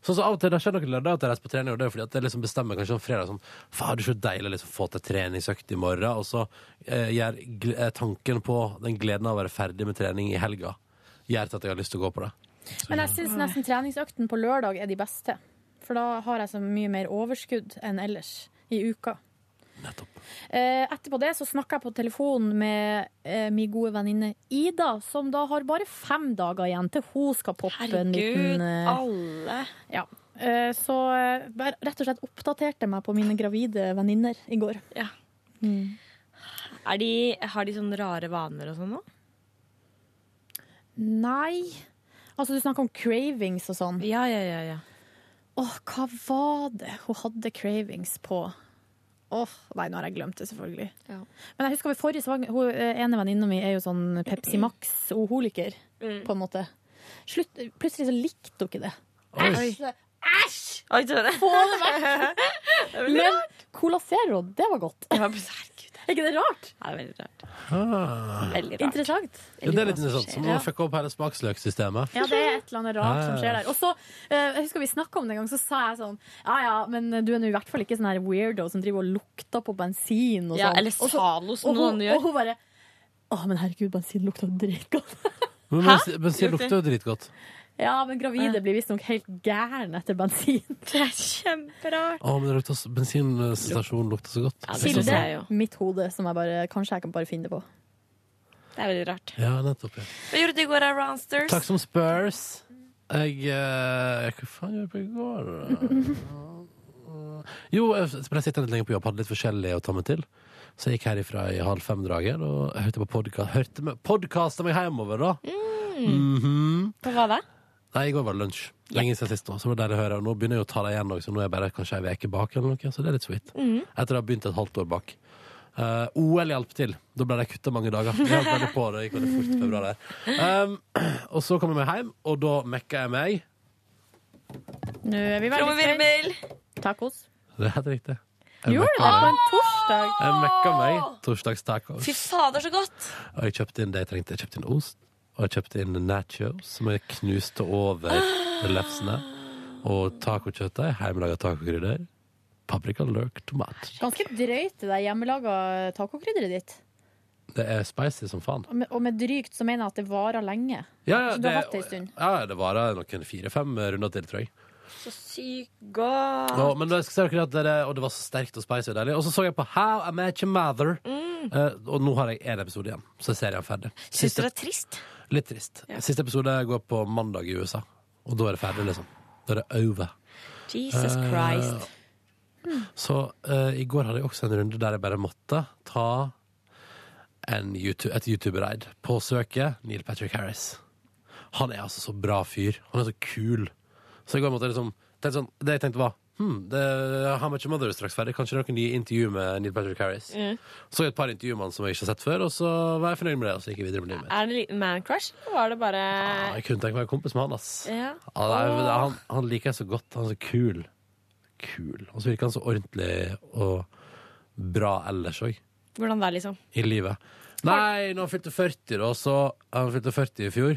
Speaker 2: Sånn som Av og til det skjer noen lørdag at jeg reiser på trening, og det er fordi at jeg liksom bestemmer kanskje om fredag sånn Fader, så deilig å liksom få til treningsøkt i morgen. Og så eh, gjør gl- eh, tanken på den gleden av å være ferdig med trening i helga, gjør til at jeg har lyst til å gå på det.
Speaker 3: Men jeg syns nesten treningsøkten på lørdag er de beste. For da har jeg så mye mer overskudd enn ellers i uka. Eh, etterpå det så snakka jeg på telefonen med eh, min gode venninne Ida, som da har bare fem dager igjen til hun skal poppe en liten
Speaker 9: Herregud,
Speaker 3: eh,
Speaker 9: alle.
Speaker 3: ja. Eh, Så eh, bare rett og slett oppdaterte meg på mine gravide venninner i går.
Speaker 9: Ja. Er de, har de sånne rare vaner og sånn nå?
Speaker 3: Nei. Altså, du snakker om cravings og sånn.
Speaker 9: Ja, ja, ja.
Speaker 3: Åh, hva var det hun hadde cravings på? Åh, nei, nå har jeg glemt det selvfølgelig. Men jeg husker ved forrige svang, hun eh, ene venninna mi er jo sånn Pepsi Max-oholiker,
Speaker 9: Mm.
Speaker 3: på en måte. Slutt, plutselig så likte hun ikke det.
Speaker 9: Oi.
Speaker 3: Æsj! Æsj!
Speaker 9: Oi, døde.
Speaker 3: Få det vekk! Men Cola Zero, det var godt. er ikke det rart?
Speaker 9: Det er veldig rart.
Speaker 2: Ah.
Speaker 9: Veldig rart.
Speaker 3: Interessant.
Speaker 2: Ja, det er litt interessant. Så må
Speaker 3: Ja.
Speaker 2: man fucke opp hele smaksløksystemet.
Speaker 3: Ja, det er et eller annet rart som
Speaker 2: Ja,
Speaker 3: skjer
Speaker 2: ja, ja.
Speaker 3: der. Og så, eh, jeg husker vi snakka om det en gang, så sa jeg sånn Ja ja, men du er nå i hvert fall ikke sånn her weirdo som driver og lukter på bensin og
Speaker 9: Ja,
Speaker 3: sånn.
Speaker 9: eller
Speaker 3: Og så-
Speaker 9: Zalo, som
Speaker 3: og
Speaker 9: noen
Speaker 3: hun-
Speaker 9: gjør.
Speaker 3: Og hun bare Å, men herregud, bensin lukter altså.» dritgodt.
Speaker 2: Men
Speaker 3: Hæ?
Speaker 2: bensin- bensin lukter jo dritgodt.
Speaker 3: Ja, men gravide blir visstnok helt gærne etter bensin. Det
Speaker 9: er kjemperart.
Speaker 2: Å, men det lukter så- bensinstasjonen lukter så godt. Sånn
Speaker 3: Kilde mitt hode, som jeg bare Kanskje jeg kan bare finne det på.
Speaker 9: Det er veldig rart.
Speaker 2: Ja, nettopp. Ja.
Speaker 9: Hva gjorde du i går, da, Ronsters?
Speaker 2: Takk som spørs. Jeg, eh, Hva faen gjorde jeg på i går? Jo, jeg ble sittende litt lenger på jobb, hadde litt forskjellig å ta meg til. Så jeg gikk herifra i halv fem-draget og jeg hørte på podkast. Hørte meg, podcastet meg hjemover, da. Mhm.
Speaker 9: Hva var det?
Speaker 2: Nei, i går var det lunsj. Lenge siden sist. da, Så var det der å høre. Og nå begynner jeg å ta det igjen, også, så nå er jeg bare kanskje ei uke bak, eller noe. Så det er litt sweet.
Speaker 17: Mhm.
Speaker 2: Etter å ha begynt et halvt år bak. Eh, OL hjalp til. Da ble de kutta mange dager. Det hjalp veldig på, det gikk veldig fort i februar der. Um, og så kom jeg meg hjem, og da mekka jeg meg.
Speaker 3: Nå er vi veldig
Speaker 9: Trommevirvel.
Speaker 3: Tacos.
Speaker 2: Det er Ah! helt riktig. Jeg
Speaker 3: Gjorde
Speaker 2: mekka
Speaker 3: du det på
Speaker 2: meg.
Speaker 3: en torsdag?
Speaker 2: Jeg mekka meg torsdagstacos.
Speaker 9: Fy fader, så godt!
Speaker 2: Og jeg kjøpte inn det jeg trengte. Jeg kjøpte inn ost, og jeg kjøpte inn nachos, som jeg knuste over lefsene. Og tacokjøttet. Hjemmelaga tacokrydder. Paprika, løk, tomat.
Speaker 3: Ganske drøyt det der hjemmelaga tacokrydderet ditt.
Speaker 2: Det er spicy som faen.
Speaker 3: Og med- Og med drygt så mener jeg at det varer lenge.
Speaker 2: Ja, ja,
Speaker 3: Så du har
Speaker 2: det-
Speaker 3: hatt det en stund.
Speaker 2: Ja, det varer noen fire-fem runder til, tror jeg.
Speaker 9: Så sykt godt.
Speaker 2: Ja, men jeg skal si dere at dere, og det var så sterkt og spicy og deilig. Og så så jeg på How I Met Your Mother.
Speaker 9: Mm.
Speaker 2: Eh, og nå har jeg én episode igjen, så er serien ferdig.
Speaker 9: Syns du det er trist?
Speaker 2: Litt trist.
Speaker 9: Ja.
Speaker 2: Siste episode går på mandag i USA, og da er det ferdig, liksom. Da er det over.
Speaker 9: Jesus
Speaker 2: Eh,
Speaker 9: Christ.
Speaker 2: Så eh, i går hadde jeg også en runde der jeg bare måtte ta en YouTube, et YouTube-raid på søket Neil Patrick Harris. Han er altså så bra fyr. Han er så kul. Så i går måtte jeg liksom tenkte sånn, Det jeg tenkte var hmm, det, How Much Your Mother er straks ferdig. Kanskje noen nye intervju med Neil Patrick Harris.
Speaker 9: Mm.
Speaker 2: Så jeg et par intervjuer med han som jeg ikke har sett før, og så var jeg fornøyd med det. Og så gikk jeg videre med livet mitt.
Speaker 9: Er det en liten man crush, eller var det bare
Speaker 2: Ja, Jeg kunne tenkt meg å være kompis med han, ass.
Speaker 9: Ja.
Speaker 2: Ja, det er, det er, han, han liker jeg så godt. Han er så kul. Kul. Og så virker han så ordentlig og bra ellers òg,
Speaker 9: Hvordan da, liksom?
Speaker 2: i livet. Nei, når han fylte 40, da, så Han fylte 40 i fjor,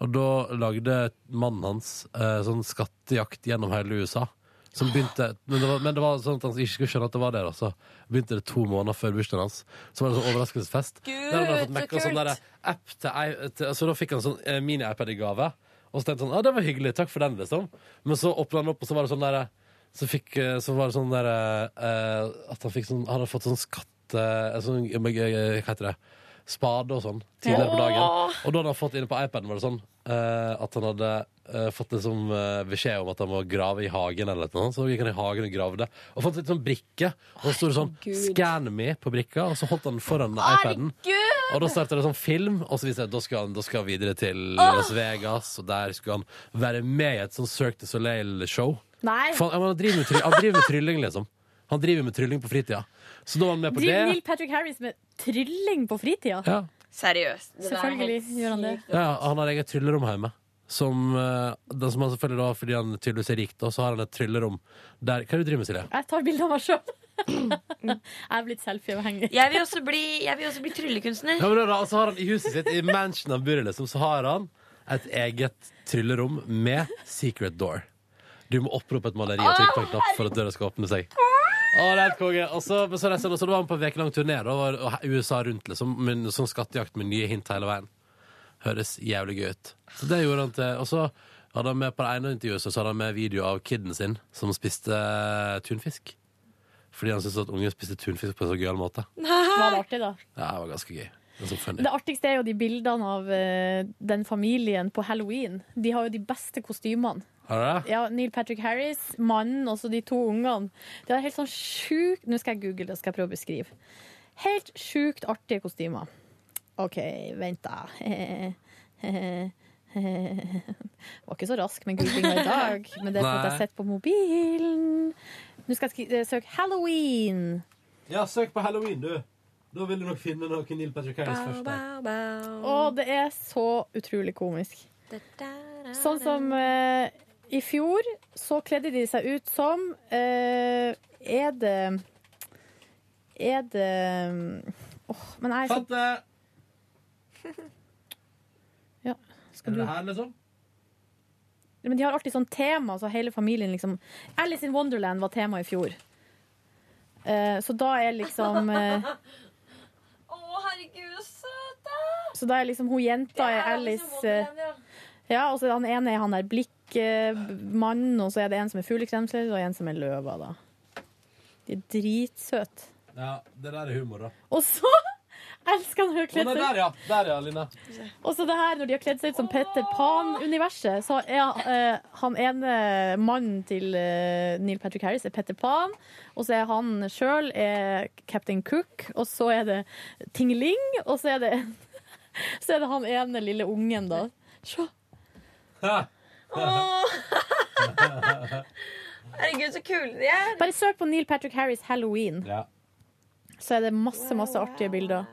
Speaker 2: og da lagde mannen hans eh, sånn skattejakt gjennom hele USA. Som begynte, men, det var, men det var sånn at han ikke skulle skjønne at det var der. Altså. Begynte det to måneder før bursdagen hans. Så var det en sånn overraskelsesfest.
Speaker 18: Gud,
Speaker 2: Der hadde han fått
Speaker 18: så
Speaker 2: mekka sånn
Speaker 18: kult!
Speaker 2: derre app til, ei- til altså Da fikk han sånn eh, mini-iPad i gave. Og så tenkte han ja, det var hyggelig, takk for den, liksom. Men så åpna han opp, og så var det sånn derre så, fikk, eh, så var det sånn derre eh, At han fikk sånn Han hadde fått sånn skatte... eh, Sånn, eh, hva heter det? Spade og sånn tidligere på dagen.
Speaker 18: Åh!
Speaker 2: Og da hadde han fått inne på iPaden var det sånn eh, at han hadde eh, fått liksom, eh, beskjed om at han må grave i hagen. eller noe sånt. Så gikk han i hagen og gravde. Og fant litt sånn brikke. Og så sto det sånn
Speaker 18: Herregud.
Speaker 2: 'Scan me' på brikka, og så holdt han den foran iPaden.
Speaker 18: Herregud!
Speaker 2: Og da starta det sånn film, og så viste jeg at da skal han, da skal han videre til
Speaker 18: Åh!
Speaker 2: Las Vegas. Og der skulle han være med i et sånn Cirque du Soleil-show.
Speaker 3: Nei.
Speaker 2: For Han, ja, men han, driver med try- han driver med trylling, liksom. Han driver med trylling på fritida. Så da var han med på
Speaker 3: Driver
Speaker 2: det.
Speaker 3: Neil Patrick Harris med trylling på fritida?
Speaker 2: Ja.
Speaker 9: Seriøst.
Speaker 3: Det der er Selvfølgelig helt gjør han det.
Speaker 2: Ja, han har eget tryllerom hjemme. Som, eh, den som han selvfølgelig da, fordi han tydeligvis er rik, da, så har han et tryllerom der Hva er det du driver med, Silje?
Speaker 3: Jeg tar bilde av meg sjøl. Jeg er blitt selfieavhengig.
Speaker 9: Jeg vil også bli, jeg vil også bli tryllekunstner.
Speaker 2: Ja, men da, da, så har han I huset sitt, i mansionen han bor i, liksom, så har han et eget tryllerom med secret door. Du må opprope et maleri og trykke på en knapp for at døra skal åpne seg. Å, det er helt konge. Og så, men så, reiser han, og så da var han på en ukelang turné da, og var USA rundt, liksom, med en sånn skattejakt med nye hint hele veien. Høres jævlig gøy ut. Så det gjorde han til Og så hadde han med på det ene intervjuet så hadde han med video av kiden sin som spiste eh, tunfisk. Fordi han syntes at unge spiste tunfisk på en så gøyal måte.
Speaker 3: Var det artig, da?
Speaker 2: Ja, det var ganske gøy. Det var så funny.
Speaker 3: Det artigste er jo de bildene av eh, den familien på halloween. De har jo de beste kostymene.
Speaker 2: Har du det?
Speaker 3: Ja, Neil Patrick Harris, mannen og så de to ungene. Det er helt sånn sjukt Nå skal jeg google det, skal jeg prøve å beskrive. Helt sjukt artige kostymer. OK, vent, da. Var ikke så rask med googlinga i dag, men det er fordi
Speaker 2: Nei.
Speaker 3: jeg sitter på mobilen. Nå skal jeg skri- eh, søke halloween.
Speaker 2: Ja, søk på halloween, du. Da vil du nok finne noe Neil Patrick
Speaker 3: Ah,
Speaker 2: Harris først. der.
Speaker 3: Og det er så utrolig komisk. Sånn som eh, i fjor, så kledde de seg ut som eh, Er det Er det Åh, men jeg er så-
Speaker 2: Fant det!
Speaker 3: Ja, skal
Speaker 2: Er
Speaker 3: du
Speaker 2: det her, liksom?
Speaker 3: Men de har alltid sånn tema, så hele familien liksom Alice in Wonderland var tema i fjor. Eh, så da er liksom eh,
Speaker 9: Å, herregud, så søte!
Speaker 3: Så da er liksom hun jenta er Alice eh, Ja, og så er han ene er han der blikkmannen, og så er det en som er fuglekremsler, og en som er løva, da. De er dritsøte.
Speaker 2: Ja, det der er humor, da.
Speaker 3: Og så elsker han å
Speaker 2: Å,
Speaker 3: kledd
Speaker 2: nei, der,
Speaker 3: seg
Speaker 2: ja. Der, ja, Line.
Speaker 3: Og så det her, når de har kledd seg ut som Petter Pan-universet, så er eh, han ene mannen til eh, Neil Patrick Harris er Petter Pan, og så er han sjøl Captain Cook, og så er det Tingeling, og så er det, så er det han ene lille ungen, da. Se.
Speaker 9: Herregud, så kule de er!
Speaker 3: Bare søk på Neil Patrick Harris Halloween. Så er det masse, masse artige bilder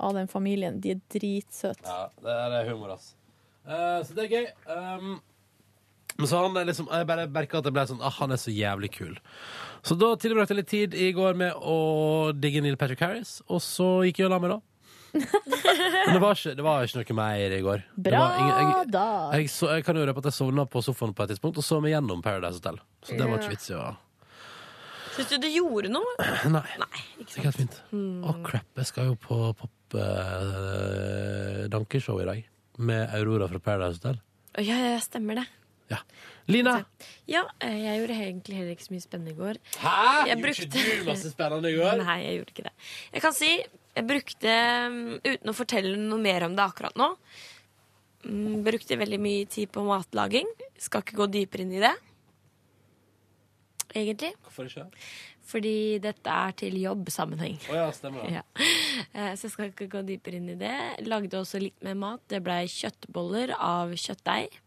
Speaker 3: av den familien. De er dritsøte.
Speaker 2: Ja, det der er humor, ass. Eh, så det er gøy. Um, men så han er liksom, jeg bare merka at jeg ble sånn ah, Han er så jævlig kul. Så da tilbrakte jeg litt tid i går med å digge Neil Patrick Harris, og så gikk jeg og la meg, da. Men det var ikke, det var ikke noe mer i går. Det
Speaker 3: Bra
Speaker 2: var ingen- jeg-
Speaker 3: da!
Speaker 2: Jeg, så, jeg kan jo røpe at jeg sovna på sofaen på et tidspunkt, og så meg gjennom Paradise Hotel. Så det var ikke vits i å
Speaker 9: Syns du det gjorde noe?
Speaker 2: Nei. det gikk helt fint. Å,
Speaker 9: Hmm.
Speaker 2: crap. Jeg skal jo på eh, pop-dankeshow i dag med Aurora fra Paradise Hotel.
Speaker 9: Å, Ja, ja, ja, stemmer det.
Speaker 2: Lina!
Speaker 9: Ja, eh, jeg gjorde egentlig heller ikke så mye spennende i går.
Speaker 2: Hæ?
Speaker 9: Jeg
Speaker 2: Gjorde ikke du masse spennende i går?
Speaker 9: Nei, jeg gjorde ikke det. Jeg kan si jeg brukte, mm, uten å fortelle noe mer om det akkurat nå, mm, brukte veldig mye tid på matlaging. Skal ikke gå dypere inn i det, egentlig.
Speaker 2: Hvorfor ikke?
Speaker 9: Fordi dette er til jobbsammenheng.
Speaker 2: Å ja, stemmer det.
Speaker 9: Ja. Eh, Så jeg skal ikke gå dypere inn i det. Lagde også litt mer mat. Det blei kjøttboller av kjøttdeig.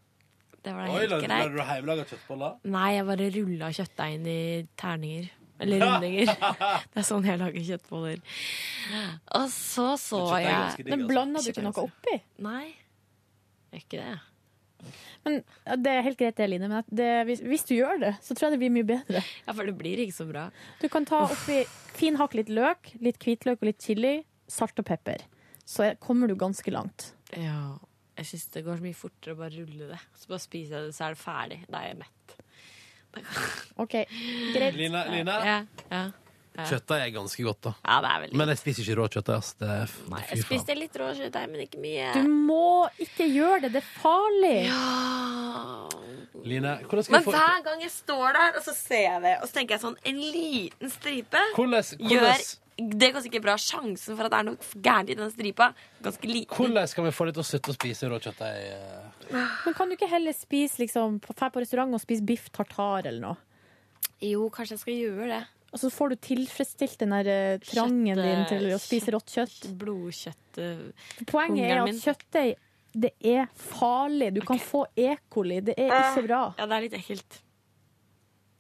Speaker 9: Det var da
Speaker 2: Oi,
Speaker 9: helt
Speaker 2: lagde lagde
Speaker 9: greit.
Speaker 2: du hjemmelaga kjøttboller?
Speaker 9: Nei, jeg bare rulla kjøttdeigen i terninger. Eller rundinger. det er sånn jeg lager kjøttboller. Og så så
Speaker 3: Men kjøttdeig er ganske
Speaker 9: jeg
Speaker 3: digg, altså. Men blanda du ikke noe oppi?
Speaker 9: Nei. Gjør ikke det.
Speaker 3: Men ja, Det er helt greit, det, Line, men at det, hvis, hvis du gjør det, så tror jeg det blir mye bedre.
Speaker 9: Ja, for det blir ikke så bra.
Speaker 3: Du kan ta oppi finhakk litt løk, litt hvitløk og litt chili, salt og pepper. Så er- kommer du ganske langt.
Speaker 9: Ja. Jeg syns det går så mye fortere å bare rulle det. Så bare spiser jeg det, så er det ferdig. Da er jeg mett.
Speaker 3: OK, greit.
Speaker 2: Lina, Lina?
Speaker 9: Ja, ja. Ja.
Speaker 2: Kjøttdeig er ganske godt, da.
Speaker 9: Ja, det er veldig
Speaker 2: Men jeg spiser ikke rå kjøttdeig. ass. Det er f- fy
Speaker 9: Jeg
Speaker 2: faen.
Speaker 9: spiste litt rå kjøttdeig, men ikke mye.
Speaker 3: Du må ikke gjøre det, det er farlig.
Speaker 2: Line, hvordan skal
Speaker 9: Men
Speaker 2: vi få
Speaker 9: hver gang jeg står der, og så ser jeg det, og så tenker jeg sånn En liten stripe
Speaker 2: Hvordan, hvordan,
Speaker 9: gjør Det er ganske ikke bra. Sjansen for at det er noe gærent i den stripa, ganske liten.
Speaker 2: hvordan skal vi få deg til å slutte å spise rå kjøttdeig? eh?
Speaker 3: Men kan du ikke heller spise liksom, på- fær på restaurant og spise biff tartar eller noe?
Speaker 9: Jo, kanskje jeg skal gjøre det.
Speaker 3: Og så får du tilfredsstilt den der eh, trangen din til å spise rått kjøtt.
Speaker 9: Blodkjøtt eh,
Speaker 3: Poenget er
Speaker 9: hungeren
Speaker 3: at
Speaker 9: min.
Speaker 3: kjøttdeig, det er farlig. Du kan få E. coli. Det er ikke bra.
Speaker 9: Ja, det er litt ekkelt.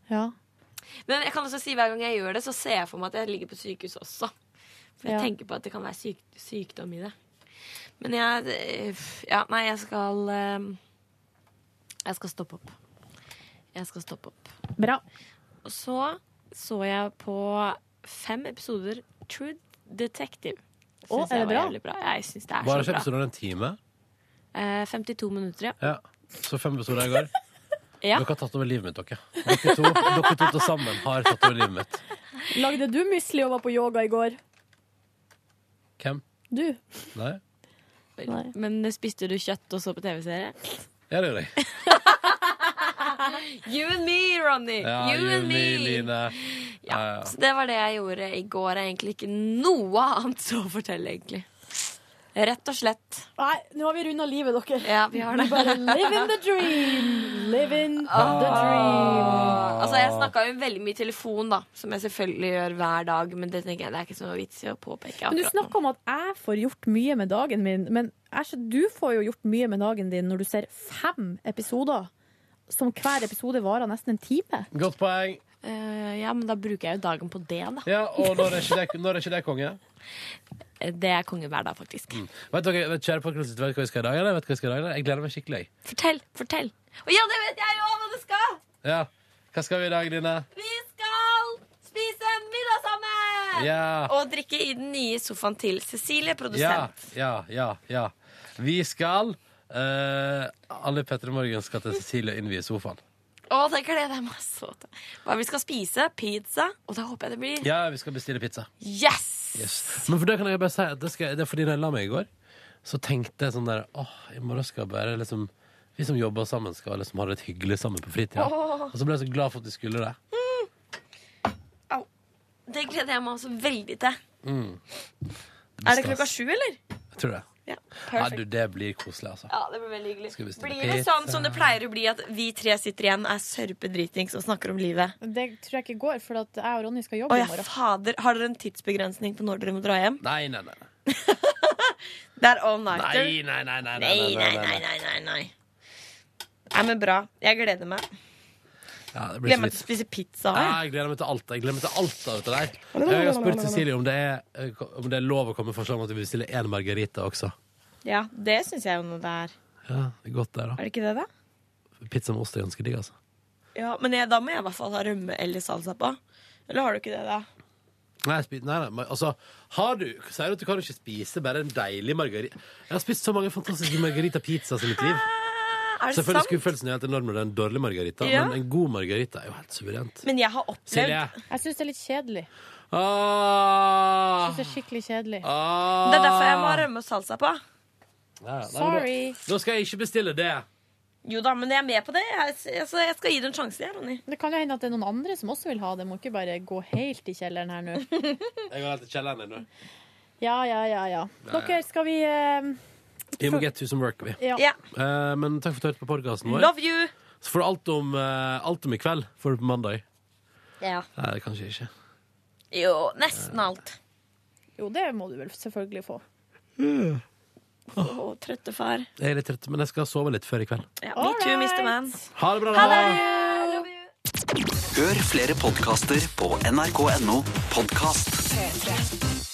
Speaker 3: Ja.
Speaker 9: Men jeg kan også si hver gang jeg gjør det, så ser jeg for meg at jeg ligger på sykehus også. For jeg
Speaker 3: Ja.
Speaker 9: tenker på at det kan være syk sykdom i det. Men jeg eh, Ja, nei, jeg skal eh, Jeg skal stoppe opp. Jeg skal stoppe opp.
Speaker 3: Bra.
Speaker 9: Og så så jeg på fem episoder True Detective.
Speaker 2: Å,
Speaker 9: Synes
Speaker 2: er det
Speaker 9: jeg var
Speaker 2: bra?
Speaker 9: jævlig bra? Jeg syns det er
Speaker 2: Var det
Speaker 9: så
Speaker 2: ikke
Speaker 9: bra.
Speaker 2: episoden av en time?
Speaker 9: Eh, 52 minutter, ja.
Speaker 2: Ja. Så fem episoder i går.
Speaker 9: Ja.
Speaker 2: Dere har tatt over livet mitt, dere. Dere to, dere to til sammen har tatt over livet mitt.
Speaker 3: Lagde du musli og var på yoga i går?
Speaker 2: Hvem?
Speaker 3: Du?
Speaker 2: Nei?
Speaker 9: Men eh, spiste du kjøtt og så på TV-serie?
Speaker 2: Ja, det gjør jeg.
Speaker 9: You and me, Ronny!
Speaker 2: Ja,
Speaker 9: you, and me!
Speaker 2: Line. Ja, ja.
Speaker 9: Så det var det jeg gjorde i går. Jeg har Egentlig ikke noe annet å fortelle, egentlig. Rett og slett.
Speaker 3: Nei, nå har vi runda livet, dere.
Speaker 9: Ja, vi har det.
Speaker 3: Bare live in the dream. Live in
Speaker 9: Ah.
Speaker 3: the dream.
Speaker 9: Altså, jeg snakka jo veldig mye telefon, da, som jeg selvfølgelig gjør hver dag, men det tenker jeg det er ikke så vits i å påpeke.
Speaker 3: Men du
Speaker 9: akkurat nå.
Speaker 3: snakker om at jeg får gjort mye med dagen min, men jeg skjø- du får jo gjort mye med dagen din når du ser fem episoder, som hver episode varer nesten en time.
Speaker 2: Godt poeng.
Speaker 9: Eh, ja, men da bruker jeg jo dagen på det, da.
Speaker 2: Ja, og når er ikke det, når er ikke det konge?
Speaker 9: Det er konge hver dag, faktisk.
Speaker 2: Vet dere, vet, kjære folk, vet dere hva vi skal i dag? Eller? Vet dere hva vi skal i dag, eller? Jeg gleder meg skikkelig. jeg.
Speaker 9: Fortell, fortell. Å ja, det vet jeg jo hva det skal!
Speaker 2: Ja. Hva skal vi i dag, Line?
Speaker 9: Vi skal spise middag sammen!
Speaker 2: Ja.
Speaker 9: Og drikke i den nye sofaen til Cecilie,
Speaker 2: Ja,
Speaker 9: produsent.
Speaker 2: ja, ja, ja. Vi skal eh, Alle i Petter i Morgen skal til Cecilie og innvie sofaen.
Speaker 9: Å, det gleder jeg meg så til. Hva vi skal spise? Pizza. Og da håper jeg det blir
Speaker 2: Ja, vi skal bestille pizza.
Speaker 9: Yes!
Speaker 2: Yes. Men for det kan jeg bare si at det, skal, det er fordi når jeg la meg i går, så tenkte jeg sånn der Åh, i morgen skal jeg bare liksom Vi som jobber sammen, skal liksom ha det litt hyggelig sammen på fritida.
Speaker 9: Åh.
Speaker 2: Og så ble jeg så glad for at vi skulle det.
Speaker 9: Det gleder jeg meg også veldig til.
Speaker 2: Mm.
Speaker 9: Er det klokka sju, eller?
Speaker 2: Jeg tror det.
Speaker 9: Ja,
Speaker 2: Ja,
Speaker 9: perfekt.
Speaker 2: du, det blir koselig, altså.
Speaker 9: Ja, det blir veldig
Speaker 2: Skal vi
Speaker 9: hyggelig.
Speaker 2: bestille
Speaker 9: Blir det
Speaker 2: pizza?
Speaker 9: sånn som det pleier å bli, at vi tre sitter igjen, er sørpedritings og snakker om livet?
Speaker 3: Det tror jeg ikke går, for at jeg og Ronny skal
Speaker 9: Å ja, fader. Har dere en tidsbegrensning på når dere må dra hjem?
Speaker 2: Nei, nei, nei.
Speaker 9: Det er all nighter.
Speaker 2: Nei, nei, nei, nei, nei, nei,
Speaker 9: Nei, nei,
Speaker 2: nei,
Speaker 9: nei, nei, nei, nei. Nei, men bra. Jeg gleder meg.
Speaker 2: Ja, det blir
Speaker 9: Gleder
Speaker 2: så
Speaker 9: meg
Speaker 2: vidt.
Speaker 9: til å spise pizza.
Speaker 2: Ja,
Speaker 9: jeg.
Speaker 2: jeg gleder meg til alt. Jeg gleder meg til alt av dette der. Jeg har spurt Cecilie om det er, eh, om det er lov å komme med forslag om at vi vil bestille én margarita også.
Speaker 9: Ja, det syns jeg jo nå det er.
Speaker 2: Ja, det er godt der,
Speaker 9: Er det ikke det, da?
Speaker 2: da. Pizza med ost er ganske digg, altså.
Speaker 9: Ja, Men jeg, da må jeg i hvert fall ha rømme eller salsa på. Eller har du ikke det, da?
Speaker 2: Nei, jeg spi- nei, nei, men altså har du, Sier du at du kan ikke spise bare en deilig margarita? Jeg har spist så mange fantastiske margarita-pizzaer i mitt liv.
Speaker 9: Ah, Er det
Speaker 2: Selvfølgelig
Speaker 9: sant?
Speaker 2: skuffelsen er helt enorm når det er en dårlig margarita,
Speaker 9: Ja.
Speaker 2: men en god margarita er jo helt suverent.
Speaker 9: Men jeg har opplevd
Speaker 2: Silje.
Speaker 3: Jeg syns det er litt kjedelig.
Speaker 2: Ah.
Speaker 3: Jeg synes det er skikkelig kjedelig.
Speaker 2: Ah.
Speaker 9: Det er derfor jeg må ha rømme og salsa på.
Speaker 2: Ja, ja. Nei, men
Speaker 9: Sorry.
Speaker 2: Da, da skal jeg ikke bestille det.
Speaker 9: Jo da, men jeg er med på det. Jeg, altså, jeg skal gi det en sjanse, jeg, Ronny.
Speaker 3: Det kan jo hende at det er noen andre som også vil ha det. Må ikke bare gå helt i kjelleren her nå.
Speaker 2: Jeg går helt til kjelleren ennå.
Speaker 3: Ja, ja, ja, ja. Dere, skal vi eh,
Speaker 2: Vi må get to some work, vi.
Speaker 3: Ja. Ja.
Speaker 2: Eh, men takk for at du hørte på podkasten vår.
Speaker 9: Love you!
Speaker 2: Så får du alt om, eh, alt om i kveld. Får du på mandag.
Speaker 9: Ja.
Speaker 2: Nei, det kanskje ikke.
Speaker 9: Jo, nesten alt.
Speaker 3: Jo, det må du vel selvfølgelig få.
Speaker 9: Å, trøtte far.
Speaker 2: Jeg er litt trøtt, men jeg skal sove litt før i kveld.
Speaker 9: Ja, Metoo, Mr. Man.
Speaker 2: Ha det bra,
Speaker 9: Ha
Speaker 2: da!
Speaker 9: det!
Speaker 1: Hør flere podkaster på nrk.no podkast.
Speaker 15: P3.